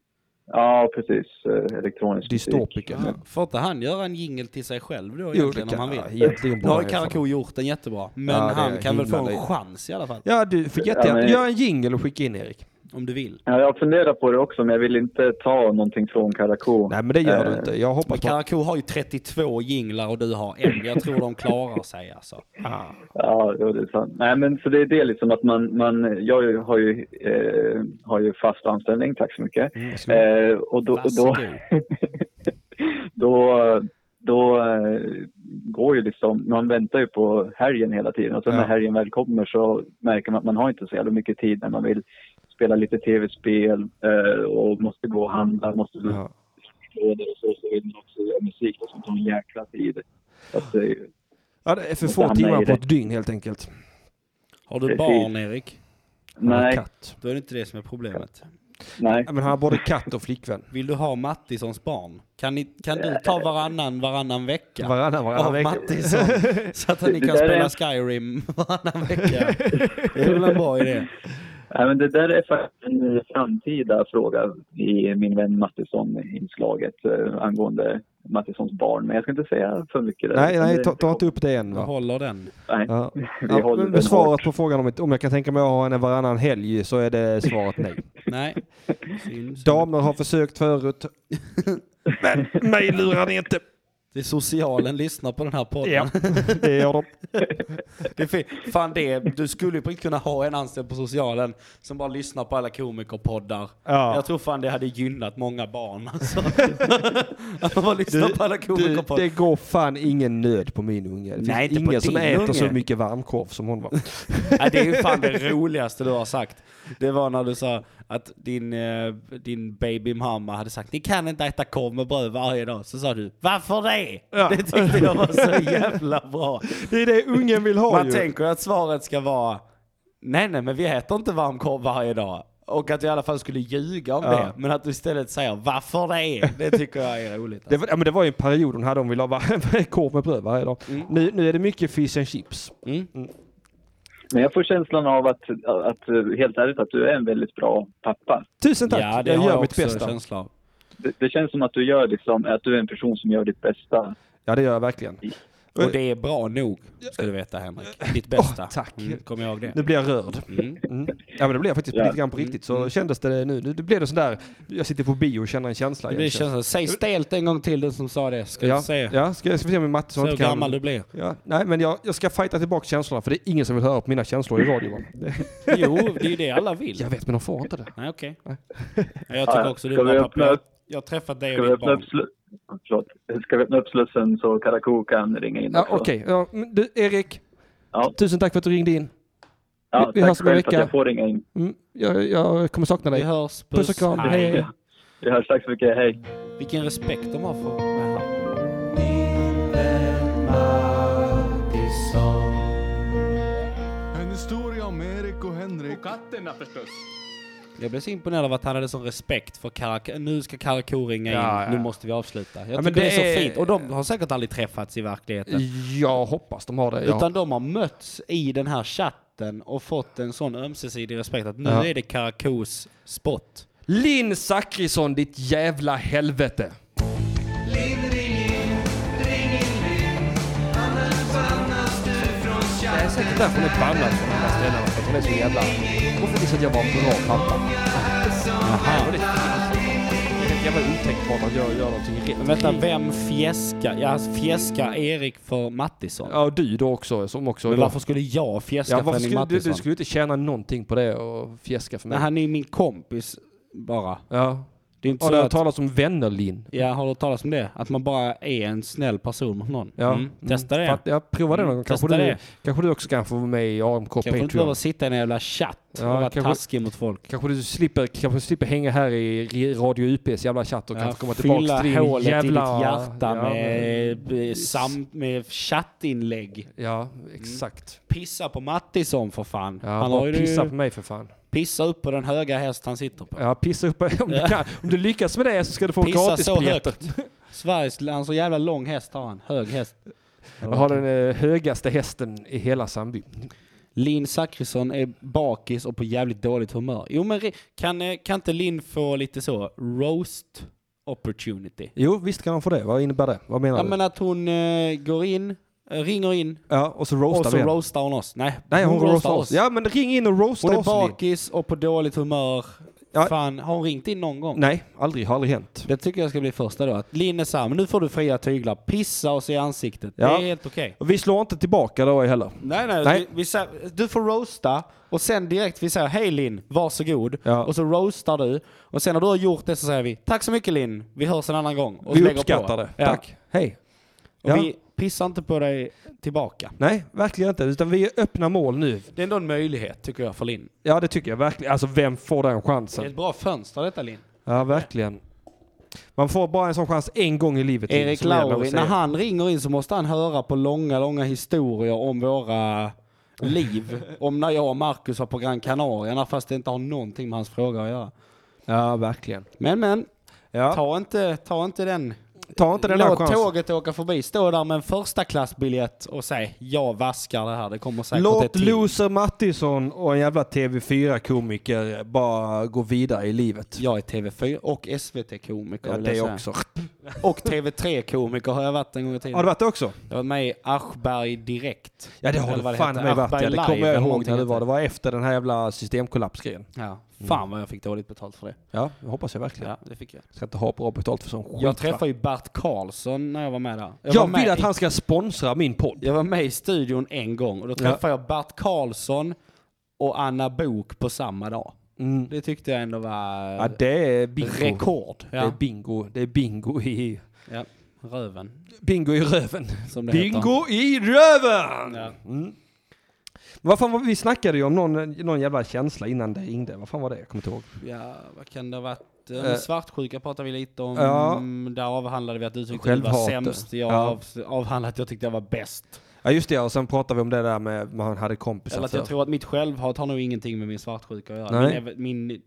[SPEAKER 10] ja precis, eh, elektronisk musik.
[SPEAKER 3] Ja. Får inte han göra en jingel till sig själv då
[SPEAKER 10] det
[SPEAKER 3] egentligen
[SPEAKER 10] kan-
[SPEAKER 3] om han
[SPEAKER 10] ja,
[SPEAKER 3] vill?
[SPEAKER 10] egentligen
[SPEAKER 3] Nu
[SPEAKER 10] borde
[SPEAKER 3] har
[SPEAKER 10] han ju
[SPEAKER 3] Karakou gjort den jättebra. Men
[SPEAKER 1] Ja, det
[SPEAKER 3] han
[SPEAKER 1] är
[SPEAKER 3] kan väl få en
[SPEAKER 1] himla löjligt.
[SPEAKER 3] chans i alla fall?
[SPEAKER 1] Ja, du får jättegärna
[SPEAKER 10] men-
[SPEAKER 1] göra en jingle och skicka in Erik.
[SPEAKER 3] Om du vill.
[SPEAKER 10] Ja, jag funderar på det också men jag vill inte ta någonting från Eh, Karakou.
[SPEAKER 1] Nej men det gör du inte. Jag
[SPEAKER 3] Eh, Men
[SPEAKER 1] hoppas på...
[SPEAKER 3] Karakou har ju 32 jinglar och du har en. Jag tror de klarar sig alltså.
[SPEAKER 10] Ah. Ja, jo, det är sant. Nej, men så det är det liksom att man, man jag har ju- har ju, eh, har ju fast anställning, tack så mycket.
[SPEAKER 1] Mm,
[SPEAKER 7] varsågod.
[SPEAKER 10] eh, och då, och då, då, då eh, går ju liksom, man väntar ju på helgen hela tiden och sen
[SPEAKER 7] Ja.
[SPEAKER 10] när helgen väl kommer så märker man att man har inte så jävla mycket tid när man vill spela lite tv-spel eh, och måste gå och handla, måste
[SPEAKER 1] ja.
[SPEAKER 10] och så, så vill man också göra musik och sånt tar en jäkla tid. Så att det är ju-
[SPEAKER 1] Ja, det är för
[SPEAKER 10] måste
[SPEAKER 1] få
[SPEAKER 10] hamna
[SPEAKER 1] timmar
[SPEAKER 10] i det.
[SPEAKER 1] på ett dygn helt enkelt.
[SPEAKER 3] Har du
[SPEAKER 10] Precis.
[SPEAKER 3] barn Erik?
[SPEAKER 10] Nej.
[SPEAKER 3] Då är det inte det som är problemet.
[SPEAKER 10] Nej.
[SPEAKER 1] Men han har både katt och flickvän.
[SPEAKER 3] Vill du ha Mattissons barn? Kan, ni, kan
[SPEAKER 10] Eh,
[SPEAKER 3] du ta varannan varannan vecka?
[SPEAKER 1] Varannan, varannan
[SPEAKER 3] av
[SPEAKER 1] vecka.
[SPEAKER 3] Mattisson. Så att ni
[SPEAKER 10] Det
[SPEAKER 3] kan
[SPEAKER 10] där
[SPEAKER 3] spela
[SPEAKER 10] är-
[SPEAKER 3] Skyrim varannan vecka. Det är väl en bra idé.
[SPEAKER 10] Ja, men det där är faktiskt en framtida fråga i min vän Mattisson-inslaget eh, angående Mattissons barn. Men jag ska inte säga för mycket. där.
[SPEAKER 1] Nej, nej,
[SPEAKER 10] Det-
[SPEAKER 1] ta, ta inte upp det än
[SPEAKER 3] Jag
[SPEAKER 1] va?
[SPEAKER 3] håller den.
[SPEAKER 10] nej.
[SPEAKER 1] Ja.
[SPEAKER 10] Vi
[SPEAKER 1] Ja,
[SPEAKER 10] håller
[SPEAKER 1] men
[SPEAKER 10] den hårt.
[SPEAKER 1] svaret på frågan om, ett- om jag kan tänka mig att ha henne varannan helg så är det svaret nej.
[SPEAKER 3] Nej. Syns.
[SPEAKER 1] Damer har försökt förut. Men mig lurar ni inte.
[SPEAKER 3] Det är socialen lyssnar på den här podden.
[SPEAKER 1] Ja, det gör de.
[SPEAKER 3] Det är fi- fan det, du skulle ju på riktigt kunna ha en anställd på socialen som bara lyssnar på alla komikerpoddar.
[SPEAKER 1] Ja.
[SPEAKER 3] Jag tror fan det hade gynnat många barn alltså. Att man bara lyssnar på alla
[SPEAKER 1] du,
[SPEAKER 3] komikerpoddar.
[SPEAKER 1] det går fan ingen nöd på min unge. Det finns
[SPEAKER 3] Nej, inte på
[SPEAKER 1] ingen som
[SPEAKER 3] din
[SPEAKER 1] äter
[SPEAKER 3] unge.
[SPEAKER 1] så mycket varmkorv som hon var.
[SPEAKER 3] Nej, det är ju fan det roligaste du har sagt. Det var när du sa att din, eh, din baby mamma hade sagt ni kan inte äta korv med bröd varje dag. Så sa du varför det?
[SPEAKER 1] Ja.
[SPEAKER 3] Det tyckte jag var så jävla bra.
[SPEAKER 1] Det är det ungen vill ha
[SPEAKER 3] Man
[SPEAKER 1] ju.
[SPEAKER 3] tänker ju att svaret ska vara nej nej men vi äter inte varm korv varje dag. Och att du i alla fall skulle ljuga om
[SPEAKER 1] Ja.
[SPEAKER 3] det. Men att du istället säger varför det? Det tycker jag är roligt.
[SPEAKER 1] Det, var- ja, men det var ju en period hon hade, hon ville ha var- korv med bröd varje dag.
[SPEAKER 3] Mm.
[SPEAKER 1] Nu, nu är det mycket fish and chips. Mm.
[SPEAKER 10] Men jag får känslan av att, att, eh, helt ärligt, att du är en väldigt bra pappa.
[SPEAKER 1] Tusen tack,
[SPEAKER 10] Ja, det
[SPEAKER 1] jag
[SPEAKER 10] har
[SPEAKER 1] gör
[SPEAKER 10] jag
[SPEAKER 1] mitt
[SPEAKER 10] också
[SPEAKER 1] bästa.
[SPEAKER 10] känsla Det, det känns som att du gör liksom, att du är en person som gör ditt bästa.
[SPEAKER 1] Ja det gör jag verkligen.
[SPEAKER 3] Och det är bra nog, ska du veta Henrik. Ditt bästa.
[SPEAKER 1] tack.
[SPEAKER 3] Mm, kom ihåg det.
[SPEAKER 1] Nu blir jag rörd. Mm. Ja men det blev jag faktiskt
[SPEAKER 3] Ja.
[SPEAKER 1] lite grann på riktigt. Så
[SPEAKER 10] Mm.
[SPEAKER 1] kändes det nu. Nu blev det sån där, jag sitter på bio och känner en känsla.
[SPEAKER 3] Det blir känslan. Säg stelt en gång till den som sa det. Ska
[SPEAKER 1] ja,
[SPEAKER 3] vi se.
[SPEAKER 1] Ja, ska, ska vi se om min matte
[SPEAKER 3] Så hur gammal du blir.
[SPEAKER 1] Ja, nej men jag, jag ska fighta tillbaka känslorna för det är ingen som vill höra på mina känslor i radio va?
[SPEAKER 3] Jo, det är ju det alla vill.
[SPEAKER 1] Jag vet men de får inte det.
[SPEAKER 3] Nej, okej.
[SPEAKER 1] Nej.
[SPEAKER 3] Jag
[SPEAKER 10] Ja,
[SPEAKER 3] tycker
[SPEAKER 10] ja.
[SPEAKER 3] också du
[SPEAKER 10] Ska
[SPEAKER 3] är
[SPEAKER 10] vi
[SPEAKER 3] bra
[SPEAKER 10] öppna
[SPEAKER 3] pappa. Jag-
[SPEAKER 10] upp?
[SPEAKER 3] Jag har träffat dig
[SPEAKER 10] Ska
[SPEAKER 3] och
[SPEAKER 10] vi,
[SPEAKER 3] ditt
[SPEAKER 10] öppna
[SPEAKER 3] barn.
[SPEAKER 10] upp slu- Förlåt. Ska vi öppna upp slussen så Karakou kan ringa in
[SPEAKER 1] Ja,
[SPEAKER 10] också?
[SPEAKER 1] Okej, ja, men du Erik.
[SPEAKER 10] Ja.
[SPEAKER 1] Tusen tack för att du ringde in.
[SPEAKER 10] Ja,
[SPEAKER 1] vi, vi
[SPEAKER 10] tack
[SPEAKER 1] hörs om en
[SPEAKER 10] själv för att
[SPEAKER 1] vecka.
[SPEAKER 10] jag får ringa in.
[SPEAKER 1] Mm, jag, jag kommer sakna dig.
[SPEAKER 3] Vi hörs.
[SPEAKER 1] Puss och kram. Hej. hej.
[SPEAKER 10] Vi hörs. Tack så mycket. Hej.
[SPEAKER 3] Vilken respekt de har för varandra.
[SPEAKER 11] En historia om Erik och Henrik. Och katterna förstås.
[SPEAKER 3] Jag blev så imponerad av att han hade sån respekt för Karak... Nu ska Karakou ringa in,
[SPEAKER 1] Ja, ja.
[SPEAKER 3] nu måste vi avsluta. Jag
[SPEAKER 1] Ja, men
[SPEAKER 3] tycker det,
[SPEAKER 1] det
[SPEAKER 3] är så
[SPEAKER 1] är-
[SPEAKER 3] fint. Och de har säkert aldrig träffats i verkligheten.
[SPEAKER 1] Jag hoppas de har det. Ja.
[SPEAKER 3] Utan de har mötts i den här chatten och fått en sån ömsesidig respekt att nu
[SPEAKER 1] Ja.
[SPEAKER 3] är det Karakous spot.
[SPEAKER 1] Linn Zachrisson, ditt jävla helvete. Det är säkert därför hon är bannad från de här ställena. För att hon är så jävla... Hon får visa att jag var en bra pappa. Jaha. Och det är helt jävla otänkbart att jag gör någonting rätt.
[SPEAKER 3] Men vänta, vem fjäskar? Ja, fjäskar Erik för Mattisson?
[SPEAKER 1] Ja, du då också. Som också
[SPEAKER 3] Men
[SPEAKER 1] då.
[SPEAKER 3] varför skulle jag fjäska
[SPEAKER 1] Ja,
[SPEAKER 3] för
[SPEAKER 1] varför
[SPEAKER 3] Henning
[SPEAKER 1] skulle, du,
[SPEAKER 3] Mattisson?
[SPEAKER 1] du skulle inte tjäna någonting på det och fjäska för mig.
[SPEAKER 3] Men han är ju min kompis bara.
[SPEAKER 1] Ja.
[SPEAKER 3] Det är inte
[SPEAKER 1] Har
[SPEAKER 3] så
[SPEAKER 1] du hört
[SPEAKER 3] att-
[SPEAKER 1] talas om vänner, Linn?
[SPEAKER 3] Ja, har du hört talas om det? Att man bara är en snäll person mot någon.
[SPEAKER 1] Ja.
[SPEAKER 3] Mm. Testa det.
[SPEAKER 1] Fatt- Ja, prova det någon gång. Kanske
[SPEAKER 3] Testa
[SPEAKER 1] du,
[SPEAKER 3] det.
[SPEAKER 1] kanske du också kan få vara med i AMK
[SPEAKER 3] Kanske inte behöver
[SPEAKER 1] Patreon.
[SPEAKER 3] sitta i en jävla chatt
[SPEAKER 1] Ja,
[SPEAKER 3] och vara
[SPEAKER 1] kanske-
[SPEAKER 3] taskig mot folk.
[SPEAKER 1] Kanske du slipper, kanske du slipper hänga här i re- Radio UPs jävla chatt och
[SPEAKER 3] Ja,
[SPEAKER 1] kanske komma
[SPEAKER 3] fylla
[SPEAKER 1] tillbaka till din
[SPEAKER 3] hålet i
[SPEAKER 1] jävla...
[SPEAKER 3] ditt hjärta
[SPEAKER 1] Ja,
[SPEAKER 3] med, eh, sam, med chattinlägg. Mm.
[SPEAKER 1] Ja, exakt.
[SPEAKER 3] Pissa på Mattisson för fan.
[SPEAKER 1] Ja, bara
[SPEAKER 3] ju-
[SPEAKER 1] pissa på mig för fan.
[SPEAKER 3] Pissa upp på den höga häst han sitter på.
[SPEAKER 1] Ja, pissa upp. Om du,
[SPEAKER 3] Ja.
[SPEAKER 1] kan, om du lyckas med det så ska du få
[SPEAKER 3] Pissa
[SPEAKER 1] gratis
[SPEAKER 3] så
[SPEAKER 1] biljetter.
[SPEAKER 3] högt. Sveriges, han så jävla lång häst har han. Hög häst.
[SPEAKER 1] Jag har den eh, högaste hästen i hela Sandby.
[SPEAKER 3] Linn Zachrisson är bakis och på jävligt dåligt humör. Jo men re- kan, eh, kan inte Linn få lite så roast opportunity?
[SPEAKER 1] Jo, visst kan de få det. Vad innebär det? Vad menar
[SPEAKER 3] Ja
[SPEAKER 1] du?
[SPEAKER 3] men att hon eh, går in, eh, ringer in
[SPEAKER 1] Ja, och så roastar
[SPEAKER 3] och så
[SPEAKER 1] vi henne.
[SPEAKER 3] roastar hon oss. Nej,
[SPEAKER 1] Nej, hon, roastar oss. Ja, men ring in och roasta
[SPEAKER 3] Hon är
[SPEAKER 1] oss. Linn.
[SPEAKER 3] bakis och på dåligt humör. Fan, har hon ringt in någon gång?
[SPEAKER 1] Nej, aldrig. Har aldrig hänt.
[SPEAKER 3] Det tycker jag ska bli första då. Att Linn är så här, men nu får du fria tyglar. Pissa oss i ansiktet.
[SPEAKER 1] Ja.
[SPEAKER 3] Det är helt okej.
[SPEAKER 1] Och vi slår inte tillbaka då heller.
[SPEAKER 3] Nej, nej.
[SPEAKER 1] Nej.
[SPEAKER 3] Vi, vi, säger- du får roasta och sen direkt vi säger hej Linn, varsågod. Och så roastar du. Och sen när du har gjort det så säger vi tack så mycket Linn, vi hörs en annan gång. Och
[SPEAKER 1] vi
[SPEAKER 3] lägger på.
[SPEAKER 1] uppskattar det.
[SPEAKER 3] Ja.
[SPEAKER 1] Tack. Hej.
[SPEAKER 3] Och
[SPEAKER 1] Ja.
[SPEAKER 3] vi pissar inte på dig tillbaka.
[SPEAKER 1] Nej, verkligen inte. Utan vi är öppna mål nu.
[SPEAKER 3] Det är ändå en möjlighet tycker jag för Linn.
[SPEAKER 1] Ja, det tycker jag verkligen. Alltså, vem får den
[SPEAKER 3] Det är
[SPEAKER 1] chansen?
[SPEAKER 3] ett bra fönster detta Linn.
[SPEAKER 1] Ja, verkligen. Man får bara en sån chans en gång i livet.
[SPEAKER 3] Erik
[SPEAKER 1] som det gäller att
[SPEAKER 3] Lauri,
[SPEAKER 1] säga.
[SPEAKER 3] när han ringer in så måste han höra på långa, långa historier om våra liv. om när jag och Marcus var på Gran Canaria, fast det inte har någonting med hans fråga att göra.
[SPEAKER 1] Ja, verkligen.
[SPEAKER 3] Men, men.
[SPEAKER 1] Ja.
[SPEAKER 3] Ta, inte, ta inte den.
[SPEAKER 1] Ta inte den här
[SPEAKER 3] Låt
[SPEAKER 1] chansen.
[SPEAKER 3] tåget åka förbi. Stå där med en första klassbiljett och säg jag vaskar det här. Det kommer säkert ett
[SPEAKER 1] Låt
[SPEAKER 3] till.
[SPEAKER 1] Loser Mattisson och en jävla TV4-komiker bara gå vidare i livet.
[SPEAKER 3] Jag är TV4 och SVT-komiker.
[SPEAKER 1] Ja,
[SPEAKER 3] vill
[SPEAKER 1] det
[SPEAKER 3] jag säga.
[SPEAKER 1] också.
[SPEAKER 3] Och TV3-komiker har jag varit en gång i tiden.
[SPEAKER 1] Har du varit det också?
[SPEAKER 3] Jag var med i Aschberg Direkt.
[SPEAKER 1] Ja, det har
[SPEAKER 3] Eller
[SPEAKER 1] du
[SPEAKER 3] vad
[SPEAKER 1] fan
[SPEAKER 3] hette.
[SPEAKER 1] med varit.
[SPEAKER 3] Aschberg
[SPEAKER 1] ja. Det
[SPEAKER 3] Live
[SPEAKER 1] kommer jag
[SPEAKER 3] eller
[SPEAKER 1] ihåg
[SPEAKER 3] någonting
[SPEAKER 1] när det
[SPEAKER 3] hette
[SPEAKER 1] var. Det var efter den här jävla systemkollapsgrejen.
[SPEAKER 3] Ja,
[SPEAKER 1] Mm.
[SPEAKER 3] fan vad jag fick dåligt betalt för det.
[SPEAKER 1] Ja, det hoppas jag verkligen.
[SPEAKER 3] Ja, det fick jag.
[SPEAKER 1] Ska inte ha bra betalt för sån skit. va?
[SPEAKER 3] Jag träffade ju Bert Karlsson när jag var med där.
[SPEAKER 1] Jag,
[SPEAKER 3] var med
[SPEAKER 1] vill att
[SPEAKER 3] i-
[SPEAKER 1] han ska sponsra min podd.
[SPEAKER 3] Jag var med i studion en gång och då
[SPEAKER 1] Ja.
[SPEAKER 3] träffade jag Bert Karlsson och Anna Bok på samma dag. Det tyckte jag ändå var
[SPEAKER 1] Mm. Ja, det är bingo.
[SPEAKER 3] rekord.
[SPEAKER 1] Det
[SPEAKER 3] Ja.
[SPEAKER 1] är bingo. Det är bingo Mm. i...
[SPEAKER 3] Ja, röven.
[SPEAKER 1] Bingo i röven.
[SPEAKER 3] Som det
[SPEAKER 1] Bingo
[SPEAKER 3] heter.
[SPEAKER 1] i röven!
[SPEAKER 3] Ja.
[SPEAKER 1] Mm. Men Vad fan var, vi snackade ju om någon, någon jävla känsla innan det ringde. Vad fan var det? Jag kommer inte ihåg.
[SPEAKER 3] Ja, vad kan det ha varit? Eh,
[SPEAKER 1] Eh,
[SPEAKER 3] svartsjuka pratade vi lite om.
[SPEAKER 1] ja.
[SPEAKER 3] Där avhandlade vi att du tyckte du var
[SPEAKER 1] Självhat.
[SPEAKER 3] sämst. Jag
[SPEAKER 1] Ja.
[SPEAKER 3] av, avhandlade att jag tyckte jag var bäst.
[SPEAKER 1] Ja just det, och sen pratade vi om det där med att man hade kompisar
[SPEAKER 3] Eller att jag
[SPEAKER 1] förr.
[SPEAKER 3] tror att mitt självhat har nog ingenting med min svartsjuka att göra.
[SPEAKER 1] Nej.
[SPEAKER 3] Min, ev- min,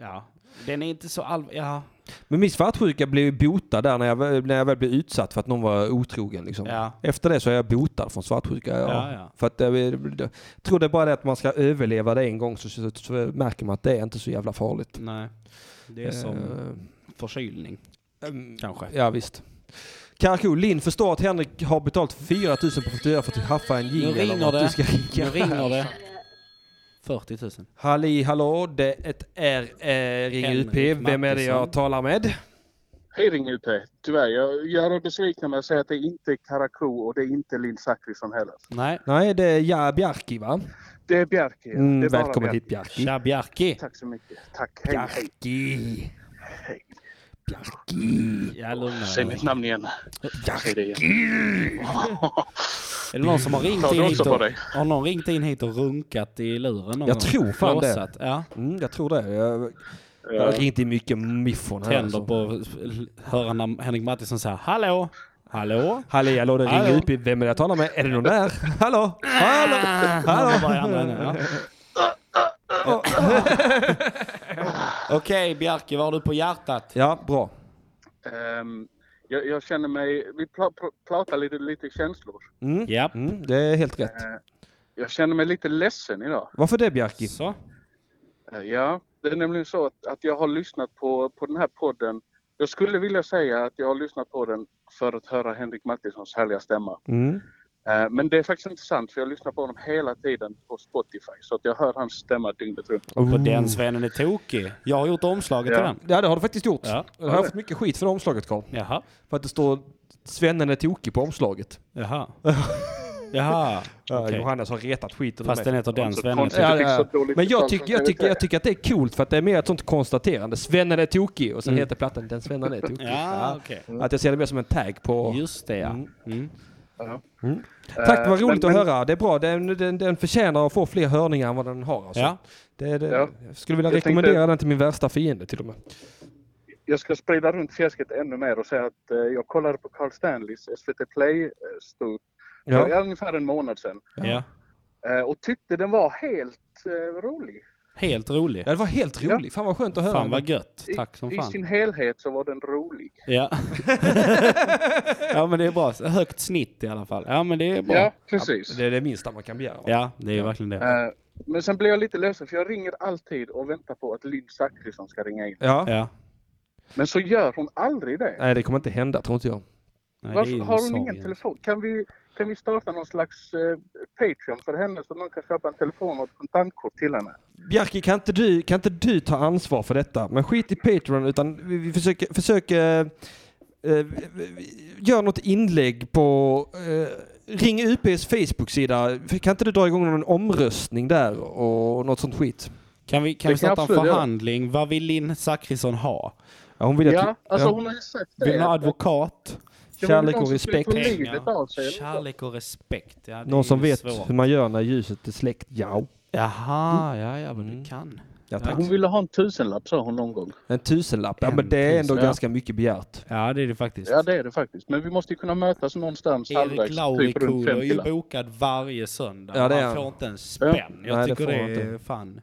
[SPEAKER 3] ja. Den är inte så allvarlig. Ja.
[SPEAKER 1] Men min svartsjuka blev ju botad där när jag, väl- när jag väl blev utsatt för att någon var otrogen. Liksom.
[SPEAKER 3] Ja.
[SPEAKER 1] Efter det så är jag botad från svartsjuka. Ja.
[SPEAKER 3] Ja, ja.
[SPEAKER 1] För att jag, jag tror det är bara det att man ska överleva det en gång så, så, så märker man att det är inte så jävla farligt.
[SPEAKER 3] Nej. Det är som förkylning. Kanske.
[SPEAKER 1] Eh, mm, Ja visst. Karakou, Linn förstår att Henrik har betalt 4000 på faktura för att haffa en
[SPEAKER 3] Nu
[SPEAKER 1] jingel. om
[SPEAKER 3] ringer
[SPEAKER 1] att
[SPEAKER 3] det.
[SPEAKER 1] du ska ringa.
[SPEAKER 3] Nu ringer det. 40 000.
[SPEAKER 1] Halli hallå, det är eh, Ring
[SPEAKER 12] Henrik
[SPEAKER 1] UP. Vem är det jag
[SPEAKER 12] Mattisson.
[SPEAKER 1] talar med?
[SPEAKER 12] Hej Ring UP! Tyvärr, jag gör dig besviken med att säga att det inte är Karakou och det är inte Linn Zachrisson heller.
[SPEAKER 3] Nej.
[SPEAKER 1] Nej, det är Ja Bjarki va?
[SPEAKER 12] Det är Bjarki. ja.
[SPEAKER 1] Mm,
[SPEAKER 12] det är bara
[SPEAKER 1] välkommen hit Bjarki.
[SPEAKER 3] Tja Bjarki.
[SPEAKER 12] Tack så mycket. Tack. Hej, hej.
[SPEAKER 1] Bjarki.
[SPEAKER 3] Ja, lugna
[SPEAKER 12] Säg mitt namn igen. Säg det igen.
[SPEAKER 3] Är det någon som har ringt
[SPEAKER 12] Tar
[SPEAKER 3] in
[SPEAKER 12] du
[SPEAKER 3] hit
[SPEAKER 12] också
[SPEAKER 3] och,
[SPEAKER 12] på dig?
[SPEAKER 3] har någon ringt in hit och runkat i luren någon
[SPEAKER 1] Jag tror fan
[SPEAKER 3] Blåsat?
[SPEAKER 1] det.
[SPEAKER 3] Ja.
[SPEAKER 1] Mm, jag tror det. Jag, jag har ringt in mycket miffon här. alltså.
[SPEAKER 3] Tänder på höra när Henrik Mattisson säger hallå, hallå.
[SPEAKER 1] Halli hallå, det ringer
[SPEAKER 3] Hallå.
[SPEAKER 1] upp i vem är det jag talar med? Är det någon där? Hallå? Hallå?
[SPEAKER 3] Hallå! Bara i andra änden, ja. Okej Bjarke, vad har du på hjärtat?
[SPEAKER 1] Ja, bra.
[SPEAKER 12] Ehm, jag, jag känner mig... Vi pra- pra- pratar lite, lite känslor.
[SPEAKER 1] Mm. Mm, det är helt rätt.
[SPEAKER 12] Eh, jag känner mig lite ledsen idag.
[SPEAKER 1] Varför det Bjarki?
[SPEAKER 3] Så.
[SPEAKER 12] Eh, Ja, det är nämligen så att, att jag har lyssnat på, på den här podden. Jag skulle vilja säga att jag har lyssnat på den för att höra Henrik Mattissons härliga stämma.
[SPEAKER 1] Mm.
[SPEAKER 12] Eh, Men det är faktiskt inte sant för jag lyssnar på honom hela tiden på Spotify så att jag hör hans stämma dygnet runt.
[SPEAKER 3] På den svennen är tokig. Jag har gjort omslaget till
[SPEAKER 12] Ja.
[SPEAKER 3] den.
[SPEAKER 1] Ja, det har du faktiskt gjort.
[SPEAKER 3] Ja.
[SPEAKER 1] Jag har fått mycket skit för det omslaget Carl.
[SPEAKER 3] Jaha.
[SPEAKER 1] För att det står Svennen är tokig på omslaget.
[SPEAKER 3] Jaha. Jaha.
[SPEAKER 1] Ja,
[SPEAKER 3] okej.
[SPEAKER 1] Johannes har retat skiten ur
[SPEAKER 3] Fast
[SPEAKER 1] mig.
[SPEAKER 3] den heter den svennen. är
[SPEAKER 1] Ja,
[SPEAKER 3] tokig.
[SPEAKER 1] ja, ja. Men jag tycker, jag, tycker, jag tycker att det är coolt för att det är mer ett sånt konstaterande. Svennen är tokig och sen
[SPEAKER 3] Mm.
[SPEAKER 1] heter plattan Den svennen är tokig.
[SPEAKER 3] Ja, okej.
[SPEAKER 1] Att jag ser det mer som en tag på...
[SPEAKER 3] Just det ja. Mm.
[SPEAKER 1] Mm. Tack, vad
[SPEAKER 12] Eh,
[SPEAKER 1] roligt
[SPEAKER 12] men-
[SPEAKER 1] att
[SPEAKER 12] men-
[SPEAKER 1] höra. Det är bra. Den, den, den förtjänar att få fler hörningar än vad den har. Alltså.
[SPEAKER 12] Ja.
[SPEAKER 1] Det, det,
[SPEAKER 12] Ja.
[SPEAKER 1] Jag skulle vilja
[SPEAKER 12] Jag
[SPEAKER 1] rekommendera
[SPEAKER 12] tänkte-
[SPEAKER 1] den till min värsta fiende till och med.
[SPEAKER 12] Jag ska sprida runt fjäsket ännu mer och säga att eh, jag kollade på Carl Stanleys SVT Play eh, stod
[SPEAKER 1] Ja.
[SPEAKER 12] för ungefär en månad sedan
[SPEAKER 3] Ja.
[SPEAKER 12] eh, och tyckte den var helt eh, rolig.
[SPEAKER 3] Helt rolig.
[SPEAKER 1] Ja, det var helt rolig. Fan vad skönt att höra.
[SPEAKER 3] Fan vad gött. Tack som
[SPEAKER 12] I
[SPEAKER 3] fan.
[SPEAKER 12] sin helhet så var den rolig.
[SPEAKER 3] Ja. ja men det är bra. Högt snitt i alla fall. Ja men det är bra.
[SPEAKER 12] Ja, precis.
[SPEAKER 1] Det är det minsta man kan begära. va?
[SPEAKER 3] Ja, det är ju verkligen det.
[SPEAKER 12] Eh, Men sen blir jag lite ledsen för jag ringer alltid och väntar på att Linn Zachrisson ska ringa in.
[SPEAKER 1] Ja.
[SPEAKER 12] Men så gör hon aldrig det.
[SPEAKER 1] Nej, det kommer inte hända tror inte jag.
[SPEAKER 12] Varför har hon ingen telefon? Kan vi, kan vi starta någon slags eh, Patreon för henne så någon kan köpa en telefon och ett kontantkort till henne?
[SPEAKER 1] Bjarki, kan inte, du, kan inte du ta ansvar för detta? Men skit i Patreon, utan vi, vi försöker... försöker eh, eh, gör något inlägg på... Eh, ring UPs Facebook-sida. Kan inte du dra igång någon omröstning där och något sånt skit?
[SPEAKER 3] Kan vi, kan
[SPEAKER 1] Det
[SPEAKER 3] vi
[SPEAKER 1] kan jag
[SPEAKER 3] starta en
[SPEAKER 1] absolut göra.
[SPEAKER 3] förhandling? Vad vill Linn Zachrisson ha?
[SPEAKER 1] Ja, hon vill att-
[SPEAKER 12] Ja, alltså hon har ju sagt det.
[SPEAKER 3] Vill hon ha advokat?
[SPEAKER 12] alltså, Det var väl Kärlek någon och som skulle respekt. få livet
[SPEAKER 3] Pengar.
[SPEAKER 12] av sig, eller?
[SPEAKER 3] Kärlek och respekt. Ja, det är
[SPEAKER 1] Någon som
[SPEAKER 3] ju
[SPEAKER 1] vet
[SPEAKER 3] svårt.
[SPEAKER 1] hur man gör när ljuset är släckt? Ja. Mm.
[SPEAKER 3] Jaha, ja, ja, men du kan.
[SPEAKER 1] Ja, tack.
[SPEAKER 12] Hon ville ha en tusenlapp sa hon någon gång.
[SPEAKER 1] En tusenlapp. Ja,
[SPEAKER 12] En
[SPEAKER 1] men det är ändå
[SPEAKER 12] tusenlapp.
[SPEAKER 1] ganska mycket begärt.
[SPEAKER 3] Ja, det är det faktiskt.
[SPEAKER 12] Ja det är det faktiskt. Men vi måste ju kunna mötas någonstans
[SPEAKER 3] Erik
[SPEAKER 12] halvvägs. Typ runt
[SPEAKER 3] Laurikulo är ju
[SPEAKER 12] 50
[SPEAKER 3] bokad varje söndag.
[SPEAKER 1] Ja, det är
[SPEAKER 3] han
[SPEAKER 1] han.
[SPEAKER 3] får inte en
[SPEAKER 1] Ja.
[SPEAKER 3] spänn.
[SPEAKER 1] Nej,
[SPEAKER 3] Jag
[SPEAKER 1] det
[SPEAKER 3] tycker
[SPEAKER 1] får
[SPEAKER 3] det,
[SPEAKER 1] han
[SPEAKER 3] är
[SPEAKER 1] inte.
[SPEAKER 3] fan...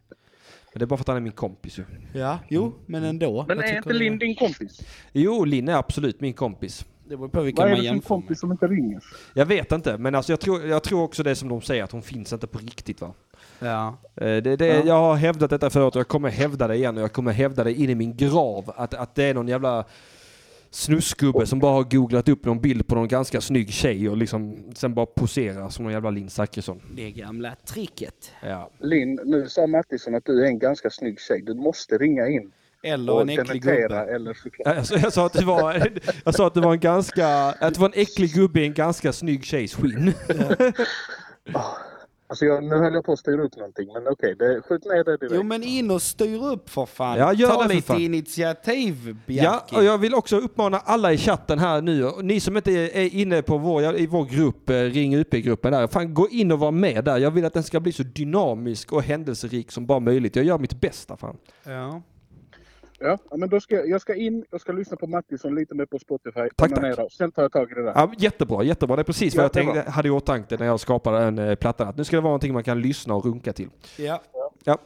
[SPEAKER 1] Men det är bara för att han är min kompis ju.
[SPEAKER 3] Ja, jo, men ändå.
[SPEAKER 12] Men
[SPEAKER 3] Jag
[SPEAKER 12] är
[SPEAKER 3] tycker
[SPEAKER 12] inte Linn din kompis?
[SPEAKER 1] Jo, Linn är absolut min kompis.
[SPEAKER 3] Det beror på
[SPEAKER 12] Vad är det för en kompis som inte ringer?
[SPEAKER 1] Jag vet inte, men alltså jag, tror, jag tror också det som de säger, att hon finns inte på riktigt va.
[SPEAKER 3] Ja.
[SPEAKER 1] Eh, Det, det,
[SPEAKER 3] Ja.
[SPEAKER 1] Jag har hävdat detta förut och jag kommer hävda det igen och jag kommer hävda det in i min grav. Att, att det är någon jävla snusgubbe som bara har googlat upp någon bild på någon ganska snygg tjej och liksom sen bara poserar som någon jävla Linn Zachrisson.
[SPEAKER 3] Det gamla tricket.
[SPEAKER 1] Ja.
[SPEAKER 12] Linn, nu sa Mattisson att du är en ganska snygg tjej. Du måste ringa in.
[SPEAKER 3] Eller
[SPEAKER 12] och
[SPEAKER 3] en äcklig
[SPEAKER 12] dementera
[SPEAKER 3] gubbe.
[SPEAKER 12] Eller förklara.
[SPEAKER 1] Jag, alltså, jag, sa att det var, jag sa att det var en ganska, att det var en äcklig gubbe i en ganska snygg tjejs skinn.
[SPEAKER 12] Alltså jag, nu höll jag på att styra upp någonting, men okej, det- skjut ner det direkt.
[SPEAKER 3] Jo men in och styr upp för fan.
[SPEAKER 1] Ja, gör
[SPEAKER 3] Ta
[SPEAKER 1] det för
[SPEAKER 3] lite
[SPEAKER 1] fan.
[SPEAKER 3] initiativ
[SPEAKER 1] Ja,
[SPEAKER 3] Bjarki.
[SPEAKER 1] och jag vill också uppmana alla i chatten här nu, och ni som inte är inne på vår, i vår grupp, eh, Ring UP-gruppen där, fan gå in och var med där. Jag vill att den ska bli så dynamisk och händelserik som bara möjligt. Jag gör mitt bästa fan.
[SPEAKER 3] Ja.
[SPEAKER 12] Ja, men då ska jag, jag ska in och ska lyssna på Mattisson lite mer på Spotify.
[SPEAKER 1] tack.
[SPEAKER 12] tack. Sen tar jag tag i det där.
[SPEAKER 1] Ja, jättebra, jättebra. Det är precis vad jag
[SPEAKER 12] Jättebra.
[SPEAKER 1] tänkte, hade i åtanke när jag skapade den eh, plattan. Att nu ska det vara någonting man kan lyssna och runka till.
[SPEAKER 3] Ja.
[SPEAKER 1] Ja.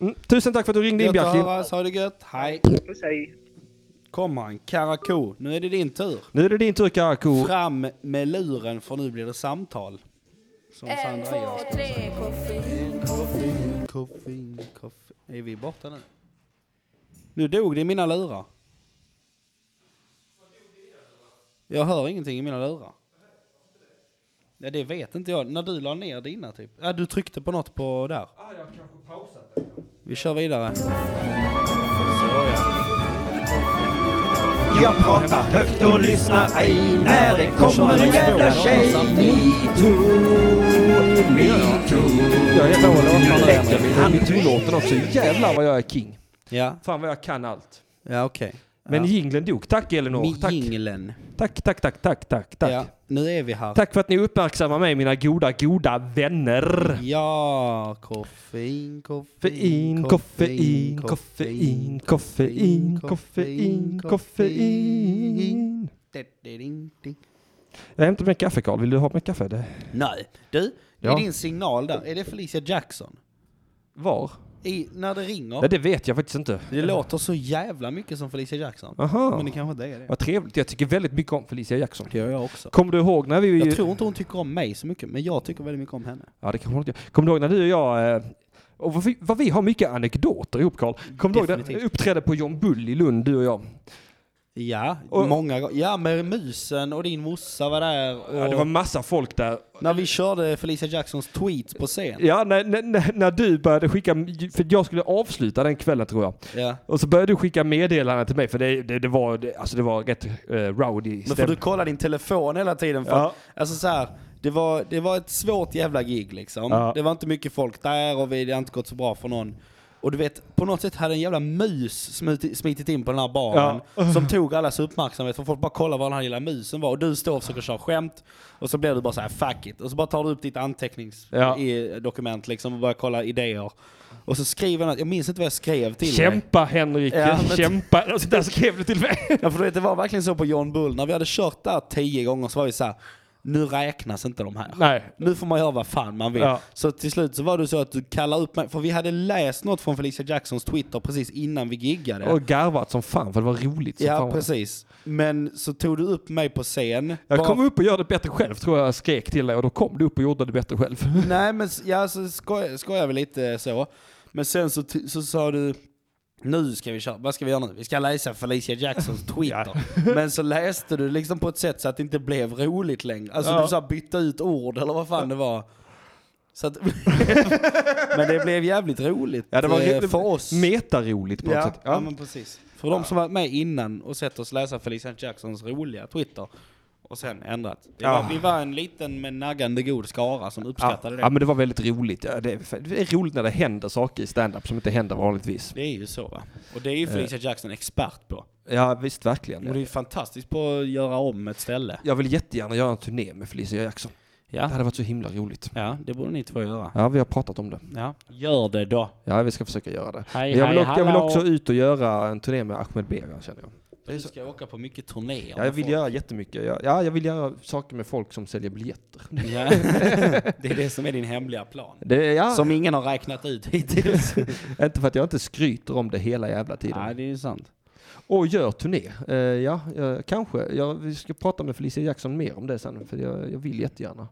[SPEAKER 1] Mm, tusen tack för att du ringde in
[SPEAKER 3] Gött att
[SPEAKER 1] Bjarki.
[SPEAKER 3] höras, ha det gött. Hej. Kom han, Karako. Nu är det din tur.
[SPEAKER 1] Nu är det din tur Karakou.
[SPEAKER 3] Fram med luren för nu blir det samtal. Som
[SPEAKER 7] En,
[SPEAKER 3] Sandra gör.
[SPEAKER 7] två, tre, koffein, koffein.
[SPEAKER 3] Koffein, koffein. Är vi borta nu? Nu dog det i mina lurar. Jag hör ingenting i mina lurar. Ja, det vet inte jag. När du la ner dina typ. Ja, du tryckte på något på där. Vi kör vidare.
[SPEAKER 7] Jag pratar högt och lyssnar ej när det kommer en jävla tjej. Metoo, metoo.
[SPEAKER 1] Jag heter Ola och jag lägger mig tillåten också. Jävlar vad jag är king.
[SPEAKER 3] Ja.
[SPEAKER 1] Fan vad jag kan allt.
[SPEAKER 3] Ja, okej.
[SPEAKER 1] Men
[SPEAKER 3] ja.
[SPEAKER 1] jinglen dog. Tack Elinor.
[SPEAKER 3] Med
[SPEAKER 1] Tack.
[SPEAKER 3] jinglen.
[SPEAKER 1] Tack, tack, tack, tack, tack, tack.
[SPEAKER 3] Ja, nu är vi här.
[SPEAKER 1] Tack för att ni uppmärksammar mig mina goda, goda vänner.
[SPEAKER 3] Ja, koffein, koffein,
[SPEAKER 1] Koffein, koffein, koffein, koffein, koffein, koffein. Jag hämtar mer kaffe Karl. Vill du ha mer kaffe? Det...
[SPEAKER 3] Nej, du,
[SPEAKER 1] Ja.
[SPEAKER 3] är din signal där, är det Felicia Jackson?
[SPEAKER 1] Var?
[SPEAKER 3] I, när det ringer?
[SPEAKER 1] Ja. det vet jag faktiskt inte.
[SPEAKER 3] Det låter så jävla mycket som Felicia Jackson.
[SPEAKER 1] Aha.
[SPEAKER 3] Men det kanske inte är det.
[SPEAKER 1] Vad trevligt. Jag tycker väldigt mycket om Felicia Jackson.
[SPEAKER 3] Det gör jag också.
[SPEAKER 1] Kommer du ihåg när vi...
[SPEAKER 3] Jag tror inte hon tycker om mig så mycket, men jag tycker väldigt mycket om henne.
[SPEAKER 1] Ja, det kanske hon inte gör. Kommer du ihåg när du och jag... eh, Och vad vi, vad vi har mycket anekdoter ihop Karl. Kommer du ihåg när vi
[SPEAKER 3] Definitivt.
[SPEAKER 1] uppträdde på John Bull i Lund, du och jag?
[SPEAKER 3] Ja,
[SPEAKER 1] Och-
[SPEAKER 3] många gånger. Ja, med musen och din morsa var där. Och
[SPEAKER 1] Ja, det var massa folk där.
[SPEAKER 3] När vi körde Felicia Jacksons tweets på scen.
[SPEAKER 1] Ja, när, när- när, när du började skicka... För jag skulle avsluta den kvällen tror jag.
[SPEAKER 3] Ja.
[SPEAKER 1] Och så började du skicka meddelanden till mig för det, det, det, var, det, alltså det var rätt eh, rowdy
[SPEAKER 3] Men får
[SPEAKER 1] stämning.
[SPEAKER 3] du kolla din telefon hela tiden? För,
[SPEAKER 1] Ja.
[SPEAKER 3] Alltså så här, det var, det var ett svårt jävla gig liksom.
[SPEAKER 1] Ja.
[SPEAKER 3] Det var inte mycket folk där och vi, det har inte gått så bra för någon. Och du vet, på något sätt hade en jävla mus smiti- smitit in på den här baren. Som tog allas uppmärksamhet, för folk bara kollade var den här lilla musen var. Och du står och försöker köra skämt, och så blir du bara så här fuck it. Och så bara tar du upp ditt
[SPEAKER 1] Ja.
[SPEAKER 3] anteckningsdokument liksom och börjar kolla idéer. Och så skriver han, jag minns inte vad jag skrev till dig.
[SPEAKER 1] Kämpa Henrik,
[SPEAKER 3] Ja, men- typ.
[SPEAKER 1] kämpa. Alltså, där skrev du till mig.
[SPEAKER 3] Ja, för du vet, det var verkligen så på John Bull. När vi hade kört där tio gånger så var vi så här. Nu räknas inte de här.
[SPEAKER 1] Nej.
[SPEAKER 3] Nu får man göra vad fan man vill.
[SPEAKER 1] Ja.
[SPEAKER 3] Så till slut så var det så att du kallade upp mig. För vi hade läst något från Felicia Jacksons Twitter precis innan vi giggade.
[SPEAKER 1] Och garvat som fan för det var roligt. som fan
[SPEAKER 3] ja,
[SPEAKER 1] var det.
[SPEAKER 3] precis. Men så tog du upp mig på scen.
[SPEAKER 1] Jag
[SPEAKER 3] Bara-
[SPEAKER 1] kom upp och gjorde det bättre själv tror jag jag skrek till dig och då kom du upp och gjorde det bättre själv.
[SPEAKER 3] Nej men s- ja, så skoj, skojar vi lite så. Men sen så, ty- så sa du, nu ska vi köra, vad ska vi göra nu? Vi ska läsa Felicia Jacksons Twitter. men så läste du liksom på ett sätt så att det inte blev roligt längre. Alltså
[SPEAKER 1] Ja.
[SPEAKER 3] du så här, bytte ut ord eller vad fan det var. Så att, men det blev jävligt roligt
[SPEAKER 1] Ja, det var
[SPEAKER 3] eh,
[SPEAKER 1] riktigt-
[SPEAKER 3] för oss.
[SPEAKER 1] metaroligt på något
[SPEAKER 3] ja,
[SPEAKER 1] sätt.
[SPEAKER 3] Ja. men precis. För de som varit med innan och sett oss läsa Felicia Jacksons roliga Twitter och sen ändrat. Det var,
[SPEAKER 1] Ja.
[SPEAKER 3] Vi var en liten men naggande god skara som uppskattade det.
[SPEAKER 1] Ja men det var väldigt roligt. Ja, det, är, det är roligt när det händer saker i stand-up som inte händer vanligtvis.
[SPEAKER 3] Det är ju så va. Och det är ju
[SPEAKER 1] Eh.
[SPEAKER 3] Felicia Jackson expert på.
[SPEAKER 1] Ja visst, verkligen.
[SPEAKER 3] Hon är ju fantastisk på att göra om ett ställe.
[SPEAKER 1] Jag vill jättegärna göra en turné med Felicia Jackson.
[SPEAKER 3] Ja.
[SPEAKER 1] Det hade varit så himla roligt.
[SPEAKER 3] Ja, det borde ni två göra.
[SPEAKER 1] Ja, vi har pratat om det.
[SPEAKER 3] Ja. Gör det då.
[SPEAKER 1] Ja, vi ska försöka göra det.
[SPEAKER 3] Hej,
[SPEAKER 1] Men jag, vill
[SPEAKER 3] hej,
[SPEAKER 1] också, jag vill
[SPEAKER 3] hallå.
[SPEAKER 1] också ut och göra en turné med Ahmed Bega känner jag.
[SPEAKER 3] Du ska åka på mycket turnéer.
[SPEAKER 1] Ja, jag vill göra jättemycket. Jag, ja, jag vill göra saker med folk som säljer biljetter.
[SPEAKER 3] Ja. Det är det som är din hemliga plan.
[SPEAKER 1] Det är- ja.
[SPEAKER 3] Som ingen har räknat ut hittills.
[SPEAKER 1] inte för att jag inte skryter om det hela jävla tiden.
[SPEAKER 3] Nej, det är ju sant.
[SPEAKER 1] Och gör turné. Eh, ja, eh, kanske. Jag, vi ska prata med Felicia Jackson mer om det sen, för jag, jag vill jättegärna.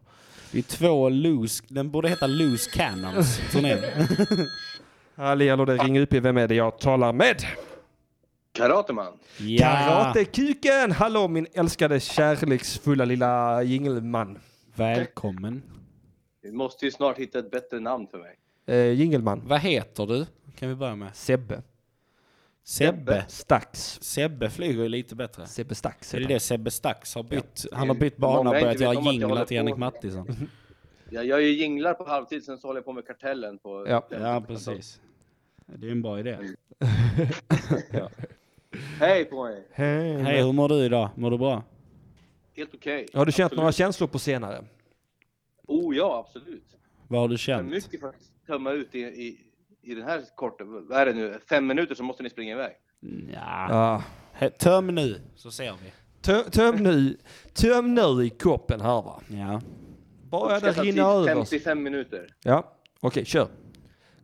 [SPEAKER 3] Det är två loose, den borde heta Loose Cannons turnén.
[SPEAKER 1] Halli hallå, det ringer upp. Vem är det jag talar med?
[SPEAKER 13] Karateman.
[SPEAKER 1] Karatekuken! Hallå min älskade kärleksfulla lilla jingelman.
[SPEAKER 3] Välkommen.
[SPEAKER 13] Du måste ju snart hitta ett bättre namn för mig.
[SPEAKER 1] Eh, jingelman.
[SPEAKER 3] Vad heter du? Kan vi börja med?
[SPEAKER 1] Sebbe.
[SPEAKER 3] Sebbe.
[SPEAKER 1] Stax.
[SPEAKER 3] Sebbe flyger ju lite bättre.
[SPEAKER 1] Sebbe Stax.
[SPEAKER 3] Är det det Sebbe Stax har bytt? Han har
[SPEAKER 13] Det är-
[SPEAKER 3] bytt bana och
[SPEAKER 13] många inte
[SPEAKER 3] börjat
[SPEAKER 13] vet
[SPEAKER 3] göra
[SPEAKER 13] om att jag
[SPEAKER 3] jinglar
[SPEAKER 13] håller
[SPEAKER 3] till
[SPEAKER 13] på
[SPEAKER 3] Henrik
[SPEAKER 13] med-
[SPEAKER 3] Mattisson.
[SPEAKER 13] Jag gör ju jinglar på halvtid, sen så håller jag på med kartellen på...
[SPEAKER 1] Ja.
[SPEAKER 3] Ja, precis. Det är en bra idé. ja.
[SPEAKER 13] Hej på er!
[SPEAKER 1] Hej.
[SPEAKER 3] Hej, hur mår du idag? Mår du bra?
[SPEAKER 13] Helt okej.
[SPEAKER 1] Har du känt några känslor på senare?
[SPEAKER 13] Oh ja, absolut.
[SPEAKER 3] Vad har du
[SPEAKER 13] För
[SPEAKER 3] känt?
[SPEAKER 13] mycket för att tömma ut i, i, i den här korta... Vad är det nu? Fem minuter så måste ni springa iväg.
[SPEAKER 1] Mm. Ja.
[SPEAKER 3] He- Töm nu, så ser vi.
[SPEAKER 1] Tö- Töm nu, töm nu i koppen här va.
[SPEAKER 3] Ja.
[SPEAKER 1] Bara det
[SPEAKER 13] Uppskattad
[SPEAKER 1] rinner
[SPEAKER 13] tid,
[SPEAKER 1] över.
[SPEAKER 13] 55 typ minuter.
[SPEAKER 1] Ja, okej kör.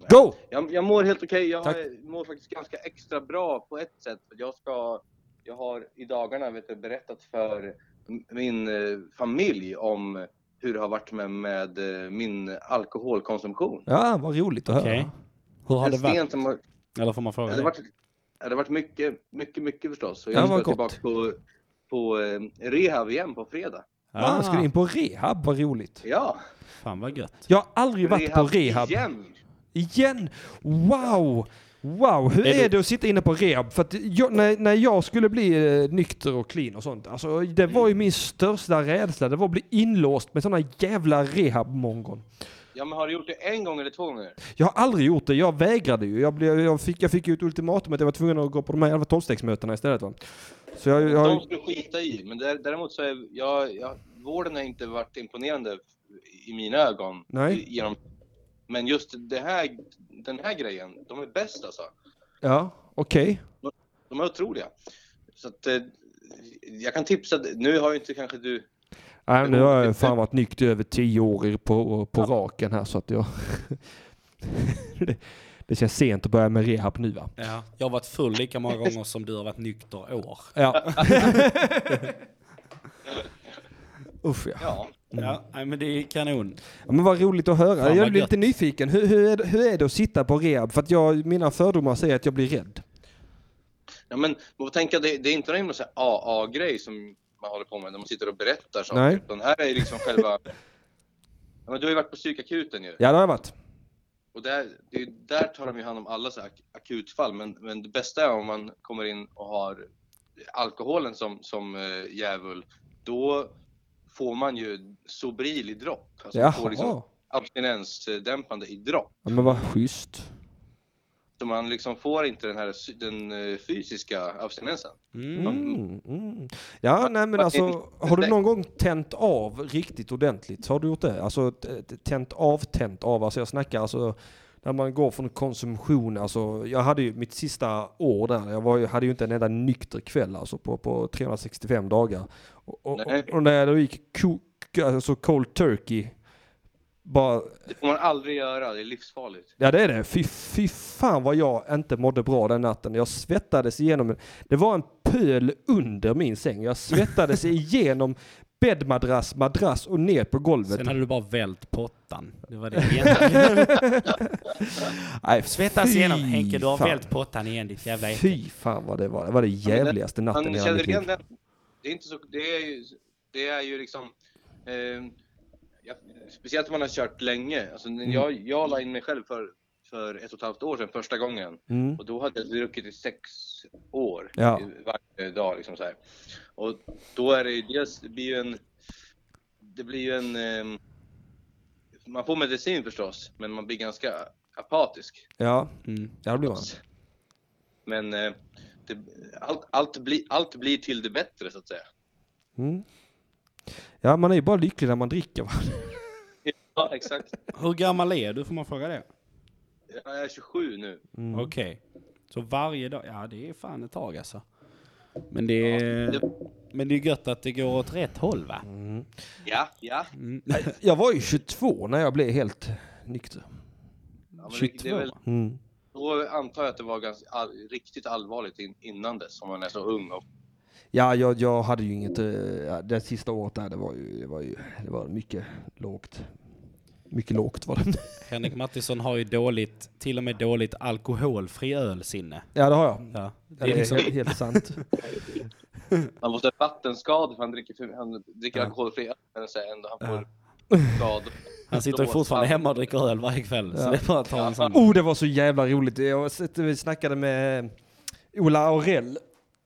[SPEAKER 1] Go!
[SPEAKER 13] Jag, jag mår helt okej. Jag
[SPEAKER 1] Tack.
[SPEAKER 13] är- mår faktiskt ganska extra bra på ett sätt. För Jag, ska, jag har i dagarna vet du, berättat för m- min eh, familj om hur det har varit med, med eh, min alkoholkonsumtion.
[SPEAKER 1] Ja, vad roligt att höra.
[SPEAKER 3] Okej. Hur har
[SPEAKER 13] En
[SPEAKER 3] det
[SPEAKER 13] sten
[SPEAKER 3] varit?
[SPEAKER 13] som har,
[SPEAKER 3] Eller får man
[SPEAKER 13] det
[SPEAKER 3] fråga
[SPEAKER 13] har
[SPEAKER 3] det?
[SPEAKER 13] varit, det har varit mycket, mycket, mycket förstås. Och
[SPEAKER 1] Ja,
[SPEAKER 13] jag
[SPEAKER 1] vad
[SPEAKER 13] ska
[SPEAKER 1] gott.
[SPEAKER 13] tillbaka på, på eh, rehab igen på fredag.
[SPEAKER 1] Ah. ska du in på rehab? Vad roligt.
[SPEAKER 13] Ja,
[SPEAKER 3] Fan vad gött.
[SPEAKER 1] Jag har aldrig varit på
[SPEAKER 13] Rehab
[SPEAKER 1] rehab.
[SPEAKER 13] igen.
[SPEAKER 1] Igen? Wow! Wow, hur
[SPEAKER 3] Är
[SPEAKER 1] är,
[SPEAKER 3] du-
[SPEAKER 1] det att sitta inne på rehab? För att jag, när, när jag skulle bli eh, nykter och clean och sånt, alltså, det var ju min största rädsla, det var att bli inlåst med såna jävla rehabmongon.
[SPEAKER 13] Ja, men har du gjort det en gång eller två gånger?
[SPEAKER 1] Jag har aldrig gjort det, jag vägrade ju. Jag, blev, jag fick ju jag fick ju ett ultimatum att jag var tvungen att gå på de här jävla tolvstegsmötena istället. Va? Så jag, jag,
[SPEAKER 13] De skulle skita i, men där- däremot så är jag, jag, vården har inte varit imponerande i mina ögon.
[SPEAKER 1] Nej.
[SPEAKER 13] I- Genom, men just det här, den här grejen, de är bäst alltså.
[SPEAKER 1] ja, okej.
[SPEAKER 13] De är otroliga. Så att, eh, jag kan tipsa, nu har ju inte kanske du...
[SPEAKER 1] Nej, nu har jag fan varit nykter i över tio år i- på, på raken här så att jag... det, det känns sent att börja med rehab nu va?
[SPEAKER 3] Ja. Jag har varit full lika många gånger som du har varit nykter år.
[SPEAKER 1] Ja. Usch ja.
[SPEAKER 13] Ja.
[SPEAKER 3] Ja, nej, men det är kanon.
[SPEAKER 1] Ja, Men vad roligt att höra.
[SPEAKER 3] Fan, vad
[SPEAKER 1] jag blir
[SPEAKER 3] gött.
[SPEAKER 1] lite nyfiken. Hur, hur, är det, hur är det att sitta på rehab? För att jag, mina fördomar säger att jag blir rädd.
[SPEAKER 13] Ja, men man får tänka, det, det är inte någon himla så här AA-grej som man håller på med, när man sitter och berättar saker.
[SPEAKER 1] Nej.
[SPEAKER 13] Utan här är liksom själva... ja, men du har ju varit på psykakuten ju.
[SPEAKER 1] Ja, det har jag varit.
[SPEAKER 13] Och där, det är, där tar de ju hand om alla så här ak- akutfall, men, men det bästa är om man kommer in och har alkoholen som, som eh, djävul, då får man ju Sobril i dropp. Alltså man
[SPEAKER 1] Jaha.
[SPEAKER 13] får liksom abstinensdämpande i dropp.
[SPEAKER 1] Ja, men vad schysst.
[SPEAKER 13] Så man liksom får inte den här sy- den eh, fysiska abstinensen.
[SPEAKER 1] Mm, mm. Ja, nej men alltså, har du någon gång tänt av riktigt ordentligt? Har du gjort det? Alltså t- t- tänt av, tänt av. Alltså jag snackar alltså, när man går från konsumtion, alltså jag hade ju mitt sista år där, jag var, ju- hade ju inte en enda nykter kväll alltså på, på 365 dagar. Och, och,
[SPEAKER 13] Nej.
[SPEAKER 1] och när jag då gick ko, alltså cold turkey, bara,
[SPEAKER 13] Det får man aldrig göra, det är livsfarligt.
[SPEAKER 1] ja det är det, fy, fy fan vad jag inte mådde bra den natten. Jag svettades igenom, det var en pöl under min säng, jag svettades igenom bäddmadrass, madrass och ner på golvet.
[SPEAKER 3] Sen hade du bara vält pottan. Det var det egentligen.
[SPEAKER 1] Nej,
[SPEAKER 3] Svettas
[SPEAKER 1] fy
[SPEAKER 3] igenom Henke, du har
[SPEAKER 1] fan.
[SPEAKER 3] vält pottan igen ditt jävla äckel.
[SPEAKER 1] Fy fan vad det var. Det var det jävligaste natten i
[SPEAKER 13] Man
[SPEAKER 1] hela
[SPEAKER 13] känner
[SPEAKER 1] mitt
[SPEAKER 13] igen
[SPEAKER 1] liv.
[SPEAKER 13] den. Det är inte så, det är ju, det är ju liksom, eh, ja, speciellt om man har kört länge. Alltså, när
[SPEAKER 1] Mm.
[SPEAKER 13] jag, jag la in mig själv för, för ett och ett halvt år sedan första gången
[SPEAKER 1] Mm.
[SPEAKER 13] och då hade jag druckit i sex år
[SPEAKER 1] Ja.
[SPEAKER 13] i- varje dag liksom så här. Och då är det ju dels, det blir ju en, det blir ju en, ehm, man får medicin förstås, men man blir ganska apatisk.
[SPEAKER 1] Ja,
[SPEAKER 3] Mm.
[SPEAKER 1] ja det blir man.
[SPEAKER 13] Men eh, det, allt, allt, blir, allt blir till det bättre så att säga.
[SPEAKER 1] Mm. Ja, man är ju bara lycklig när man dricker. Va?
[SPEAKER 13] Ja, exakt.
[SPEAKER 3] Hur gammal är du? Får man fråga det?
[SPEAKER 13] Jag är 27 nu.
[SPEAKER 3] Okej. Så varje dag, ja det är fan ett tag alltså. Men det är, men det är gött att det går åt rätt håll va?
[SPEAKER 13] Ja, ja.
[SPEAKER 1] Mm. Jag var ju 22 när jag blev helt nykter.
[SPEAKER 13] ja men det, det är väl,
[SPEAKER 1] Mm.
[SPEAKER 13] då antar jag att det var ganska all, riktigt allvarligt in, innan dess, om man är så ung. Och,
[SPEAKER 1] Ja, jag, jag hade ju inget... eh, Ja, det sista året där, det var ju, det var ju det var mycket lågt. Mycket lågt var det.
[SPEAKER 3] Henrik Mattisson har ju dåligt, till och med dåligt alkoholfri ölsinne.
[SPEAKER 1] Ja, det har jag.
[SPEAKER 3] Ja.
[SPEAKER 1] Det är liksom helt sant.
[SPEAKER 13] han måste ha vattenskador för han dricker, för- han dricker alkoholfri öl, men så här ändå han får skador.
[SPEAKER 3] Han sitter ju fortfarande hemma och dricker öl varje kväll. Så
[SPEAKER 1] Ja.
[SPEAKER 3] det är bara att ta en sån.
[SPEAKER 1] Oh, det var så jävla roligt. Jag satt- vi snackade med Ola Aurell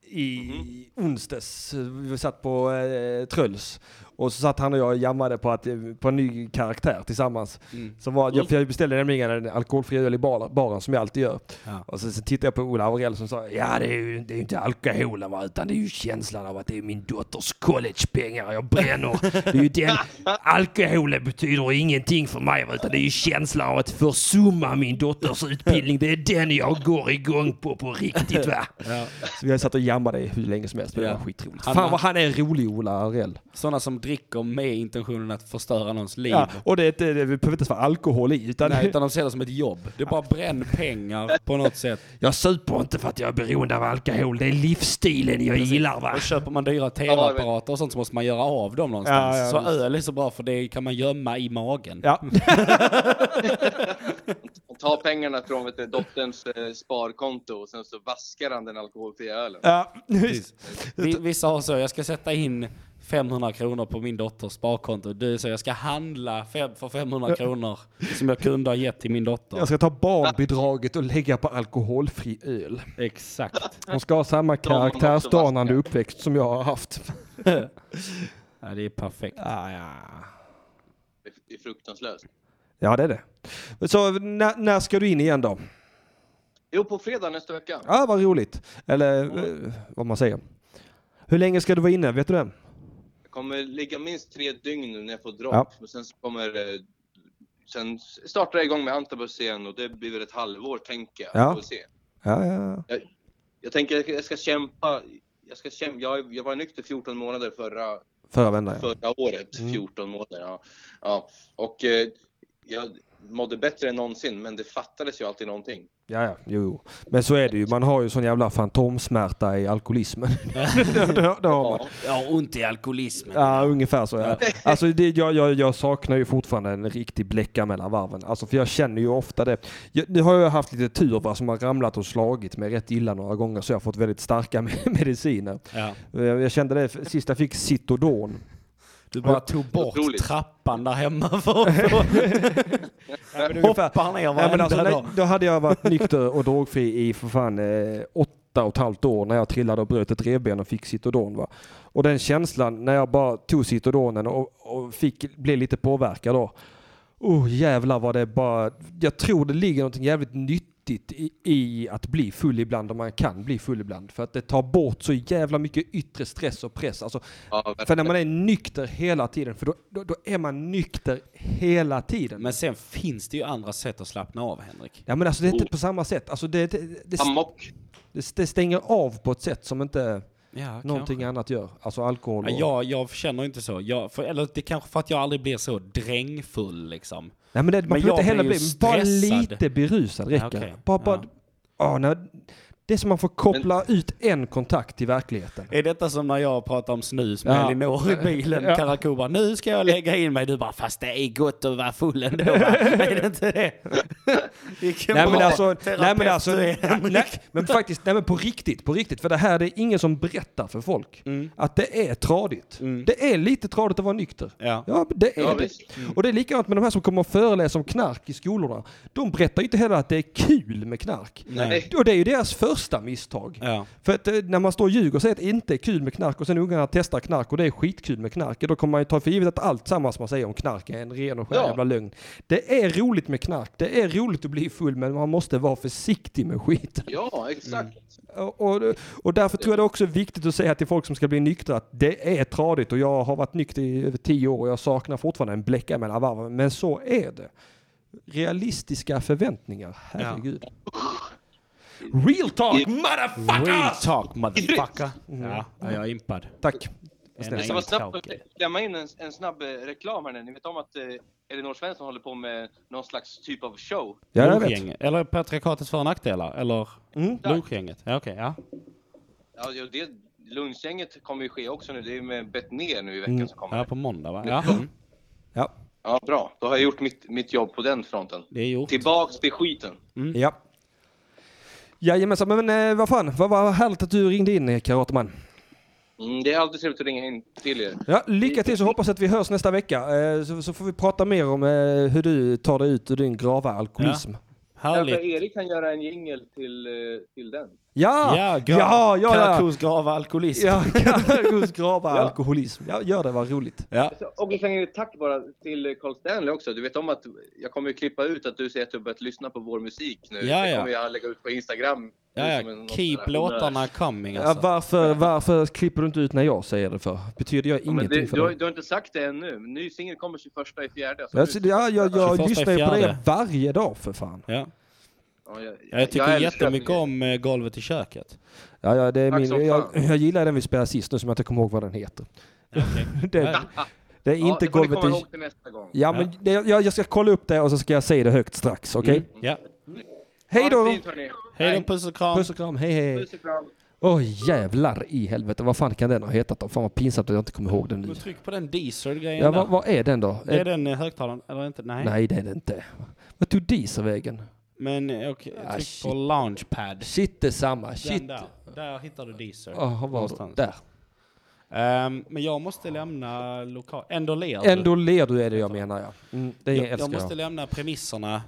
[SPEAKER 1] i onsdags. Vi satt på eh, Tröls. Och så satt han och jag och jammade på, att, eh, på en ny karaktär tillsammans.
[SPEAKER 3] Mm.
[SPEAKER 1] Som var, jag, för jag beställde nämligen en alkoholfri öl i bar, baren som jag alltid gör.
[SPEAKER 3] Ja.
[SPEAKER 1] Och så, så tittade jag på Ola Aurell som sa ja det är ju det är ju inte alkoholen va, utan det är ju känslan av att det är min dotters collegepengar jag bränner. Det är ju den, alkoholen betyder ingenting för mig va, utan det är ju känslan av att försumma min dotters utbildning. Det är den jag går igång på på riktigt va.
[SPEAKER 3] Ja.
[SPEAKER 1] Så vi har satt och jammade hur länge som helst. men Det var skitroligt.
[SPEAKER 3] Han-
[SPEAKER 1] Fan vad han är rolig Ola Aurell.
[SPEAKER 3] Sådana som dricker med intentionen att förstöra någons liv.
[SPEAKER 1] Ja, och det, är inte- det behöver inte ens vara alkohol i. Utan
[SPEAKER 3] Nej, utan de ser det som ett jobb. Det är bara bränn pengar på något sätt.
[SPEAKER 1] Jag super inte för att jag är beroende av alkohol. Det är livsstilen jag gillar va.
[SPEAKER 3] Och köper man dyra tv-apparater och sånt så måste man göra av dem någonstans.
[SPEAKER 1] Ja, ja,
[SPEAKER 3] så
[SPEAKER 1] visst.
[SPEAKER 3] öl är så bra för det kan man gömma i magen.
[SPEAKER 1] Ja.
[SPEAKER 13] Ta pengarna från vet du, dotterns eh, sparkonto och sen så vaskar han den alkoholfria ölen.
[SPEAKER 1] Ja,
[SPEAKER 3] Vi- Vissa har så, jag ska sätta in 500 kronor på min dotters sparkonto. Du så jag ska handla fem, för 500 kronor som jag kunde ha gett till min dotter.
[SPEAKER 1] Jag ska ta barnbidraget och lägga på alkoholfri öl.
[SPEAKER 3] Exakt.
[SPEAKER 1] Hon ska ha samma karaktärsdanande uppväxt som jag har haft.
[SPEAKER 3] Ja, det är perfekt.
[SPEAKER 13] Det är- Det är fruktanslöst.
[SPEAKER 1] Ja, det är det. Så när, när ska du in igen då?
[SPEAKER 13] Jo, på fredag nästa vecka.
[SPEAKER 1] Ja, vad roligt. Eller eh, vad man säger. Hur länge ska du vara inne? Vet du det?
[SPEAKER 13] Jag kommer ligga minst tre dygn nu när jag får dropp.
[SPEAKER 1] Ja.
[SPEAKER 13] Och sen så kommer... eh, Sen startar jag igång med Antabus igen och det blir väl ett halvår tänker jag.
[SPEAKER 1] Ja.
[SPEAKER 13] Får se.
[SPEAKER 1] Ja, ja.
[SPEAKER 13] Jag, jag tänker jag ska kämpa. Jag, ska kämpa. Jag, jag var nykter 14 månader förra,
[SPEAKER 1] Förra vändan, ja. Mm.
[SPEAKER 13] förra året. 14 månader, ja. ja. Och eh, jag mådde bättre än någonsin, men det fattades ju alltid någonting.
[SPEAKER 1] Ja, ja, jo, jo. Men så är det ju. Man har ju sån jävla fantomsmärta i alkoholismen. det, det, det har man.
[SPEAKER 3] Ja, ont i alkoholismen.
[SPEAKER 1] Ja, ungefär så. Ja. Alltså, det, jag, jag, jag saknar ju fortfarande en riktig bläcka mellan varven. Alltså, för jag känner ju ofta det. Jag, nu har jag haft lite tur va, som har ramlat och slagit mig rätt illa några gånger så jag har fått väldigt starka me- mediciner.
[SPEAKER 3] Ja.
[SPEAKER 1] Jag, jag kände det sist jag fick Citodon.
[SPEAKER 3] Du bara tog bort trappan där hemma för att få... Hoppar ner
[SPEAKER 1] Nej, men
[SPEAKER 3] varenda
[SPEAKER 1] alltså, nej,
[SPEAKER 3] dag.
[SPEAKER 1] då hade jag varit nykter och drogfri i för fan eh, åtta och ett halvt år när jag trillade och bröt ett revben och fick Citodon. Va? Och den känslan när jag bara tog Citodonen och, och fick, blev lite påverkad då. Oh jävlar vad det bara, jag tror det ligger något jävligt nyttigt i, i att bli full ibland om man kan bli full ibland. För att det tar bort så jävla mycket yttre stress och press. Alltså, för när man är nykter hela tiden, för då, då, då är man nykter hela tiden.
[SPEAKER 3] Men sen finns det ju andra sätt att slappna av, Henrik.
[SPEAKER 1] Ja men alltså det är inte på samma sätt. Alltså det, det, det,
[SPEAKER 13] Amok.
[SPEAKER 1] det, det stänger av på ett sätt som inte
[SPEAKER 3] Ja,
[SPEAKER 1] någonting annat gör. Alltså alkohol och...
[SPEAKER 3] Ja, jag, jag känner inte så. Jag, för, eller det är kanske för att jag aldrig blir så drängfull liksom.
[SPEAKER 1] Nej men det, man behöver
[SPEAKER 3] jag
[SPEAKER 1] inte heller
[SPEAKER 3] blir
[SPEAKER 1] bli...
[SPEAKER 3] ju
[SPEAKER 1] Bara
[SPEAKER 3] stressad.
[SPEAKER 1] lite berusad räcker.
[SPEAKER 3] Ja, okej.
[SPEAKER 1] Bara, bara, ja. nej, det är som man får koppla ut en kontakt till verkligheten.
[SPEAKER 3] Är detta som när jag pratar om snus med
[SPEAKER 1] Ja.
[SPEAKER 3] Elinor i bilen?
[SPEAKER 1] Ja.
[SPEAKER 3] Karakou bara, nu ska jag lägga in mig. Du bara, fast det är gott att vara full ändå. Va? är det inte det? Vilken
[SPEAKER 1] Nej men
[SPEAKER 3] bra
[SPEAKER 1] alltså, nej
[SPEAKER 3] terapeut
[SPEAKER 1] men alltså,
[SPEAKER 3] du är, Henrik.
[SPEAKER 1] nej, men faktiskt, nej men på riktigt, på riktigt. För det här det är ingen som berättar för folk
[SPEAKER 3] Mm.
[SPEAKER 1] att det är tradigt. Det är lite tradigt att vara nykter.
[SPEAKER 3] Ja.
[SPEAKER 1] det är
[SPEAKER 13] Ja,
[SPEAKER 1] det.
[SPEAKER 13] visst. Mm.
[SPEAKER 1] Och det är likadant med de här som kommer och föreläser om knark i skolorna. De berättar ju inte heller att det är kul med knark.
[SPEAKER 3] Nej.
[SPEAKER 1] Och det är ju deras första misstag.
[SPEAKER 3] Ja.
[SPEAKER 1] För att eh, när man står och ljuger och säger att det inte är kul med knark och sen ungarna testar knark och det är skitkul med knark, då kommer man ju ta för givet att allt sammans man säger om knark är en ren och skär
[SPEAKER 13] Ja.
[SPEAKER 1] jävla lögn. Det är roligt med knark, det är roligt att bli full men man måste vara försiktig med skiten.
[SPEAKER 13] Ja, exakt.
[SPEAKER 4] Mm. Oh,
[SPEAKER 1] Och, och,
[SPEAKER 4] eh,
[SPEAKER 1] och därför tror jag det är också viktigt att säga till folk som ska bli nyktra att det är tradigt och jag har varit nykter i över tio år och jag saknar fortfarande en bläcka mellan varven. Men så är det. Realistiska förväntningar, herregud. Real talk motherfuckers!
[SPEAKER 3] Real talk motherfucker. Ja, ja, jag är impad.
[SPEAKER 1] Tack. Vad
[SPEAKER 3] En
[SPEAKER 1] snällt
[SPEAKER 13] Jag ska vara
[SPEAKER 1] sagt.
[SPEAKER 13] snabb och klämma in en, en snabb eh, reklam här nu. Ni vet om att eh, Elinor Svensson håller på med någon slags typ av show.
[SPEAKER 1] Ja, jag vet.
[SPEAKER 3] Lunchgäng. Eller patriarkatets för och nackdelar. Eller
[SPEAKER 13] Mm.
[SPEAKER 3] lunchgänget. Ja, okej. ja.
[SPEAKER 13] Ja, ja, det, lunchgänget kommer ju ske också nu. Det är med bett ner nu i veckan
[SPEAKER 3] Mm.
[SPEAKER 13] som kommer.
[SPEAKER 3] Ja, på måndag va? Ja. Mm.
[SPEAKER 1] Ja.
[SPEAKER 13] Ja, bra. Då har jag gjort mitt, mitt jobb på den fronten.
[SPEAKER 3] Det är gjort.
[SPEAKER 13] Tillbaks till skiten.
[SPEAKER 1] Mm.
[SPEAKER 3] Mm.
[SPEAKER 1] Ja. Jajamensan, men eh, vad fan, vad, vad härligt att du ringde in eh, Karateman.
[SPEAKER 13] Mm, det är alltid trevligt att ringa in till er.
[SPEAKER 1] Ja, lycka till så hoppas att vi hörs nästa vecka. Eh, så, så får vi prata mer om eh, hur du tar dig ut ur din grava alkoholism.
[SPEAKER 3] Härligt.
[SPEAKER 13] Kanske Erik kan göra en jingle till, eh, till den.
[SPEAKER 1] Ja!
[SPEAKER 3] Ja,
[SPEAKER 1] ja, ja, ja.
[SPEAKER 3] Karakos grava alkoholism.
[SPEAKER 1] Ja, Karakos grava
[SPEAKER 3] Ja.
[SPEAKER 1] alkoholism. Ja, gör det, vad roligt.
[SPEAKER 3] Ja.
[SPEAKER 13] Alltså, Och vi kan ju tack bara till Carl Stanley också. Du vet om att jag kommer ju klippa ut att du säger att du har börjat lyssna på vår musik nu.
[SPEAKER 3] Ja,
[SPEAKER 13] det
[SPEAKER 3] ja.
[SPEAKER 13] kommer jag lägga ut på Instagram.
[SPEAKER 3] Ja, ja.
[SPEAKER 13] Som en- någon
[SPEAKER 3] Keep
[SPEAKER 13] sån här-
[SPEAKER 3] låtarna coming
[SPEAKER 1] Ja,
[SPEAKER 3] alltså.
[SPEAKER 1] varför, varför klipper du inte ut när jag säger det för? Betyder jag
[SPEAKER 13] Ja, men
[SPEAKER 1] ingenting
[SPEAKER 13] det,
[SPEAKER 1] för
[SPEAKER 13] du, har,
[SPEAKER 1] dig?
[SPEAKER 13] du har inte sagt det ännu. Ny singel kommer 21 i fjärde. så
[SPEAKER 1] Jag,
[SPEAKER 13] nu-
[SPEAKER 1] Alltså, ja, jag, jag
[SPEAKER 3] 21
[SPEAKER 1] lyssnar ju på det
[SPEAKER 3] Alltså, fjärde.
[SPEAKER 1] varje dag för fan.
[SPEAKER 3] Ja.
[SPEAKER 13] Ja, jag,
[SPEAKER 3] Ja, jag tycker
[SPEAKER 13] jag älskar
[SPEAKER 3] jättemycket om eh, golvet i köket.
[SPEAKER 1] Ja, ja, det är
[SPEAKER 3] Tack
[SPEAKER 1] min,
[SPEAKER 3] som
[SPEAKER 1] jag,
[SPEAKER 3] fan.
[SPEAKER 1] jag gillar den vi spelade sist nu som jag inte kommer ihåg vad den heter. det, det är
[SPEAKER 13] Ja,
[SPEAKER 1] inte
[SPEAKER 13] det får ni
[SPEAKER 1] golvet
[SPEAKER 13] komma
[SPEAKER 1] i...
[SPEAKER 13] ihåg till nästa gång.
[SPEAKER 1] Ja, men det, jag, jag ska kolla upp det och så ska jag säga det högt strax, okej?
[SPEAKER 3] Ja.
[SPEAKER 1] Hej
[SPEAKER 13] Ha det
[SPEAKER 1] då!
[SPEAKER 13] fint, hörni.
[SPEAKER 3] Hej då, puss och kram.
[SPEAKER 1] Puss och kram, hej hej!
[SPEAKER 13] Puss och kram.
[SPEAKER 1] Åh jävlar i helvete, vad fan kan den ha hetat då? Fan vad pinsamt att jag inte kommer ihåg den nu.
[SPEAKER 3] Men tryck på den diesel-grejen
[SPEAKER 1] Ja,
[SPEAKER 3] där.
[SPEAKER 1] vad, vad är den då?
[SPEAKER 3] Är den eh, högtalaren? Eller inte? Nej.
[SPEAKER 1] Nej, det är det inte. Vad tog dieselvägen?
[SPEAKER 3] Men eh, okej, tryck på
[SPEAKER 1] Ah, shit.
[SPEAKER 3] launchpad.
[SPEAKER 1] Shit, detsamma.
[SPEAKER 3] Den
[SPEAKER 1] Shit.
[SPEAKER 3] där. Där hittar du diesel.
[SPEAKER 1] Jaha, var
[SPEAKER 3] Någonstans.
[SPEAKER 1] där.
[SPEAKER 3] Ehm, men jag måste lämna lokal... Ändå ler du.
[SPEAKER 1] Ändå ler du är det jag menar ja. Mm, det
[SPEAKER 3] Alltså, jag,
[SPEAKER 1] älskar
[SPEAKER 3] jag
[SPEAKER 1] jag.
[SPEAKER 3] måste lämna premisserna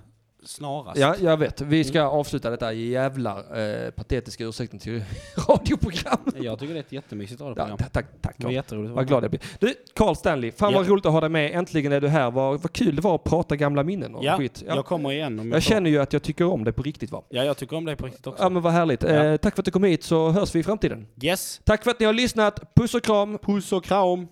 [SPEAKER 3] snarast.
[SPEAKER 1] Ja, jag vet. Vi ska
[SPEAKER 3] Mm.
[SPEAKER 1] avsluta detta jävla eh, patetiska ursäkten till radioprogram.
[SPEAKER 3] Jag tycker det är ett jättemysigt
[SPEAKER 1] Ja,
[SPEAKER 3] radioprogram.
[SPEAKER 1] tack, tack. tack
[SPEAKER 3] Det var
[SPEAKER 1] Carl.
[SPEAKER 3] jätteroligt att vara
[SPEAKER 1] Vad glad jag blir. Du, Carl Stanley. Fan vad
[SPEAKER 3] Ja.
[SPEAKER 1] roligt att ha dig med. Äntligen är du här. Vad, vad kul det var att prata gamla minnen och
[SPEAKER 3] Ja,
[SPEAKER 1] skit.
[SPEAKER 3] jag kommer igen om jag
[SPEAKER 1] Jag
[SPEAKER 3] får.
[SPEAKER 1] känner ju att jag tycker om dig på riktigt va?
[SPEAKER 3] Ja, jag tycker om dig på riktigt också.
[SPEAKER 1] Ja men vad härligt. Eh, tack för att du kom hit så hörs vi i framtiden.
[SPEAKER 3] Yes.
[SPEAKER 1] Tack för att ni har lyssnat. Puss och kram.
[SPEAKER 3] Puss och kram.